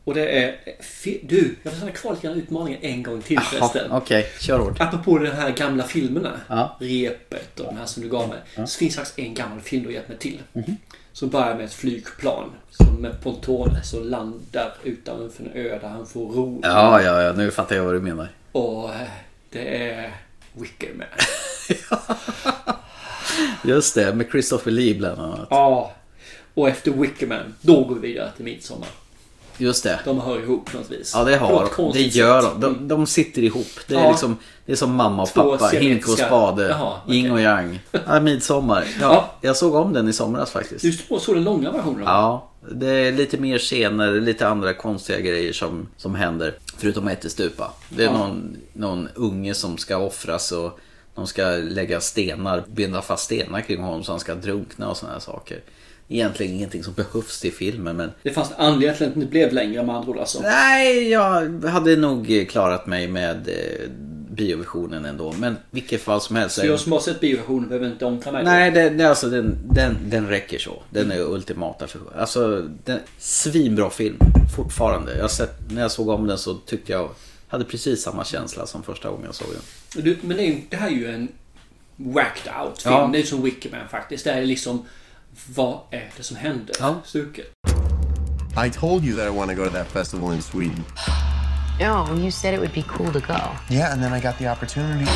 [SPEAKER 2] Och det är... eh, fi- Du, jag får stanna kvar lite grann i utmaningen en gång till
[SPEAKER 3] Ja,
[SPEAKER 2] förresten.
[SPEAKER 3] Okej, kör hårt.
[SPEAKER 2] Apropå de här gamla filmerna,
[SPEAKER 3] Ja.
[SPEAKER 2] repet och de här som du gav mig. Så finns faktiskt en gammal film du har gett mig till.
[SPEAKER 3] Mhm.
[SPEAKER 2] Som börjar med ett flygplan som med pontoner som landar utanför en ö där han får ro.
[SPEAKER 3] Ja, ja, ja, nu fattar jag vad du menar.
[SPEAKER 2] Och eh, det är Wicker Man.
[SPEAKER 3] Just det, med Christopher Lee bland annat.
[SPEAKER 2] ja. Och efter Wicker Man, då går vi vidare till Midsommar.
[SPEAKER 3] Just det.
[SPEAKER 2] De hör ihop på något vis.
[SPEAKER 3] Ja, det
[SPEAKER 2] På något
[SPEAKER 3] har de. Det
[SPEAKER 2] konstigt
[SPEAKER 3] gör
[SPEAKER 2] sätt.
[SPEAKER 3] de. de. De sitter ihop. Det är,
[SPEAKER 2] Ja.
[SPEAKER 3] liksom, det är som mamma och
[SPEAKER 2] Två
[SPEAKER 3] pappa, hink och
[SPEAKER 2] siamesiska-
[SPEAKER 3] spade,
[SPEAKER 2] Jaha,
[SPEAKER 3] yin och yang. Ja, midsommar. Ja,
[SPEAKER 2] Ja.
[SPEAKER 3] Jag såg om den i somras faktiskt.
[SPEAKER 2] Du såg så den långa versionen?
[SPEAKER 3] Ja, det är lite mer scener, lite andra konstiga grejer som, som händer. Förutom ättestupa. Det är
[SPEAKER 2] Ja.
[SPEAKER 3] någon, någon unge som ska offras och de ska lägga stenar, binda fast stenar kring honom så han ska drunkna och sådana här saker. Egentligen ingenting som behövs i filmen men
[SPEAKER 2] Det fanns en anledning till att det inte blev längre med andra ord alltså.
[SPEAKER 3] Nej, jag hade nog klarat mig med eh, biovisionen ändå. Men vilket fall som helst.
[SPEAKER 2] Så jag som har sett bioversionen behöver inte omta mig.
[SPEAKER 3] Nej, den, den, alltså, den, den, den räcker så. Den är ultimata för Alltså, den, svinbra film fortfarande. Jag har sett, när jag såg om den så tyckte jag hade precis samma känsla som första gången jag såg den.
[SPEAKER 2] Du, men det, är, ju- det här är ju en whacked out film.
[SPEAKER 3] Ja.
[SPEAKER 2] Det är som Wickerman faktiskt. Det här är liksom vad är det som händer? Stuket.
[SPEAKER 1] I told you that I want to go to that festival in Sweden.
[SPEAKER 22] No, you said it would be cool to go.
[SPEAKER 1] Yeah, and then I got the opportunity.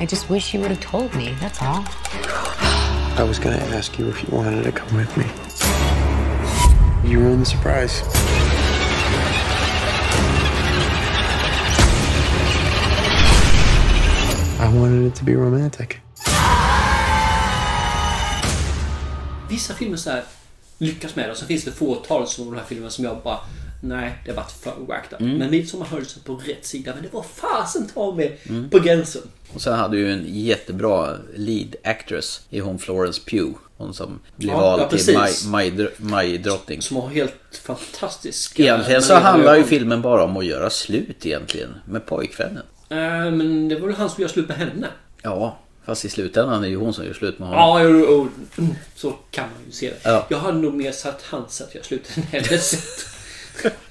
[SPEAKER 22] I just wish you would have told me, that's all.
[SPEAKER 7] I was gonna ask you if you wanted to come with me. You ruined the surprise. I wanted it to be romantic.
[SPEAKER 2] Vissa filmer så här lyckas med det. och Sen finns det fåtal som de här filmerna som jag bara Nej, det har varit för whacked out.
[SPEAKER 3] Mm.
[SPEAKER 2] Men Midsommar höll sig på rätt sida. Men det var fasen ta mig
[SPEAKER 3] Mm.
[SPEAKER 2] på gränsen.
[SPEAKER 3] Och sen hade ju en jättebra lead actress i hon Florence Pugh. Hon som blev
[SPEAKER 2] Ja, ja,
[SPEAKER 3] vald till
[SPEAKER 2] precis.
[SPEAKER 3] Maj- Maj- Majdrottning.
[SPEAKER 2] Som har helt fantastiska...
[SPEAKER 3] Egentligen så
[SPEAKER 2] Maria
[SPEAKER 3] handlar ju
[SPEAKER 2] ögon.
[SPEAKER 3] filmen bara om att göra slut egentligen med pojkvännen.
[SPEAKER 2] Eh, men det var väl han som gör slut med henne?
[SPEAKER 3] Ja, fast i slutändan är det ju hon som gör slut med honom.
[SPEAKER 2] Ja, jo, jo, jo. så kan man ju se det.
[SPEAKER 3] Ja.
[SPEAKER 2] Jag hade nog mer satt hans sätt jag slutade än hennes sätt.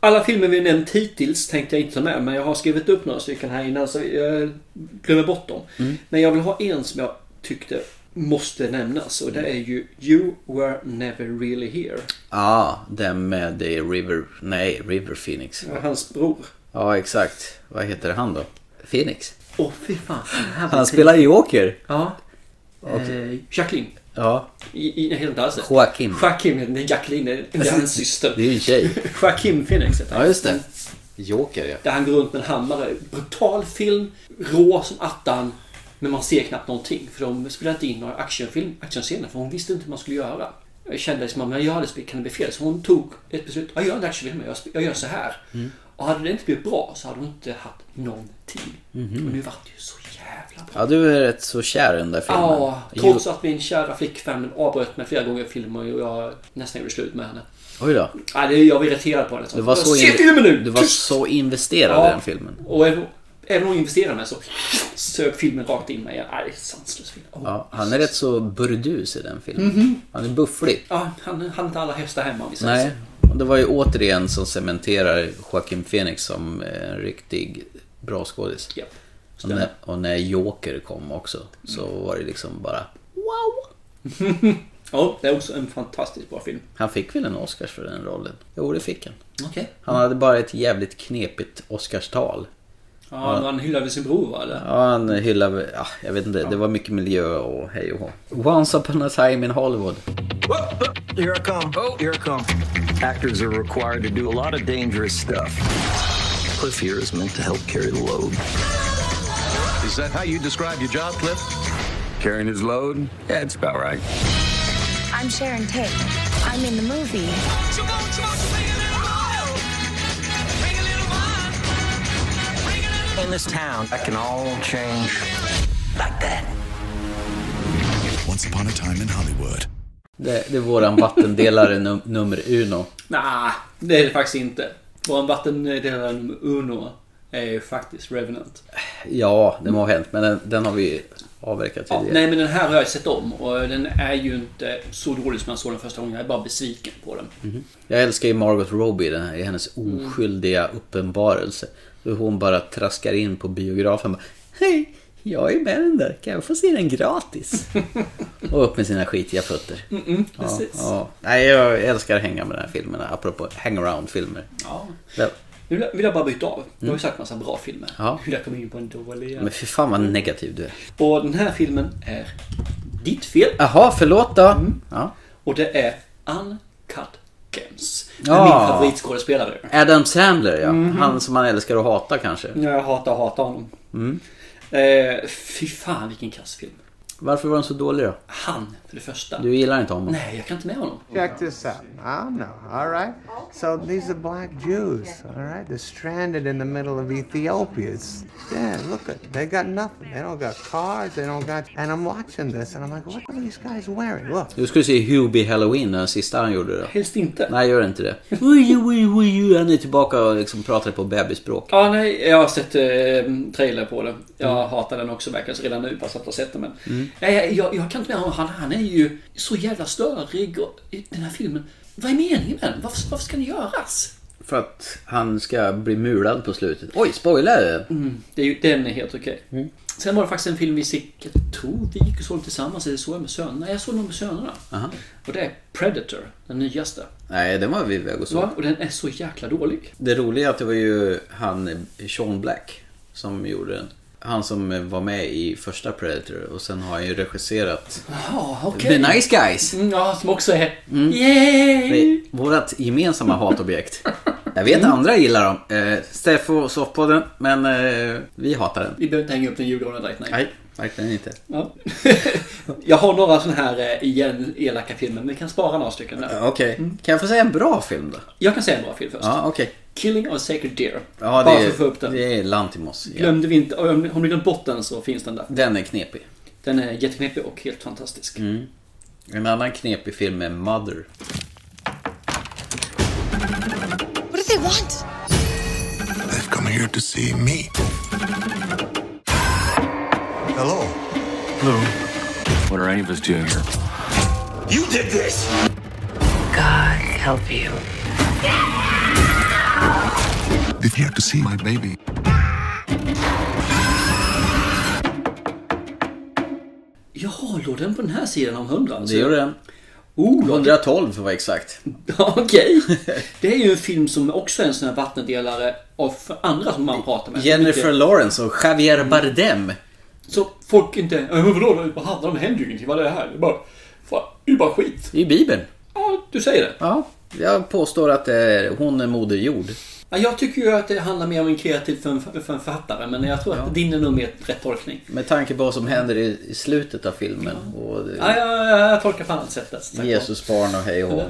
[SPEAKER 2] Alla filmer vi nämnt hittills tänkte jag inte ta med, men jag har skrivit upp några stycken här innan så jag glömmer bort dem.
[SPEAKER 3] Mm.
[SPEAKER 2] Men jag vill ha en som jag tyckte måste nämnas och det är ju You were never really here.
[SPEAKER 3] Ja, den med det är River... Nej, River Phoenix.
[SPEAKER 2] Ja, Hans bror.
[SPEAKER 3] Ja, exakt. Vad heter han då? Phoenix.
[SPEAKER 2] Åh fy fan. den här var
[SPEAKER 3] Han spelar
[SPEAKER 2] tidig.
[SPEAKER 3] Joker.
[SPEAKER 2] Ja.
[SPEAKER 3] Okej.
[SPEAKER 2] Eh, Jacqueline.
[SPEAKER 3] Ja.
[SPEAKER 2] I, i, jag heter inte alls det.
[SPEAKER 3] Joaquin.
[SPEAKER 2] Joaquin, det är Jacqueline, det är hans syster.
[SPEAKER 3] Det är ju en tjej.
[SPEAKER 2] Joaquin Phoenix heter han.
[SPEAKER 3] Ja, just det. Joker, ja.
[SPEAKER 2] Där han går runt med en hammare. Brutal film, rå som attan. Men man ser knappt någonting. För de spelade inte in några actionfilm, actionscener. För hon visste inte hur man skulle göra. Jag kände som att men jag hade spelat, kan det bli fel? Så hon tog ett beslut. Jag gör en actionfilm, jag, sp- jag gör så här.
[SPEAKER 3] Mm.
[SPEAKER 2] Och hade det inte blivit bra så hade hon inte haft någonting.
[SPEAKER 3] Mhm.
[SPEAKER 2] Och nu vart det ju så jävla bra.
[SPEAKER 3] Ja, du är rätt så kär i den där filmen.
[SPEAKER 2] Ja, trots att min kära flickvän avbröt mig flera gånger i filmen och jag nästan gjorde slut med henne.
[SPEAKER 3] Oj då.
[SPEAKER 2] Ja, det, jag var irriterad på henne.
[SPEAKER 3] Du var, så
[SPEAKER 2] Se filmen nu!
[SPEAKER 3] du var så investerad
[SPEAKER 2] Ja.
[SPEAKER 3] i den filmen.
[SPEAKER 2] Och Även om hon investerade mig så sög filmen rakt in mig igen. Nej, det är en sanslös film. Åh.
[SPEAKER 3] Ja, han är rätt så burdus i den filmen.
[SPEAKER 2] Mhm.
[SPEAKER 3] Han är bufflig.
[SPEAKER 2] Ja, han han har inte alla hästar hemma om vi säger
[SPEAKER 3] Nej,
[SPEAKER 2] så.
[SPEAKER 3] och det var ju återigen som cementerar Joaquin Phoenix som eh, en riktig bra skådis.
[SPEAKER 2] Japp,
[SPEAKER 3] och, när, och när Joker kom också så var det liksom bara...
[SPEAKER 2] Wow! ja, det är också en fantastiskt bra film.
[SPEAKER 3] Han fick väl en Oscars för den rollen? Jo, det fick han.
[SPEAKER 2] Okej.
[SPEAKER 3] Han hade bara ett jävligt knepigt Oscarstal.
[SPEAKER 2] Ja, men han hyllade sin bror va? Eller?
[SPEAKER 3] Ja, han hyllade... Ja, jag vet inte, det var mycket miljö och hej och hå. Once upon a time in Hollywood.
[SPEAKER 9] Here I come. Oh, here I come. Actors are required to do a lot of dangerous stuff. Cliff here is meant to help carry the load. Is that how you describe your job, Cliff? Carrying his load? Yeah, it's about right.
[SPEAKER 10] I'm Sharon Tate. I'm in the movie.
[SPEAKER 9] In this town, that can all change like that.
[SPEAKER 20] Once upon a time in Hollywood.
[SPEAKER 3] Det, det är våran vattendelare num- nummer uno.
[SPEAKER 2] Nej, det är det faktiskt inte. Vår vattendelare nummer uno är ju faktiskt Revenant.
[SPEAKER 3] Ja, det må ha hänt, men den, den har vi avverkat
[SPEAKER 2] Ja,
[SPEAKER 3] tidigare.
[SPEAKER 2] nej men den här har jag sett om och den är ju inte så dålig som jag såg den första gången. Jag är bara besviken på den.
[SPEAKER 3] Mhm. Jag älskar ju Margot Robbie i den här, i hennes
[SPEAKER 2] Mm.
[SPEAKER 3] oskyldiga uppenbarelse. Hur hon bara traskar in på biografen och bara, Hej, jag är med den där. Kan jag få se den gratis? och upp med sina skitiga fötter.
[SPEAKER 2] Mm-mm,
[SPEAKER 3] ja,
[SPEAKER 2] Mm, precis.
[SPEAKER 3] ja. Nej, jag älskar att hänga med de här filmerna, apropå hangaround-filmer.
[SPEAKER 2] Ja.
[SPEAKER 3] Det-
[SPEAKER 2] Nu vill jag- vill jag bara byta av. Du har ju
[SPEAKER 3] Mm.
[SPEAKER 2] sagt massa bra filmer.
[SPEAKER 3] Ja.
[SPEAKER 2] Hur jag kom in på en dålig.
[SPEAKER 3] Men fy fan vad negativ du är.
[SPEAKER 2] Och den här filmen är ditt fel.
[SPEAKER 3] Jaha, förlåt då.
[SPEAKER 2] Mm.
[SPEAKER 3] Ja.
[SPEAKER 2] Och det är Uncut Gems. Med
[SPEAKER 3] Ja.
[SPEAKER 2] Min favoritskådespelare.
[SPEAKER 3] Adam Sandler ja,
[SPEAKER 2] Mhm.
[SPEAKER 3] han som man älskar och hatar kanske.
[SPEAKER 2] Ja, Jag hatar och hatar honom.
[SPEAKER 3] Mm.
[SPEAKER 2] Eh, fy fan vilken kass film.
[SPEAKER 3] Varför var den så dålig då?
[SPEAKER 2] Han, för det första.
[SPEAKER 3] Du gillar inte honom?
[SPEAKER 2] Nej, jag kan inte med honom.
[SPEAKER 23] Check this out. I don't know. All right. So these are black Jews. All right. They're stranded in the middle of Ethiopia. It's, yeah, look at. They got nothing. They don't got cars. They don't got. And I'm watching this, and I'm like, what are these guys wearing? Look.
[SPEAKER 3] Du skulle se Hubie Halloween, den sista han gjorde då.
[SPEAKER 2] Helst inte.
[SPEAKER 3] Nej, gör inte det. Ui, ui, ui, ui. Han är tillbaka och liksom pratar på bebisspråk.
[SPEAKER 2] Ja, nej, jag har sett eh, trailer på den. Jag hatar den också verkar så redan nu, fast jag inte har sett den. Men...
[SPEAKER 3] Mm.
[SPEAKER 2] Nej, jag, jag, jag kan inte med honom. Han, han är ju så jävla störig och, i den här filmen. Vad är meningen med den? Varför, varför ska den göras?
[SPEAKER 3] För att han ska bli mulad på slutet. Oj, spoiler!
[SPEAKER 2] Mm, det är ju, den är helt okej.
[SPEAKER 3] Mm.
[SPEAKER 2] Sen var det faktiskt en film vi gick, jag tror vi gick och såg den tillsammans, eller såg jag med sönerna? Nej, jag såg den med sönerna.
[SPEAKER 3] Aha.
[SPEAKER 2] Och det är Predator, den nyaste.
[SPEAKER 3] Nej, den var vi iväg och såg.
[SPEAKER 2] Ja, och den är så jäkla dålig.
[SPEAKER 3] Det roliga är att det var ju han, Sean Black, som gjorde den. Han som var med i första Predator och sen har han ju regisserat
[SPEAKER 2] Ja, okej.
[SPEAKER 3] The Nice Guys.
[SPEAKER 2] Mm, ja, som också är...
[SPEAKER 3] Ah, Mm.
[SPEAKER 2] Yay!
[SPEAKER 3] Det är vårat gemensamma hatobjekt. Jag vet andra gillar dem. Eh, Steffo Soffpodden, men eh, vi hatar den.
[SPEAKER 2] Vi behöver inte hänga upp den i julgranen direkt, nej.
[SPEAKER 3] Nej, verkligen inte.
[SPEAKER 2] Ja. jag har några sådana här eh, igen elaka filmer, men vi kan spara några stycken där.
[SPEAKER 3] Ja, Okej, kan jag få säga en bra film då?
[SPEAKER 2] Jag kan säga en bra film först.
[SPEAKER 3] Ja, okej.
[SPEAKER 2] Killing of a Sacred Deer.
[SPEAKER 3] Ja,
[SPEAKER 2] Bara
[SPEAKER 3] det
[SPEAKER 2] för att få upp
[SPEAKER 3] är,
[SPEAKER 2] den.
[SPEAKER 3] det är Lantimos. Ja.
[SPEAKER 2] Glömde vi inte, om om ni glömt bort den så finns den där.
[SPEAKER 3] Den är knepig.
[SPEAKER 2] Den är jätteknepig och helt fantastisk.
[SPEAKER 3] Mm. En annan knepig film är Mother.
[SPEAKER 9] What do they want?
[SPEAKER 20] They've come here to see me.
[SPEAKER 9] Hello. Hello. What are any of us doing here? You did this!
[SPEAKER 10] God help you.
[SPEAKER 20] They've here to see my baby.
[SPEAKER 2] Jaha, låg den på den här sidan om 100 alltså?
[SPEAKER 3] Det gjorde den.
[SPEAKER 2] Oh,
[SPEAKER 3] 112 för att vara exakt.
[SPEAKER 2] Ja, Okej. Det är ju en film som också är en sån här vattendelare av för andra som man pratar med.
[SPEAKER 3] Jennifer Lawrence och Javier Bardem.
[SPEAKER 2] Så folk inte... "Ja, Men vadå, vad handlar det om? Det händer ju ingenting. Vad är det här? Det är bara, fan, det är bara skit.
[SPEAKER 3] I Bibeln.
[SPEAKER 2] Ja, du säger det.
[SPEAKER 3] Ja, jag påstår att eh, hon är Moder Jord.
[SPEAKER 2] Ja, Jag tycker ju att det handlar mer om en kreativ för, för en författare, men jag tror att din är nog mer rätt tolkning.
[SPEAKER 3] Med tanke på vad som händer i, i slutet av filmen. Och,
[SPEAKER 2] Ja,
[SPEAKER 3] eh,
[SPEAKER 2] jag, jag, jag tolkar på annat sätt. där, som sagt var.
[SPEAKER 3] Jesus barn och hej och hå.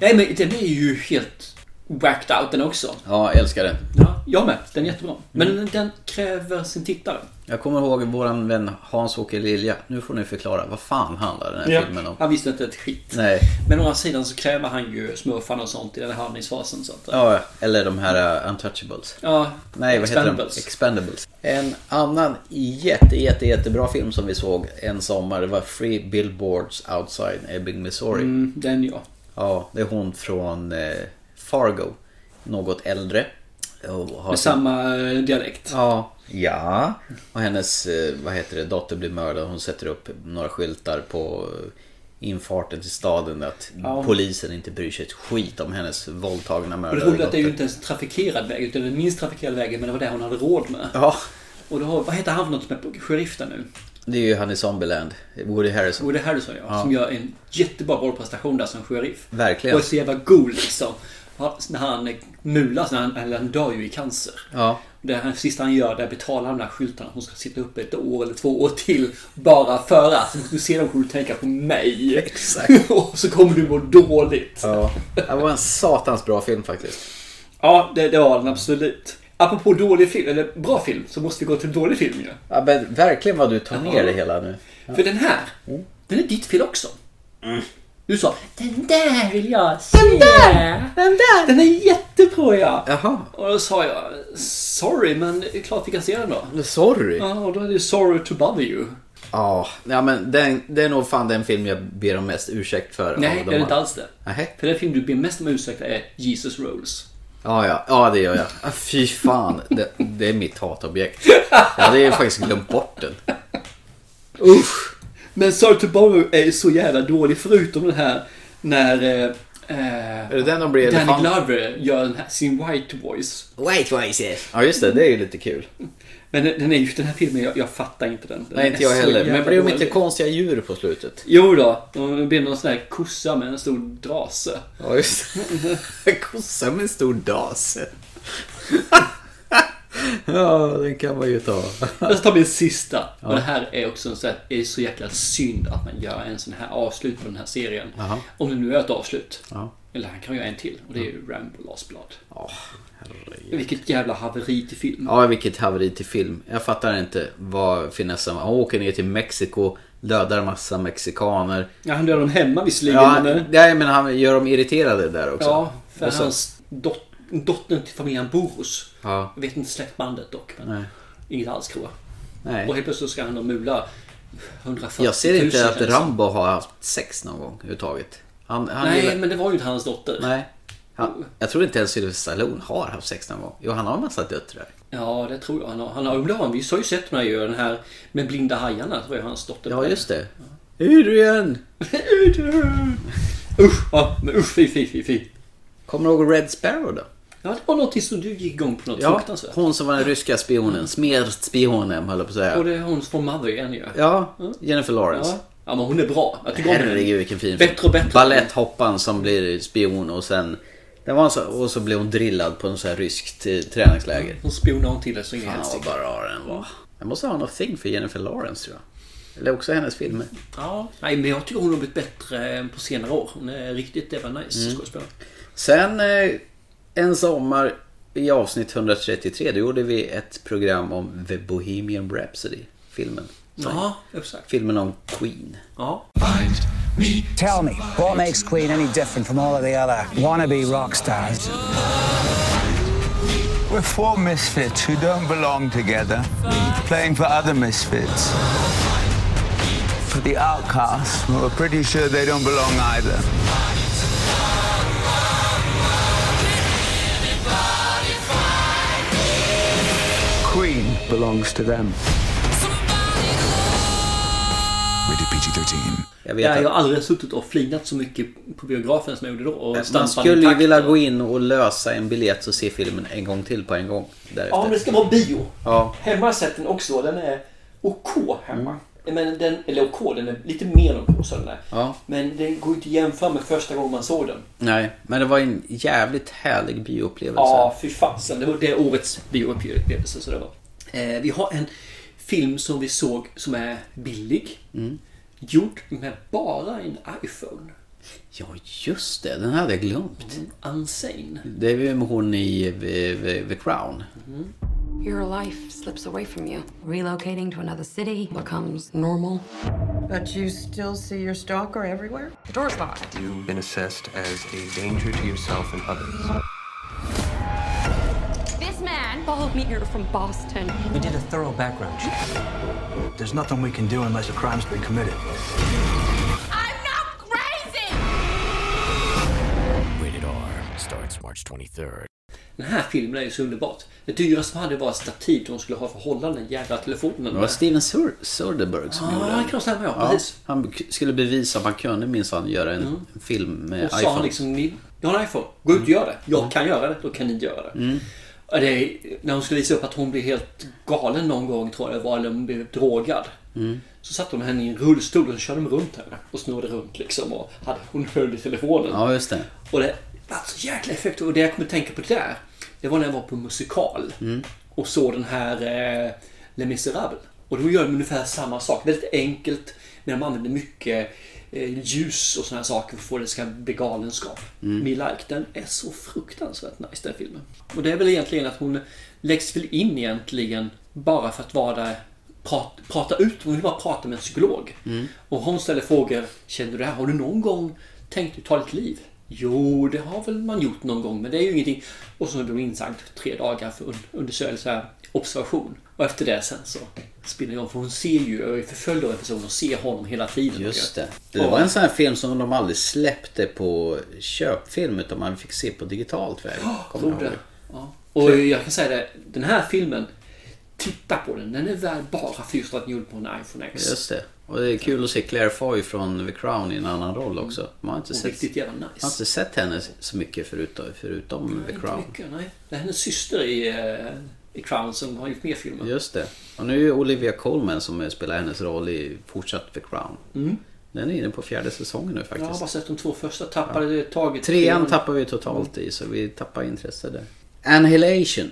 [SPEAKER 2] Nej, men den är ju helt whacked out den också.
[SPEAKER 3] Ja, Mm. älskar den.
[SPEAKER 2] Ja, jag med. Den är jättebra. Men den, den kräver sin tittare.
[SPEAKER 3] Jag kommer ihåg våran vän Hans-Åke Lilja. Nu får ni förklara. Vad fan handlar den här filmen om?
[SPEAKER 2] Han visste inte ett skit.
[SPEAKER 3] Nej.
[SPEAKER 2] Men å andra sidan så kräver han ju smurfarna och sånt i den här handlingsfasen. Så att,
[SPEAKER 3] Ja, eller de här eh, Untouchables.
[SPEAKER 2] Ja,
[SPEAKER 3] Nej, vad heter de?
[SPEAKER 2] Expendables.
[SPEAKER 3] Expendables. En annan jätte, jätte, jättebra film som vi såg en sommar, det var Free Billboards Outside Ebbing, Missouri.
[SPEAKER 2] Mm, den ja.
[SPEAKER 3] Ja, det är hon från eh, Fargo. Något äldre. Och har
[SPEAKER 2] Med
[SPEAKER 3] sin-
[SPEAKER 2] samma eh, dialekt.
[SPEAKER 3] Ja. Ja, och hennes eh, vad heter det, dotter blir mördad. Hon sätter upp några skyltar på eh, infarten till staden att
[SPEAKER 2] Ja.
[SPEAKER 3] polisen inte bryr sig ett skit om hennes våldtagna
[SPEAKER 2] Och det
[SPEAKER 3] mördade
[SPEAKER 2] roliga är att det är ju
[SPEAKER 3] dotter.
[SPEAKER 2] inte ens en trafikerad väg utan den minst trafikerade vägen men det var det hon hade råd med.
[SPEAKER 3] Ja,
[SPEAKER 2] Och då, har- vad heter han för något med sheriffen nu?
[SPEAKER 3] det är ju han i Zombieland. Woody Harrison.
[SPEAKER 2] Woody Harrison ja,
[SPEAKER 3] Ja.
[SPEAKER 2] som gör en jättebra rollprestation där som sheriff.
[SPEAKER 3] Verkligen.
[SPEAKER 2] Och är så jävla go liksom. Ja, När han eh, mulas, när han, eller han dör ju i cancer.
[SPEAKER 3] Ja.
[SPEAKER 2] Det här sista han gör, där betalar han de där skyltarna. Hon ska sitta uppe ett år eller två år till. Bara för att. Du ser dem kommer du tänka på mig.
[SPEAKER 3] Exakt.
[SPEAKER 2] och så kommer du må dåligt.
[SPEAKER 3] Ja. Det var en satans bra film faktiskt.
[SPEAKER 2] Ja, det, det var den absolut. Apropå dålig film, eller bra film, så måste vi gå till dålig film ju.
[SPEAKER 3] Ja, men verkligen vad du tar ner det hela nu.
[SPEAKER 2] För den här, den är ditt fel också. Du sa Mm. Den där vill jag se!
[SPEAKER 13] Den där!
[SPEAKER 2] Den där! Den är jättebra ja!
[SPEAKER 3] Jaha.
[SPEAKER 2] Och då sa jag Sorry, men det är klart vi kan se den då.
[SPEAKER 3] Sorry.
[SPEAKER 2] Ja, och då är det Sorry to bother you.
[SPEAKER 3] Ja, ja men den, det är nog fan den film jag ber om mest ursäkt för.
[SPEAKER 2] Nej,
[SPEAKER 3] av
[SPEAKER 2] det
[SPEAKER 3] de
[SPEAKER 2] är inte
[SPEAKER 3] andra.
[SPEAKER 2] alls det.
[SPEAKER 3] Nej.
[SPEAKER 2] För den film du ber mest om ursäkt är Jesus Rolls.
[SPEAKER 3] Ja, ja, ja, det gör jag. Ah, Fy fan, det, det är mitt hatobjekt. Jag hade ju faktiskt glömt bort den.
[SPEAKER 2] Usch! Men Sorry to bother you är ju så jävla dålig förutom den här när eh, eh,
[SPEAKER 3] Är det den de blir
[SPEAKER 2] Danny
[SPEAKER 3] elefant-
[SPEAKER 2] Glover gör den här, sin white voice.
[SPEAKER 3] White voices. Ja, just det. Det är ju lite kul.
[SPEAKER 2] Men den, den är ju den här filmen, jag, jag fattar inte den. den
[SPEAKER 3] Nej, inte jag
[SPEAKER 2] är så
[SPEAKER 3] heller. Men
[SPEAKER 2] jävla
[SPEAKER 3] blir de
[SPEAKER 2] dålig.
[SPEAKER 3] inte konstiga djur på slutet?
[SPEAKER 2] Jo då, de blir någon sån här kossa med en stor drase.
[SPEAKER 3] Ja, just det. Kossa med en stor dase. Ja, den kan man ju ta.
[SPEAKER 2] Jag ska ta min sista.
[SPEAKER 3] Ja.
[SPEAKER 2] Och det här är också en sån här, det är så jäkla synd att man gör en sån här avslut på den här serien.
[SPEAKER 3] Jaha.
[SPEAKER 2] Om det nu är ett avslut.
[SPEAKER 3] Ja.
[SPEAKER 2] Eller han kan göra en till och det är ju Rambo Last Blood.
[SPEAKER 3] Oh,
[SPEAKER 2] Vilket jävla haveri till film.
[SPEAKER 3] Ja, vilket haveri till film. Jag fattar inte vad finessen var. Han åker ner till Mexiko, dödar massa mexikaner.
[SPEAKER 2] Ja, han dödar dem hemma visserligen.
[SPEAKER 3] Ja,
[SPEAKER 2] men- eh,
[SPEAKER 3] nej, men han gör dem irriterade där också.
[SPEAKER 2] Ja, för
[SPEAKER 3] Och så-
[SPEAKER 2] hans dot dottern till familjen Boros.
[SPEAKER 3] Ja.
[SPEAKER 2] Jag vet inte släktbandet dock, men
[SPEAKER 3] Nej.
[SPEAKER 2] inget alls tror jag.
[SPEAKER 3] Nej.
[SPEAKER 2] Och helt plötsligt ska han då mula 140
[SPEAKER 3] Jag ser inte
[SPEAKER 2] 000
[SPEAKER 3] att
[SPEAKER 2] känns
[SPEAKER 3] Rambo har haft sex någon gång överhuvudtaget. Han, han
[SPEAKER 2] Nej,
[SPEAKER 3] är väl-
[SPEAKER 2] men det var ju inte hans dotter.
[SPEAKER 3] Nej. Han, jag tror inte ens Sylvester Stallone har haft sex någon gång. Jo, han har en massa döttrar.
[SPEAKER 2] Ja, det tror jag han har. Han har, han har vi har ju sett när han gör den här med blinda hajarna, tror jag hans dotter.
[SPEAKER 3] Ja, just det. Adrian!
[SPEAKER 2] Adrian! Usch, ja, men usch, fy, fy, fy, fy.
[SPEAKER 3] Kommer du ihåg Red Sparrow då?
[SPEAKER 2] Ja, det var någonting som du gick igång på något
[SPEAKER 3] Ja,
[SPEAKER 2] fruktansvärt.
[SPEAKER 3] hon som var den ryska spionen. Smertspionen, höll jag på att
[SPEAKER 2] Och
[SPEAKER 3] säga.
[SPEAKER 2] det är hon från Mother igen ju.
[SPEAKER 3] Ja, Jennifer Lawrence.
[SPEAKER 2] Ja. ja, men hon är bra. Jag tycker om henne.
[SPEAKER 3] Herregud vilken fin
[SPEAKER 2] Bättre och bättre.
[SPEAKER 3] Baletthoppan som blir spion och sen... Det var en så, och så blev hon drillad på en sån här ryskt eh, träningsläger.
[SPEAKER 2] Hon spionar hon till det så ingen
[SPEAKER 3] Fan vad
[SPEAKER 2] helsike.
[SPEAKER 3] bra den var. Jag måste ha något thing för Jennifer Lawrence tror jag. Eller också hennes filmer.
[SPEAKER 2] Ja, nej, men jag tycker hon har blivit bättre eh, på senare år. Hon är riktigt jävla nice
[SPEAKER 3] Mm.
[SPEAKER 2] skådespelare.
[SPEAKER 3] Sen eh, en sommar i avsnitt 133 då gjorde vi ett program om The Bohemian Rhapsody. Filmen.
[SPEAKER 2] Ja, exakt.
[SPEAKER 3] Filmen om Queen.
[SPEAKER 2] Ja.
[SPEAKER 8] Tell me, what makes Queen any different from all of the other wannabe rock stars?
[SPEAKER 4] We're four misfits who don't belong together, playing for other misfits. For the outcasts, well, we're pretty sure they don't belong either. Queen belongs to them.
[SPEAKER 20] Rated PG-13.
[SPEAKER 3] Jag
[SPEAKER 2] Jag,
[SPEAKER 3] vet
[SPEAKER 2] jag
[SPEAKER 3] att
[SPEAKER 2] har aldrig suttit och flinat så mycket på biografen som jag gjorde då. Och
[SPEAKER 3] man
[SPEAKER 2] stampat i
[SPEAKER 3] skulle ju
[SPEAKER 2] takt.
[SPEAKER 3] vilja gå in och lösa en biljett och se filmen en gång till på en gång. Därefter.
[SPEAKER 2] Ja, men det ska vara bio.
[SPEAKER 3] Ja. Mm.
[SPEAKER 2] Hemma har jag sett den också. Den är OK hemma. Men den, eller OK, den är lite mer än OK. Så den är.
[SPEAKER 3] Ja.
[SPEAKER 2] Men den går ju inte att jämföra med första gången man såg den.
[SPEAKER 3] Nej, men det var en jävligt härlig bioupplevelse.
[SPEAKER 2] Ja, fy fasen. Det var det årets bioupplevelse. Så det var. Eh, vi har en film som
[SPEAKER 3] Mm.
[SPEAKER 2] vi såg som är billig. Gjord med bara en iPhone.
[SPEAKER 3] Ja, just det. Den hade jag glömt.
[SPEAKER 2] Unsane.
[SPEAKER 3] Det är ju hon i eh, The Crown.
[SPEAKER 6] Your life slips away from you. Relocating to another city becomes normal.
[SPEAKER 11] But you still see your stalker everywhere?
[SPEAKER 6] The door's locked.
[SPEAKER 12] You've been assessed as a danger to yourself and others.
[SPEAKER 6] This man followed me here from Boston.
[SPEAKER 12] We did a thorough background check. There's nothing we can do unless a crime's been committed.
[SPEAKER 6] I'm not crazy!
[SPEAKER 24] Rated R starts March 23rd.
[SPEAKER 2] Den här filmen är ju så underbart. Det dyraste som hade var ett stativ de skulle ha för att hålla den jävla telefonen.
[SPEAKER 3] Det var Steven Sur- Soderbergh som
[SPEAKER 2] Ja,
[SPEAKER 3] gjorde
[SPEAKER 2] det kan stämma, ja, precis. Mm.
[SPEAKER 3] Han k- skulle bevisa att man kunde minsann göra en, en film med
[SPEAKER 2] Och sa
[SPEAKER 3] iPhone.
[SPEAKER 2] han liksom, ni, jag har en iPhone, gå ut och gör det. Jag kan göra det, då kan ni göra det.
[SPEAKER 3] Mm.
[SPEAKER 2] Och det är, när hon skulle visa upp att hon blev helt galen någon gång tror jag det var, eller hon blev drogad.
[SPEAKER 3] Mm.
[SPEAKER 2] Så satte de henne i en rullstol och så körde de runt henne och snurrade runt liksom och hade, hon höll i telefonen.
[SPEAKER 3] Ja, just det.
[SPEAKER 2] Och det var så jäkla effekt. Och det jag kommer att tänka på där, det var när jag var på musikal
[SPEAKER 3] Mm.
[SPEAKER 2] och såg den här eh, Les Misérables. Och då gör de ungefär samma sak. Väldigt enkelt, men de använder mycket eh, ljus och såna här saker för att få det att ska bli galenskap.
[SPEAKER 3] Mm.
[SPEAKER 2] Me Like, den är så fruktansvärt nice den filmen. Och det är väl egentligen att hon läggs väl in egentligen bara för att vara där, prat, prata ut. Hon vill bara prata med en psykolog.
[SPEAKER 3] Mm.
[SPEAKER 2] Och hon ställer frågor. Känner du det här? Har du någon gång tänkt ta ditt liv? Jo, det har väl man gjort någon gång, men det är ju ingenting. Och så blir hon insagd för tre dagar för un- undersökelse, här, observation. Och efter det sen så spinner jag om, för hon ser ju, jag är förföljd av en person och ser honom hela tiden.
[SPEAKER 3] Just det. Det
[SPEAKER 2] Ja.
[SPEAKER 3] var en sån här film som de aldrig släppte på köpfilm utan man fick se på digitalt väg. Kommer
[SPEAKER 2] tror
[SPEAKER 3] jag
[SPEAKER 2] det.
[SPEAKER 3] ihåg.
[SPEAKER 2] Ja. Och jag kan säga det, den här filmen, titta på den. Den är värd bara för just att den gjorde på en iPhone X.
[SPEAKER 3] Just det. Och det är kul att se Claire Foy från The Crown i en annan roll också. Man har inte,
[SPEAKER 2] Hon är
[SPEAKER 3] sett,
[SPEAKER 2] riktigt jävla nice.
[SPEAKER 3] man har inte sett henne så mycket förutom, förutom The
[SPEAKER 2] Inte
[SPEAKER 3] Crown.
[SPEAKER 2] mycket, nej. Det är hennes syster i, eh, i Crown som har gjort mer filmer.
[SPEAKER 3] Just det. Och nu är ju Olivia Colman som spelar hennes roll i fortsatt The Crown.
[SPEAKER 2] Mm.
[SPEAKER 3] Den är inne på fjärde säsongen nu
[SPEAKER 2] Jag har
[SPEAKER 3] faktiskt.
[SPEAKER 2] bara sett de två första. Tappade taget.
[SPEAKER 3] Trean tappar vi totalt i så vi tappar intresse där. Annihilation.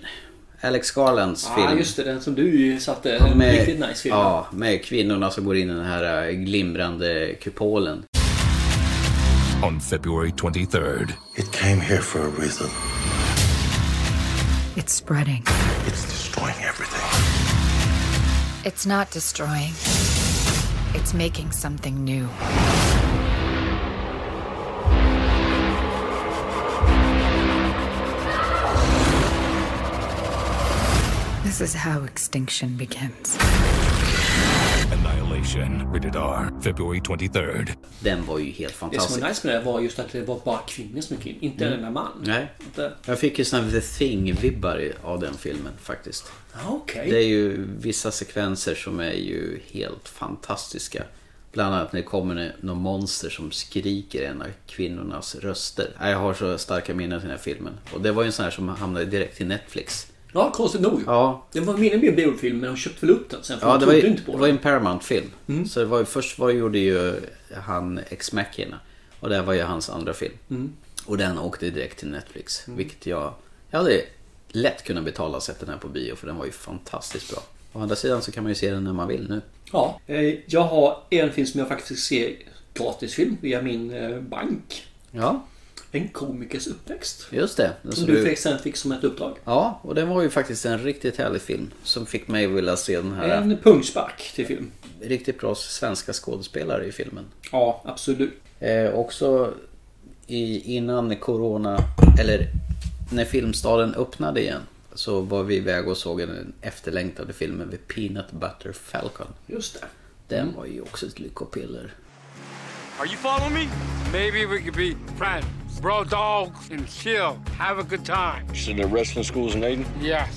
[SPEAKER 3] Alex Garlands
[SPEAKER 2] Ja,
[SPEAKER 3] film.
[SPEAKER 2] Ah, just det. Den som du ju satte. En riktigt nice film.
[SPEAKER 3] Ja, med kvinnorna som går in i den här eh, glimrande kupolen.
[SPEAKER 20] On February 23rd,
[SPEAKER 25] It came here for a reason.
[SPEAKER 26] It's spreading.
[SPEAKER 25] It's destroying everything.
[SPEAKER 26] It's not destroying. It's making something new. This is how extinction begins.
[SPEAKER 20] Annihilation. Rated R. February 23rd.
[SPEAKER 3] Den var ju helt
[SPEAKER 2] Det som
[SPEAKER 3] fantastisk.
[SPEAKER 2] var nice med det var just att det var bara kvinnor som gick in. Inte
[SPEAKER 3] Mm.
[SPEAKER 2] en enda man.
[SPEAKER 3] Nej.
[SPEAKER 2] Inte-
[SPEAKER 3] Jag fick ju såna The Thing-vibbar i- av den filmen faktiskt.
[SPEAKER 2] Ja, Okej.
[SPEAKER 3] Det är ju vissa sekvenser som är ju helt fantastiska. Bland annat när det kommer någon monster som skriker en av kvinnornas röster. Nej, Jag har så starka minnen till den här filmen. Och det var ju en sån här som hamnade direkt till Netflix.
[SPEAKER 2] Ja, konstigt nog.
[SPEAKER 3] Ja.
[SPEAKER 2] Det var mer än mer biofilm, men de köpte väl upp den sen. För
[SPEAKER 3] Ja,
[SPEAKER 2] de
[SPEAKER 3] det var,
[SPEAKER 2] trodde
[SPEAKER 3] ju,
[SPEAKER 2] ju inte på
[SPEAKER 3] det
[SPEAKER 2] den.
[SPEAKER 3] var ju en Paramount-film. Så det var ju, först var, gjorde ju han ex machina Och det här var ju hans andra film.
[SPEAKER 2] Mm.
[SPEAKER 3] Och den åkte direkt till Netflix.
[SPEAKER 2] Mm.
[SPEAKER 3] Vilket jag... Jag hade lätt kunnat betala och sett den här på bio för den var ju fantastiskt bra. Å andra sidan så kan man ju se den när man vill nu.
[SPEAKER 2] Ja, eh, jag har en film som jag faktiskt fick se gratisfilm via min eh, bank.
[SPEAKER 3] Ja,
[SPEAKER 2] En komikers uppväxt.
[SPEAKER 3] just det. Den
[SPEAKER 2] Som
[SPEAKER 3] som
[SPEAKER 2] du fick, sen fick som ett uppdrag.
[SPEAKER 3] Ja, och den var ju faktiskt en riktigt härlig film. Som fick mig att vilja se den här...
[SPEAKER 2] En pungspark till film.
[SPEAKER 3] Riktigt bra svenska skådespelare i filmen.
[SPEAKER 2] Ja, absolut.
[SPEAKER 3] Eh, också i, innan corona, eller när Filmstaden öppnade igen så var vi iväg och såg den efterlängtade filmen The Peanut Butter Falcon.
[SPEAKER 2] Just det.
[SPEAKER 3] Den var ju också ett lyckopiller.
[SPEAKER 27] Are you following me? Maybe we could be friends, bro dogs, and chill. Have a good time.
[SPEAKER 9] You said there wrestling schools in Aiden?
[SPEAKER 27] Yes.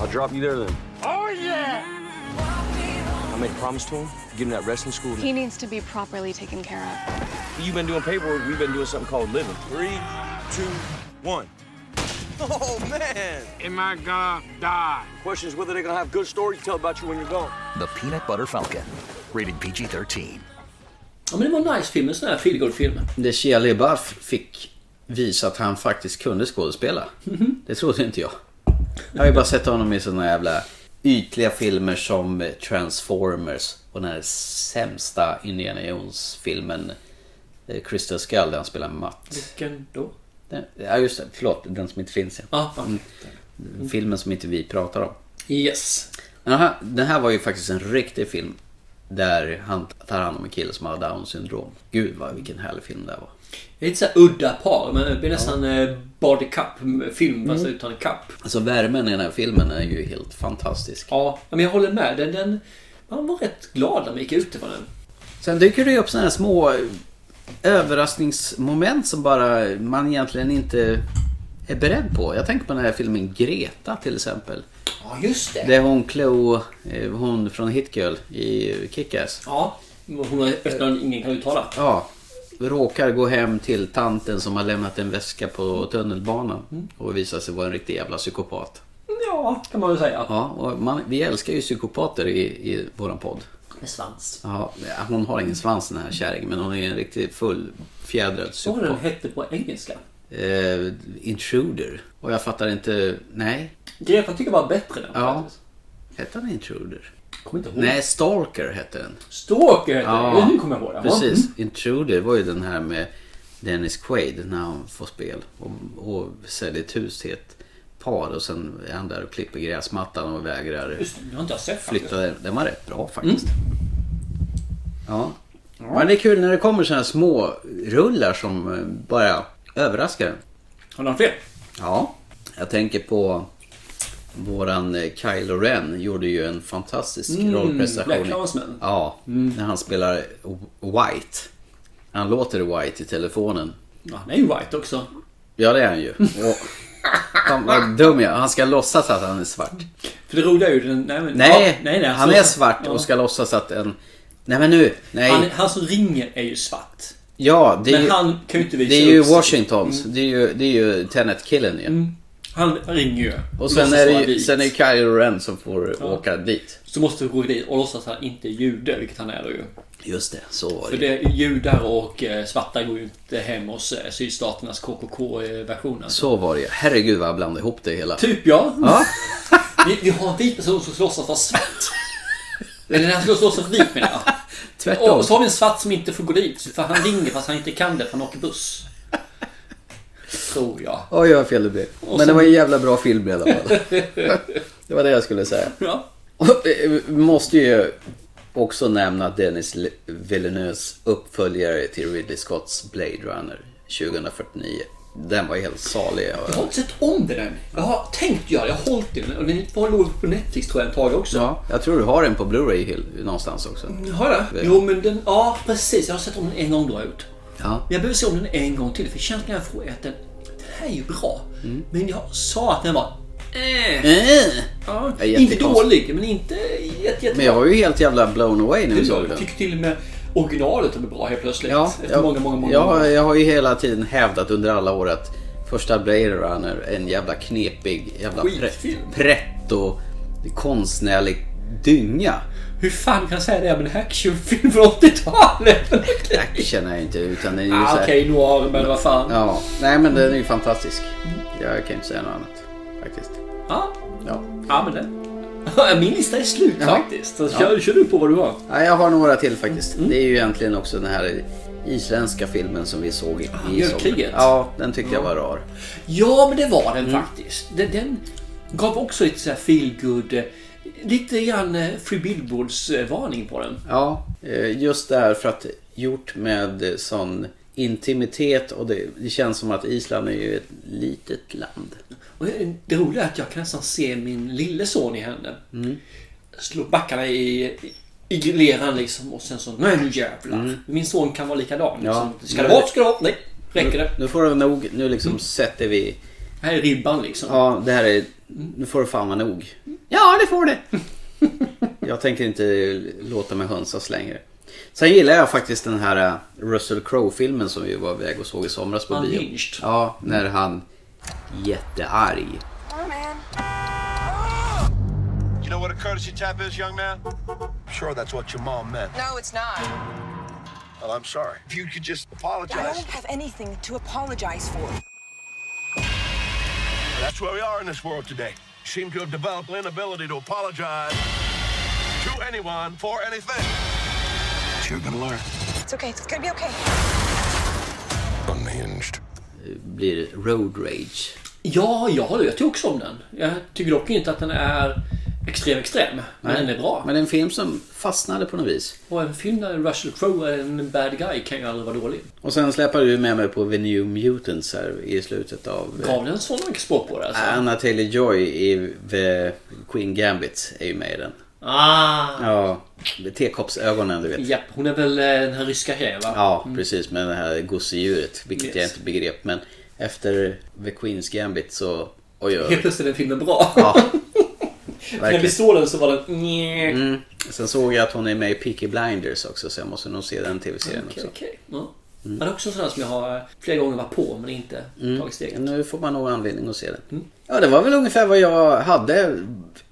[SPEAKER 9] I'll drop you there then.
[SPEAKER 27] Oh, yeah.
[SPEAKER 9] I made a promise to him. Give him that wrestling school.
[SPEAKER 28] He needs to be properly taken care of.
[SPEAKER 9] You've been doing paperwork. We've been doing something called living. Three, two, one. Oh, man.
[SPEAKER 27] Am I gonna die?
[SPEAKER 9] Question is whether they're going to have good story to tell about you when you're gone.
[SPEAKER 24] The Peanut Butter Falcon. Rated PG 13.
[SPEAKER 2] Ja, men det var en nice film. En sån här feelgood-film.
[SPEAKER 3] Där Shia LaBeouf fick visa att han faktiskt kunde skådespela.
[SPEAKER 2] Mhm.
[SPEAKER 3] Det trodde inte jag. Jag har ju bara sett honom i såna jävla ytliga filmer som eh, Transformers och den här sämsta Indiana Jones-filmen eh, Crystal Skull där han spelar Matt.
[SPEAKER 2] Vilken då?
[SPEAKER 3] Den, ja just det, förlåt. Den som inte finns. Ja.
[SPEAKER 2] Ah, fan.
[SPEAKER 3] Mm. Filmen som inte vi pratar om.
[SPEAKER 2] Yes.
[SPEAKER 3] Den här, den här var ju faktiskt en riktig film där han tar hand om en kille som har down syndrom. Gud vad vilken härlig film det här var.
[SPEAKER 2] Det är lite så här udda par, men det blir nästan eh, body cup-film fast utan en cup.
[SPEAKER 3] Alltså värmen i den här filmen är ju helt fantastisk.
[SPEAKER 2] Ja, men jag håller med. Den, den, man var rätt glad när man gick ut från den.
[SPEAKER 3] Sen dyker det ju upp sådana här små eh, överraskningsmoment som bara man egentligen inte är beredd på. Jag tänker på den här filmen Greta till exempel.
[SPEAKER 2] Ja, just det.
[SPEAKER 3] Det är hon Chloe, eh, hon från Hit Girl i Kick-Ass.
[SPEAKER 2] Ja, hon har ett namn ingen kan uttala.
[SPEAKER 3] Ja, råkar gå hem till tanten som har lämnat en väska på tunnelbanan och visar sig vara en riktig jävla psykopat.
[SPEAKER 2] Ja, kan man väl säga.
[SPEAKER 3] Ja, och man, vi älskar ju psykopater i, i våran podd.
[SPEAKER 2] Med svans.
[SPEAKER 3] Ja, hon har ingen svans den här kärringen men hon är en riktigt fullfjädrad
[SPEAKER 2] Vad var det den
[SPEAKER 3] psykopat.
[SPEAKER 2] hette på engelska?
[SPEAKER 3] Eh, intruder. Och jag fattar inte, nej.
[SPEAKER 2] Greta tycker jag var bättre den
[SPEAKER 3] Ja.
[SPEAKER 2] faktiskt.
[SPEAKER 3] Hette han Intruder?
[SPEAKER 2] Kommer inte ihåg.
[SPEAKER 3] Nej, Stalker hette den.
[SPEAKER 2] Stalker hette den. Ja, Nu kommer jag ihåg Mm. det. Ja.
[SPEAKER 3] Precis. Intruder var ju den här med Dennis Quaid när han får spel och, och säljer ett hus till ett par och sen är han där och klipper gräsmattan och vägrar
[SPEAKER 2] Just det, det har inte jag sett faktiskt.
[SPEAKER 3] flytta den. Den var rätt
[SPEAKER 2] Mm.
[SPEAKER 3] bra faktiskt. Ja. Men det är kul när det kommer sådana små rullar som eh, bara överraskar en.
[SPEAKER 2] Har du någon fler?
[SPEAKER 3] Ja, jag tänker på våran eh, Kylo Ren gjorde ju en fantastisk
[SPEAKER 2] Mm,
[SPEAKER 3] rollprestation.
[SPEAKER 2] Black Mm. Klansman.
[SPEAKER 3] Ja, när han spelar White. Han låter White i telefonen.
[SPEAKER 2] Ja, han är ju white också.
[SPEAKER 3] Ja, det är han ju. Och, fan vad dum jag är. Han ska låtsas att han är svart.
[SPEAKER 2] För det roliga är ju... Den, nej, men,
[SPEAKER 3] Nej,
[SPEAKER 2] ja, nej, nej,
[SPEAKER 3] han
[SPEAKER 2] så-
[SPEAKER 3] är svart
[SPEAKER 2] ja.
[SPEAKER 3] och ska låtsas att en... Nej men nu, nej.
[SPEAKER 2] Han, han som ringer är ju svart.
[SPEAKER 3] ja, det är
[SPEAKER 2] men
[SPEAKER 3] ju,
[SPEAKER 2] han kan ju inte visa
[SPEAKER 3] det är ju
[SPEAKER 2] upp sig. Mm.
[SPEAKER 3] Washingtons. Det är ju, det är ju Tenet-killen ju.
[SPEAKER 2] Han ringer ju.
[SPEAKER 3] Och sen
[SPEAKER 2] låtsas
[SPEAKER 3] är,
[SPEAKER 2] vara
[SPEAKER 3] det ju,
[SPEAKER 2] vit.
[SPEAKER 3] sen är det Kylo Ren som får åka dit.
[SPEAKER 2] Så måste vi gå dit och låtsas att han inte är jude, vilket han är då ju.
[SPEAKER 3] Just det, så var
[SPEAKER 2] För
[SPEAKER 3] det.
[SPEAKER 2] det är judar och eh, svarta går ju inte hem hos eh, sydstaternas KKK-version. Alltså.
[SPEAKER 3] Så var det ju. Herregud vad jag blandade ihop det hela.
[SPEAKER 2] Typ ja.
[SPEAKER 3] Ja.
[SPEAKER 2] Vi, vi har en vit person som slåss att vara svart. Eller den här slåss låtsas vit menar jag.
[SPEAKER 3] Tvärtom.
[SPEAKER 2] Och så har vi en svart som inte får gå dit. För han ringer fast han inte kan det för han åker buss. Tror jag.
[SPEAKER 3] Oj, vad fel det blev. Men
[SPEAKER 2] sen-
[SPEAKER 3] det var en jävla bra film i alla fall. det var det jag skulle säga.
[SPEAKER 2] Ja.
[SPEAKER 3] Och, eh, vi måste ju också nämna Dennis Le- Villeneuves uppföljare till Ridley Scotts Blade Runner 2049. Den var helt salig.
[SPEAKER 2] Jag har inte sett om den än. Jag har tänkt göra det. Jag har hållit i den. Och den var låg på Netflix tror jag ett tag också.
[SPEAKER 3] Ja, jag tror du har den på Blu-ray Hill någonstans också.
[SPEAKER 2] Har jag? Jo men den, ja precis. Jag har sett om den en gång då har jag gjort.
[SPEAKER 3] Ja.
[SPEAKER 2] Men jag behöver se om den en gång till för känslan jag får är att den, den här är ju bra.
[SPEAKER 3] Mm.
[SPEAKER 2] Men jag sa att den var eh,
[SPEAKER 3] Eh.
[SPEAKER 2] ja, Inte
[SPEAKER 3] är jättekonstigt.
[SPEAKER 2] dålig men inte jätte, jätte
[SPEAKER 3] Men jag var ju helt jävla blown away när vi såg
[SPEAKER 2] Jag
[SPEAKER 3] den.
[SPEAKER 2] tycker till och med originalet är bra helt plötsligt. Efter
[SPEAKER 3] jag,
[SPEAKER 2] många, många, många
[SPEAKER 3] ja,
[SPEAKER 2] år.
[SPEAKER 3] jag har ju hela tiden hävdat under alla år att första Blade Runner är en jävla knepig jävla pre-
[SPEAKER 2] Skitfilm.
[SPEAKER 3] pretto konstnärlig dynga.
[SPEAKER 2] Hur fan kan jag säga det om en actionfilm från 80-talet?
[SPEAKER 3] Action är ju inte utan den är ju så
[SPEAKER 2] ah,
[SPEAKER 3] här,
[SPEAKER 2] Okej, noir, men vad fan.
[SPEAKER 3] Ja, nej men den är ju fantastisk. Jag kan inte säga något annat faktiskt.
[SPEAKER 2] Ja,
[SPEAKER 3] Ja.
[SPEAKER 2] ja men det. Min lista är slut
[SPEAKER 3] Jaha.
[SPEAKER 2] faktiskt. Så
[SPEAKER 3] Ja.
[SPEAKER 2] kör, kör du på vad du har.
[SPEAKER 3] Nej, jag har några till faktiskt. Det är ju egentligen också den här isländska filmen som vi såg i i
[SPEAKER 2] Mjölkkriget.
[SPEAKER 3] Ja, den tyckte jag var rar.
[SPEAKER 2] Ja, men det var den faktiskt. Den, den gav också lite så här feel good, eh, Lite grann eh, Free Billboards-varning på den.
[SPEAKER 3] Ja, eh, just det här för att gjort med eh, sån intimitet och det, det känns som att Island är ju ett litet land.
[SPEAKER 2] Och det- det roliga är att jag kan nästan se min lille son i henne. Slå backarna i, i- i leran liksom och sen så nej nu jävlar. Min son kan vara likadan.
[SPEAKER 3] Ja.
[SPEAKER 2] Liksom. Ska det vara? Ska det vara? Nej, räcker det.
[SPEAKER 3] Nu får du nog, nu liksom sätter vi,
[SPEAKER 2] Här är ribban liksom.
[SPEAKER 3] ja det här är, nu får du fan vara nog.
[SPEAKER 2] Ja, det får det.
[SPEAKER 3] Jag tänker inte låta mig hönsas längre. Sen gillar jag faktiskt den här eh, Russell Crowe-filmen som vi var iväg och såg i somras på bio.
[SPEAKER 2] Unhinged.
[SPEAKER 3] Ja, när han jättearg.
[SPEAKER 5] You know what a courtesy tap is, young man? I'm sure that's what your mom meant.
[SPEAKER 14] No, it's not.
[SPEAKER 5] Well, I'm sorry. If you could just
[SPEAKER 9] Oh,
[SPEAKER 14] I
[SPEAKER 5] apologize.
[SPEAKER 14] don't have anything to apologize for.
[SPEAKER 5] That's where we are in this world today. You seem to have developed an inability to apologize to anyone for anything. But you're gonna learn.
[SPEAKER 14] It's okay. It's gonna be okay.
[SPEAKER 25] unhinged.
[SPEAKER 3] Blir road rage.
[SPEAKER 2] Ja, ja, jag tycker också om den. Jag tycker dock inte att den är extrem extrem. Men
[SPEAKER 3] Nej,
[SPEAKER 2] den är bra.
[SPEAKER 3] Men det är en film som fastnade på något vis.
[SPEAKER 2] Och en film där Russell Crowe är en bad guy kan ju aldrig vara dålig.
[SPEAKER 3] Och sen släpar du med mig på The New Mutants här i slutet av... eh,
[SPEAKER 2] Gav den så mycket spår på det alltså?
[SPEAKER 3] Anna Taylor-Joy i The Queen Gambit är ju med i den.
[SPEAKER 2] Ah!
[SPEAKER 3] Ja, med tekoppsögonen du vet.
[SPEAKER 2] Japp, hon är väl eh, den här ryska tjejen va?
[SPEAKER 3] Ja,
[SPEAKER 2] Mm.
[SPEAKER 3] precis med det här gosedjuret. Vilket jag
[SPEAKER 2] Yes.
[SPEAKER 3] inte begrep. Men efter The Queens Gambit så... Oj, oj,
[SPEAKER 2] Helt
[SPEAKER 3] oj.
[SPEAKER 2] plötsligt är den filmen bra.
[SPEAKER 3] Ja,
[SPEAKER 2] När vi
[SPEAKER 3] verkligen.
[SPEAKER 2] såg den så var den... Nja.
[SPEAKER 3] Mm. Sen såg jag att hon är med i Peaky Blinders också så jag måste nog se den tv-serien
[SPEAKER 2] Okej,
[SPEAKER 3] också.
[SPEAKER 2] okej. Ja.
[SPEAKER 3] Mm.
[SPEAKER 2] Men det är också en sån där som jag har eh, flera gånger varit på men inte tagit steget.
[SPEAKER 3] Nu får man nog anledning att se den.
[SPEAKER 2] Mm.
[SPEAKER 3] Ja, det var väl ungefär vad jag hade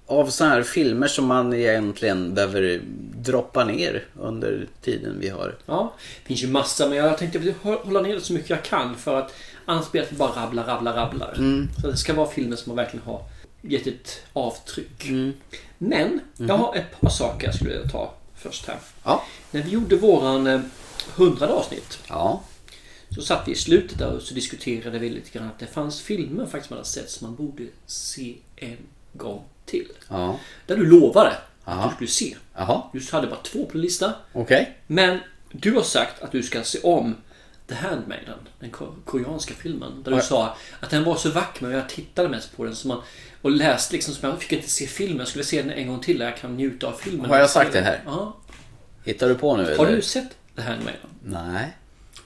[SPEAKER 3] av sådana här filmer som man egentligen behöver droppa ner under tiden vi har.
[SPEAKER 2] Ja, det finns ju massa men jag tänkte hå- hålla ner det så mycket jag kan för att annars blir det att vi bara rabblar, rabblar, rabblar.
[SPEAKER 3] Mm.
[SPEAKER 2] Så det ska vara filmer som man verkligen har gett ett avtryck.
[SPEAKER 3] Mm.
[SPEAKER 2] Men jag har ett par saker jag skulle vilja ta först här.
[SPEAKER 3] Mhm. Ja.
[SPEAKER 2] När vi gjorde våran eh, hundrade avsnitt
[SPEAKER 3] Ja.
[SPEAKER 2] så satt vi i slutet där och så diskuterade vi lite grann att det fanns filmer faktiskt man hade sett som man borde se en gång till.
[SPEAKER 3] Ja.
[SPEAKER 2] Där du lovade
[SPEAKER 3] Aha.
[SPEAKER 2] att du skulle se.
[SPEAKER 3] Jaha.
[SPEAKER 2] Du hade bara två på din lista.
[SPEAKER 3] Okej.
[SPEAKER 2] Men du har sagt att du ska se om The Handmaiden, den ko- koreanska filmen. Där du
[SPEAKER 3] Ja.
[SPEAKER 2] sa att den var så vacker men jag tittade mest på den som man, och läste liksom som jag fick inte se filmen. Jag skulle se den en gång till där jag kan njuta av filmen.
[SPEAKER 3] Har jag sagt det här?
[SPEAKER 2] Ja.
[SPEAKER 3] Hittar du på nu eller?
[SPEAKER 2] Har du sett The Handmaiden?
[SPEAKER 3] Nej.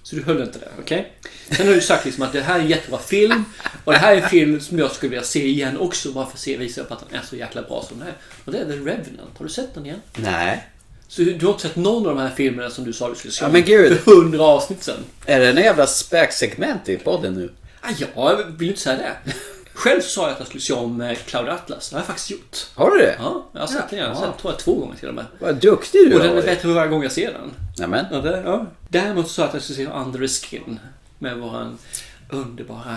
[SPEAKER 2] Så du höll inte det, okej? Sen har du sagt liksom att det här är en jättebra film och det här är en film som jag skulle vilja se igen också bara för att se, visa upp att den är så jäkla bra som den är. Och det är The Revenant. Har du sett den igen?
[SPEAKER 3] Nej.
[SPEAKER 2] Så du har inte sett någon av de här filmerna som du sa du skulle se
[SPEAKER 3] Ja,
[SPEAKER 2] om
[SPEAKER 3] men gud.
[SPEAKER 2] för hundra avsnitt sen?
[SPEAKER 3] Är det en jävla späksegment i podden nu?
[SPEAKER 2] Ah, ja, jag vill inte säga det. Själv sa jag att jag skulle se om eh, Cloud Atlas. Det har jag faktiskt gjort.
[SPEAKER 3] Har du det?
[SPEAKER 2] Ja, jag har sett den igen. Jag har sett
[SPEAKER 3] Ja.
[SPEAKER 2] den tror jag två gånger till och med.
[SPEAKER 3] Vad duktig du
[SPEAKER 2] Och den
[SPEAKER 3] har
[SPEAKER 2] är
[SPEAKER 3] varit.
[SPEAKER 2] bättre varje gång jag ser den.
[SPEAKER 3] Nämen.
[SPEAKER 2] Ja, det, ja. Däremot så sa jag att jag skulle se Under the Skin med våran underbara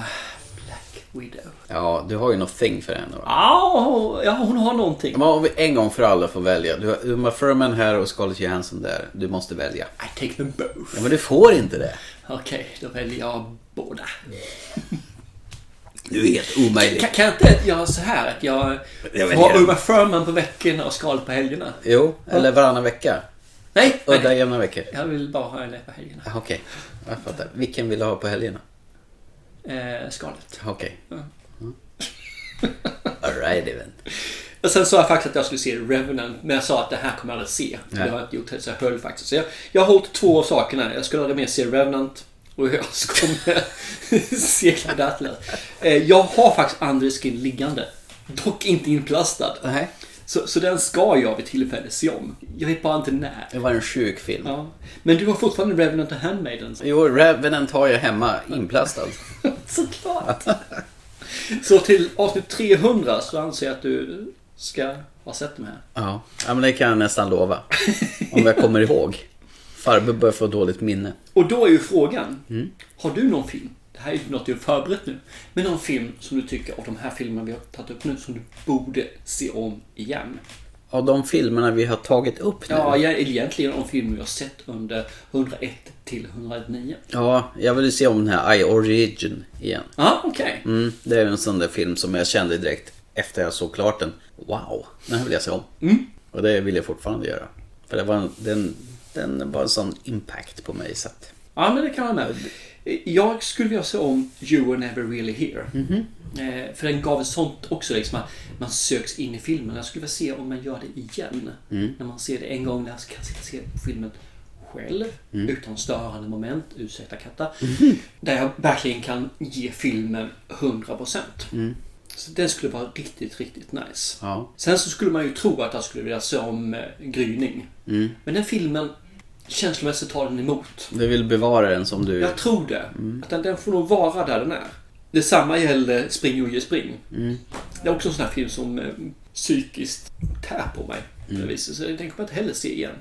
[SPEAKER 2] Black Widow.
[SPEAKER 3] Ja, du har ju något thing för henne va?
[SPEAKER 2] Ja, ja, hon har någonting.
[SPEAKER 3] Men om vi en gång för alla får välja. Du har Uma Thurman här och Scarlett Johansson där. Du måste välja.
[SPEAKER 2] I take them both.
[SPEAKER 3] Ja, men du får inte det.
[SPEAKER 2] Okej, då väljer jag båda.
[SPEAKER 3] Du är helt omöjlig.
[SPEAKER 2] Kan, kan jag inte göra så här att jag,
[SPEAKER 3] Jag väljer
[SPEAKER 2] har
[SPEAKER 3] den.
[SPEAKER 2] Uma Thurman på veckorna och Scarlett på helgerna?
[SPEAKER 3] Jo, eller varannan vecka.
[SPEAKER 2] Nej,
[SPEAKER 3] Udda
[SPEAKER 2] nej.
[SPEAKER 3] jämna veckor.
[SPEAKER 2] Jag vill bara ha henne på helgerna.
[SPEAKER 3] Ah, Okej, jag fattar. Vilken vill du ha på helgerna?
[SPEAKER 2] Eh, Scarlett.
[SPEAKER 3] Okej. Mm.
[SPEAKER 2] Ja.
[SPEAKER 3] Alright even.
[SPEAKER 2] Och sen sa jag faktiskt att jag skulle se Revenant, men jag sa att det här kommer jag aldrig se. För
[SPEAKER 3] Nej.
[SPEAKER 2] Det har jag inte gjort, så jag höll faktiskt. Så jag, jag har hållit två av sakerna. Jag skulle aldrig mer se Revenant och jag skulle se Cloud Atlas. Eh, Jag har faktiskt Andres skin liggande. Dock inte inplastad. Så, så den ska jag vid tillfälle se om. Jag vet bara inte när.
[SPEAKER 3] Det var en sjuk film.
[SPEAKER 2] Ja. Men du har fortfarande Revenant och Handmaiden.
[SPEAKER 3] Jo, Revenant har jag hemma inplastad.
[SPEAKER 2] Såklart. Så till avsnitt 300 så anser jag att du ska ha sett dem här.
[SPEAKER 3] Ja. ja, men det kan jag nästan lova. Om jag kommer ihåg. Farbror börjar få dåligt minne.
[SPEAKER 2] Och då är ju frågan. Har du någon film? Det här är ju något du har förberett nu. Men någon film som du tycker av de här filmerna vi har tagit upp nu som du borde se om igen?
[SPEAKER 3] Av de filmerna vi har tagit upp nu.
[SPEAKER 2] Ja, ja egentligen de filmer vi har sett under 101 till 109.
[SPEAKER 3] Ja, jag vill ju se om den här I Origin igen.
[SPEAKER 2] Ja, ah, okej.
[SPEAKER 3] Mm, det är en sån där film som jag kände direkt efter jag såg klart den. Wow, den här vill jag se om. Och det vill jag fortfarande göra. För det var en, den, den var en sån impact på mig. Så att,
[SPEAKER 2] Ja, men det kan vara med. Jag skulle vilja se om You Were Never Really Here.
[SPEAKER 3] Mhm.
[SPEAKER 2] Eh, För den gav ett sånt också, liksom att man söks in i filmen. Jag skulle vilja se om man gör det igen.
[SPEAKER 3] Mm.
[SPEAKER 2] När man ser det en gång, när jag kan sitta och se filmen själv,
[SPEAKER 3] Mm. Mhm.
[SPEAKER 2] utan störande moment, ursäkta katta. Där jag verkligen kan ge filmen 100%.
[SPEAKER 3] Mm.
[SPEAKER 2] Så den skulle vara riktigt, riktigt nice.
[SPEAKER 3] ja.
[SPEAKER 2] Sen så skulle man ju tro att jag skulle vilja se om eh, Gryning.
[SPEAKER 3] Mm.
[SPEAKER 2] Men den filmen, känslomässigt tar den emot.
[SPEAKER 3] Du vill bevara den som du...
[SPEAKER 2] Jag tror det. Att den, den får nog vara där den är. Detsamma gäller Spring Oje Spring.
[SPEAKER 3] Mm.
[SPEAKER 2] Det är också en sån här film som eh, psykiskt tär på mig. på det viset. Så den kommer jag inte heller se igen.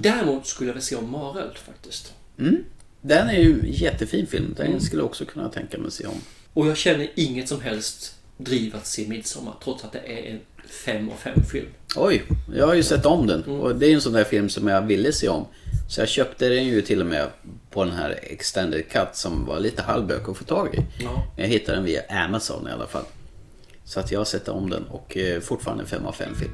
[SPEAKER 2] Däremot skulle jag vilja se om Mareld faktiskt.
[SPEAKER 3] Mm. Den är ju en jättefin film. Den skulle jag också kunna tänka mig att se om.
[SPEAKER 2] Och jag känner inget som helst driv att se Midsommar trots att det är en 5 av 5 film.
[SPEAKER 3] Oj, Mm. jag har ju sett om den. Och det är ju en sån där film som jag ville se om. Så jag köpte den ju till och med på den här extended cut som var lite halvbök att få tag i.
[SPEAKER 2] Ja.
[SPEAKER 3] Men jag hittade den via Amazon i alla fall. Så att jag har sett om den och eh, fortfarande en 5 av 5 film.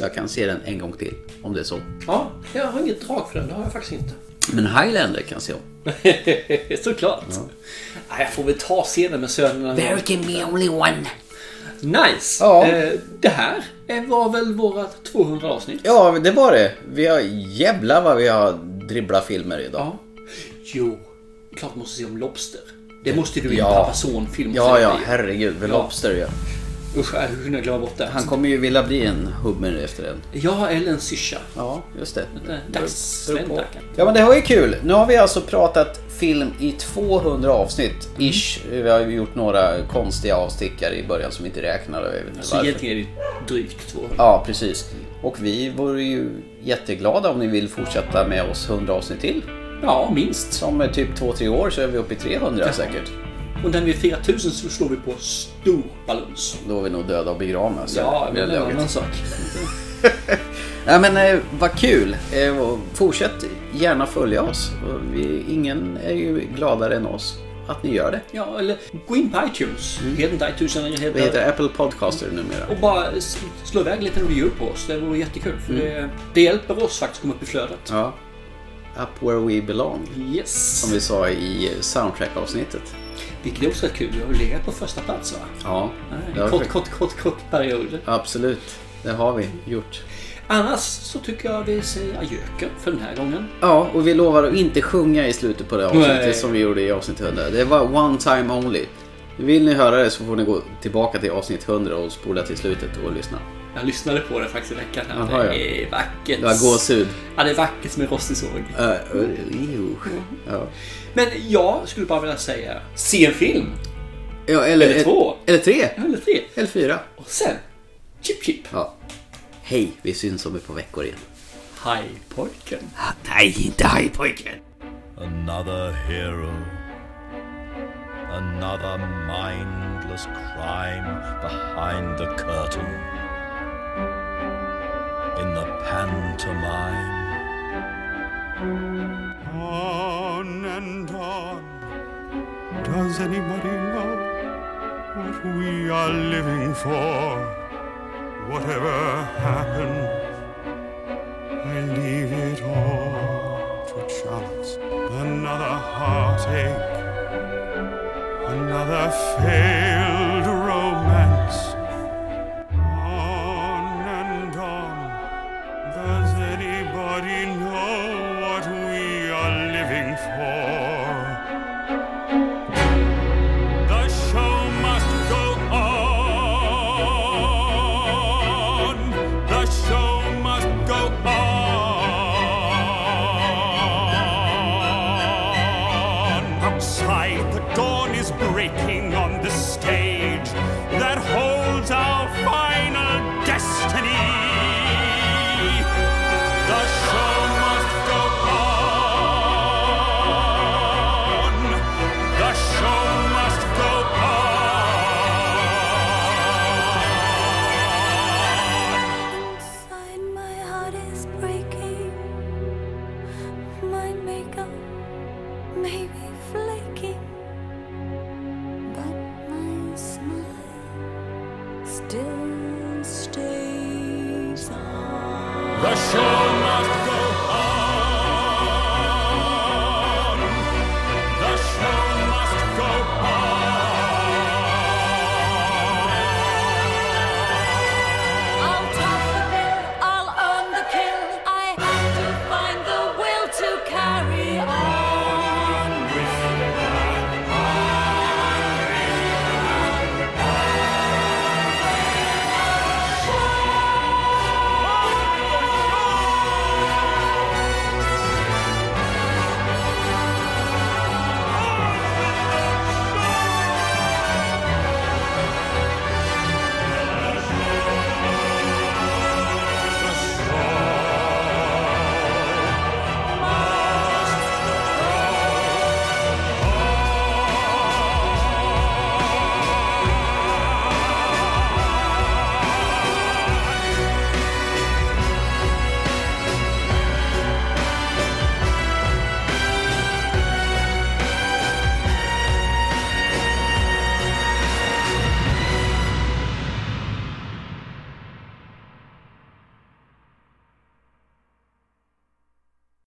[SPEAKER 3] Jag kan se den en gång till om det är så.
[SPEAKER 2] Ja, jag har inget drag för den. Det har jag faktiskt inte.
[SPEAKER 3] Men Highlander kan jag se om.
[SPEAKER 2] Såklart. Nej, jag får väl ta scenen med sönerna.
[SPEAKER 3] There can be only one.
[SPEAKER 2] Nice!
[SPEAKER 3] Ja.
[SPEAKER 2] Eh, det här eh, var väl våra 200 avsnitt?
[SPEAKER 3] Ja, det var det. Vi har jävla vad vi har dribblat filmer idag.
[SPEAKER 2] Jo, klart måste se om Lobster. Det måste du ju
[SPEAKER 3] Ja.
[SPEAKER 2] ja. pappa son-film.
[SPEAKER 3] Ja, ja, herregud. The Lobster ja.
[SPEAKER 2] Usch, jag hade kunnat glömma bort det.
[SPEAKER 3] Han kommer ju vilja bli en hummer efter den.
[SPEAKER 2] Ja, eller en syrsa.
[SPEAKER 3] Ja, just det.
[SPEAKER 2] Dagssvenn
[SPEAKER 3] Beror på.
[SPEAKER 2] Eh, tackar.
[SPEAKER 3] Ja men det var ju kul. Nu har vi alltså pratat film i 200 avsnitt
[SPEAKER 2] Mm.
[SPEAKER 3] ish. Vi har ju gjort några konstiga avstickare i början som vi inte räknade. Jag vet inte
[SPEAKER 2] Så
[SPEAKER 3] varför.
[SPEAKER 2] egentligen är det drygt 200.
[SPEAKER 3] Ja precis. Och vi vore ju jätteglada om ni vill fortsätta med oss 100 avsnitt till.
[SPEAKER 2] Ja, minst.
[SPEAKER 3] Om eh, typ 2-3 år så är vi uppe i 300 säkert.
[SPEAKER 2] Och när vi är 4000 så slår vi på stor balans.
[SPEAKER 3] Då är vi nog döda och begravna. så
[SPEAKER 2] Ja,
[SPEAKER 3] vid
[SPEAKER 2] men
[SPEAKER 3] det
[SPEAKER 2] det är en
[SPEAKER 3] laget.
[SPEAKER 2] annan sak.
[SPEAKER 3] Ja, men eh, vad kul! Eh, och fortsätt gärna följa oss. Och Vi, ingen är ju gladare än oss att ni gör det.
[SPEAKER 2] Ja, eller gå in på iTunes.
[SPEAKER 3] Mm.
[SPEAKER 2] Heter inte iTunes, utan heter...
[SPEAKER 3] Vi heter Apple Podcaster numera.
[SPEAKER 2] Och bara s- slå iväg lite review på oss. Det vore jättekul. För det,
[SPEAKER 3] Mm.
[SPEAKER 2] det hjälper oss faktiskt att komma upp i flödet.
[SPEAKER 3] Ja. Up where we belong,
[SPEAKER 2] Yes.
[SPEAKER 3] som vi sa i soundtrack-avsnittet.
[SPEAKER 2] Vilket är också rätt kul. Vi har ju legat på första plats va?
[SPEAKER 3] Ja, det
[SPEAKER 2] Nej,
[SPEAKER 3] har
[SPEAKER 2] kort,
[SPEAKER 3] vi-
[SPEAKER 2] kort, kort, kort period.
[SPEAKER 3] absolut. Det har vi gjort.
[SPEAKER 2] Annars så tycker jag vi säger adjöken för den här gången.
[SPEAKER 3] Ja, och vi lovar att inte sjunga i slutet på det avsnittet
[SPEAKER 2] Nej.
[SPEAKER 3] som vi gjorde i avsnitt 100. Det var one time only. Vill ni höra det så får ni gå tillbaka till avsnitt 100 och spola till slutet och lyssna.
[SPEAKER 2] Jag lyssnade på det faktiskt i veckan. Här.
[SPEAKER 3] Jaha, ja.
[SPEAKER 2] Det är vackert.
[SPEAKER 3] Det var gåshud.
[SPEAKER 2] Ja, det är vackert som en rostig såg.
[SPEAKER 3] Uh, uh,
[SPEAKER 2] Mm.
[SPEAKER 3] ja.
[SPEAKER 2] Men jag skulle bara vilja säga, se en film.
[SPEAKER 3] Ja, eller,
[SPEAKER 2] Eller två.
[SPEAKER 3] Eller tre.
[SPEAKER 2] Eller tre.
[SPEAKER 3] Eller fyra.
[SPEAKER 2] Och sen, chip chip.
[SPEAKER 3] Ja. Hej, vi syns om ett par veckor igen.
[SPEAKER 2] Hajpojken.
[SPEAKER 3] Nej, inte hej pojken.
[SPEAKER 1] Another hero. Another mindless crime behind the curtain. In the pantomime.
[SPEAKER 15] On and on. Does anybody know what we are living for? Whatever happened, I leave it all to chance. Another heartache, another failed romance. On and on. Does anybody know what we are living for? The show must go on. The show must go on. Outside, the dawn is breaking.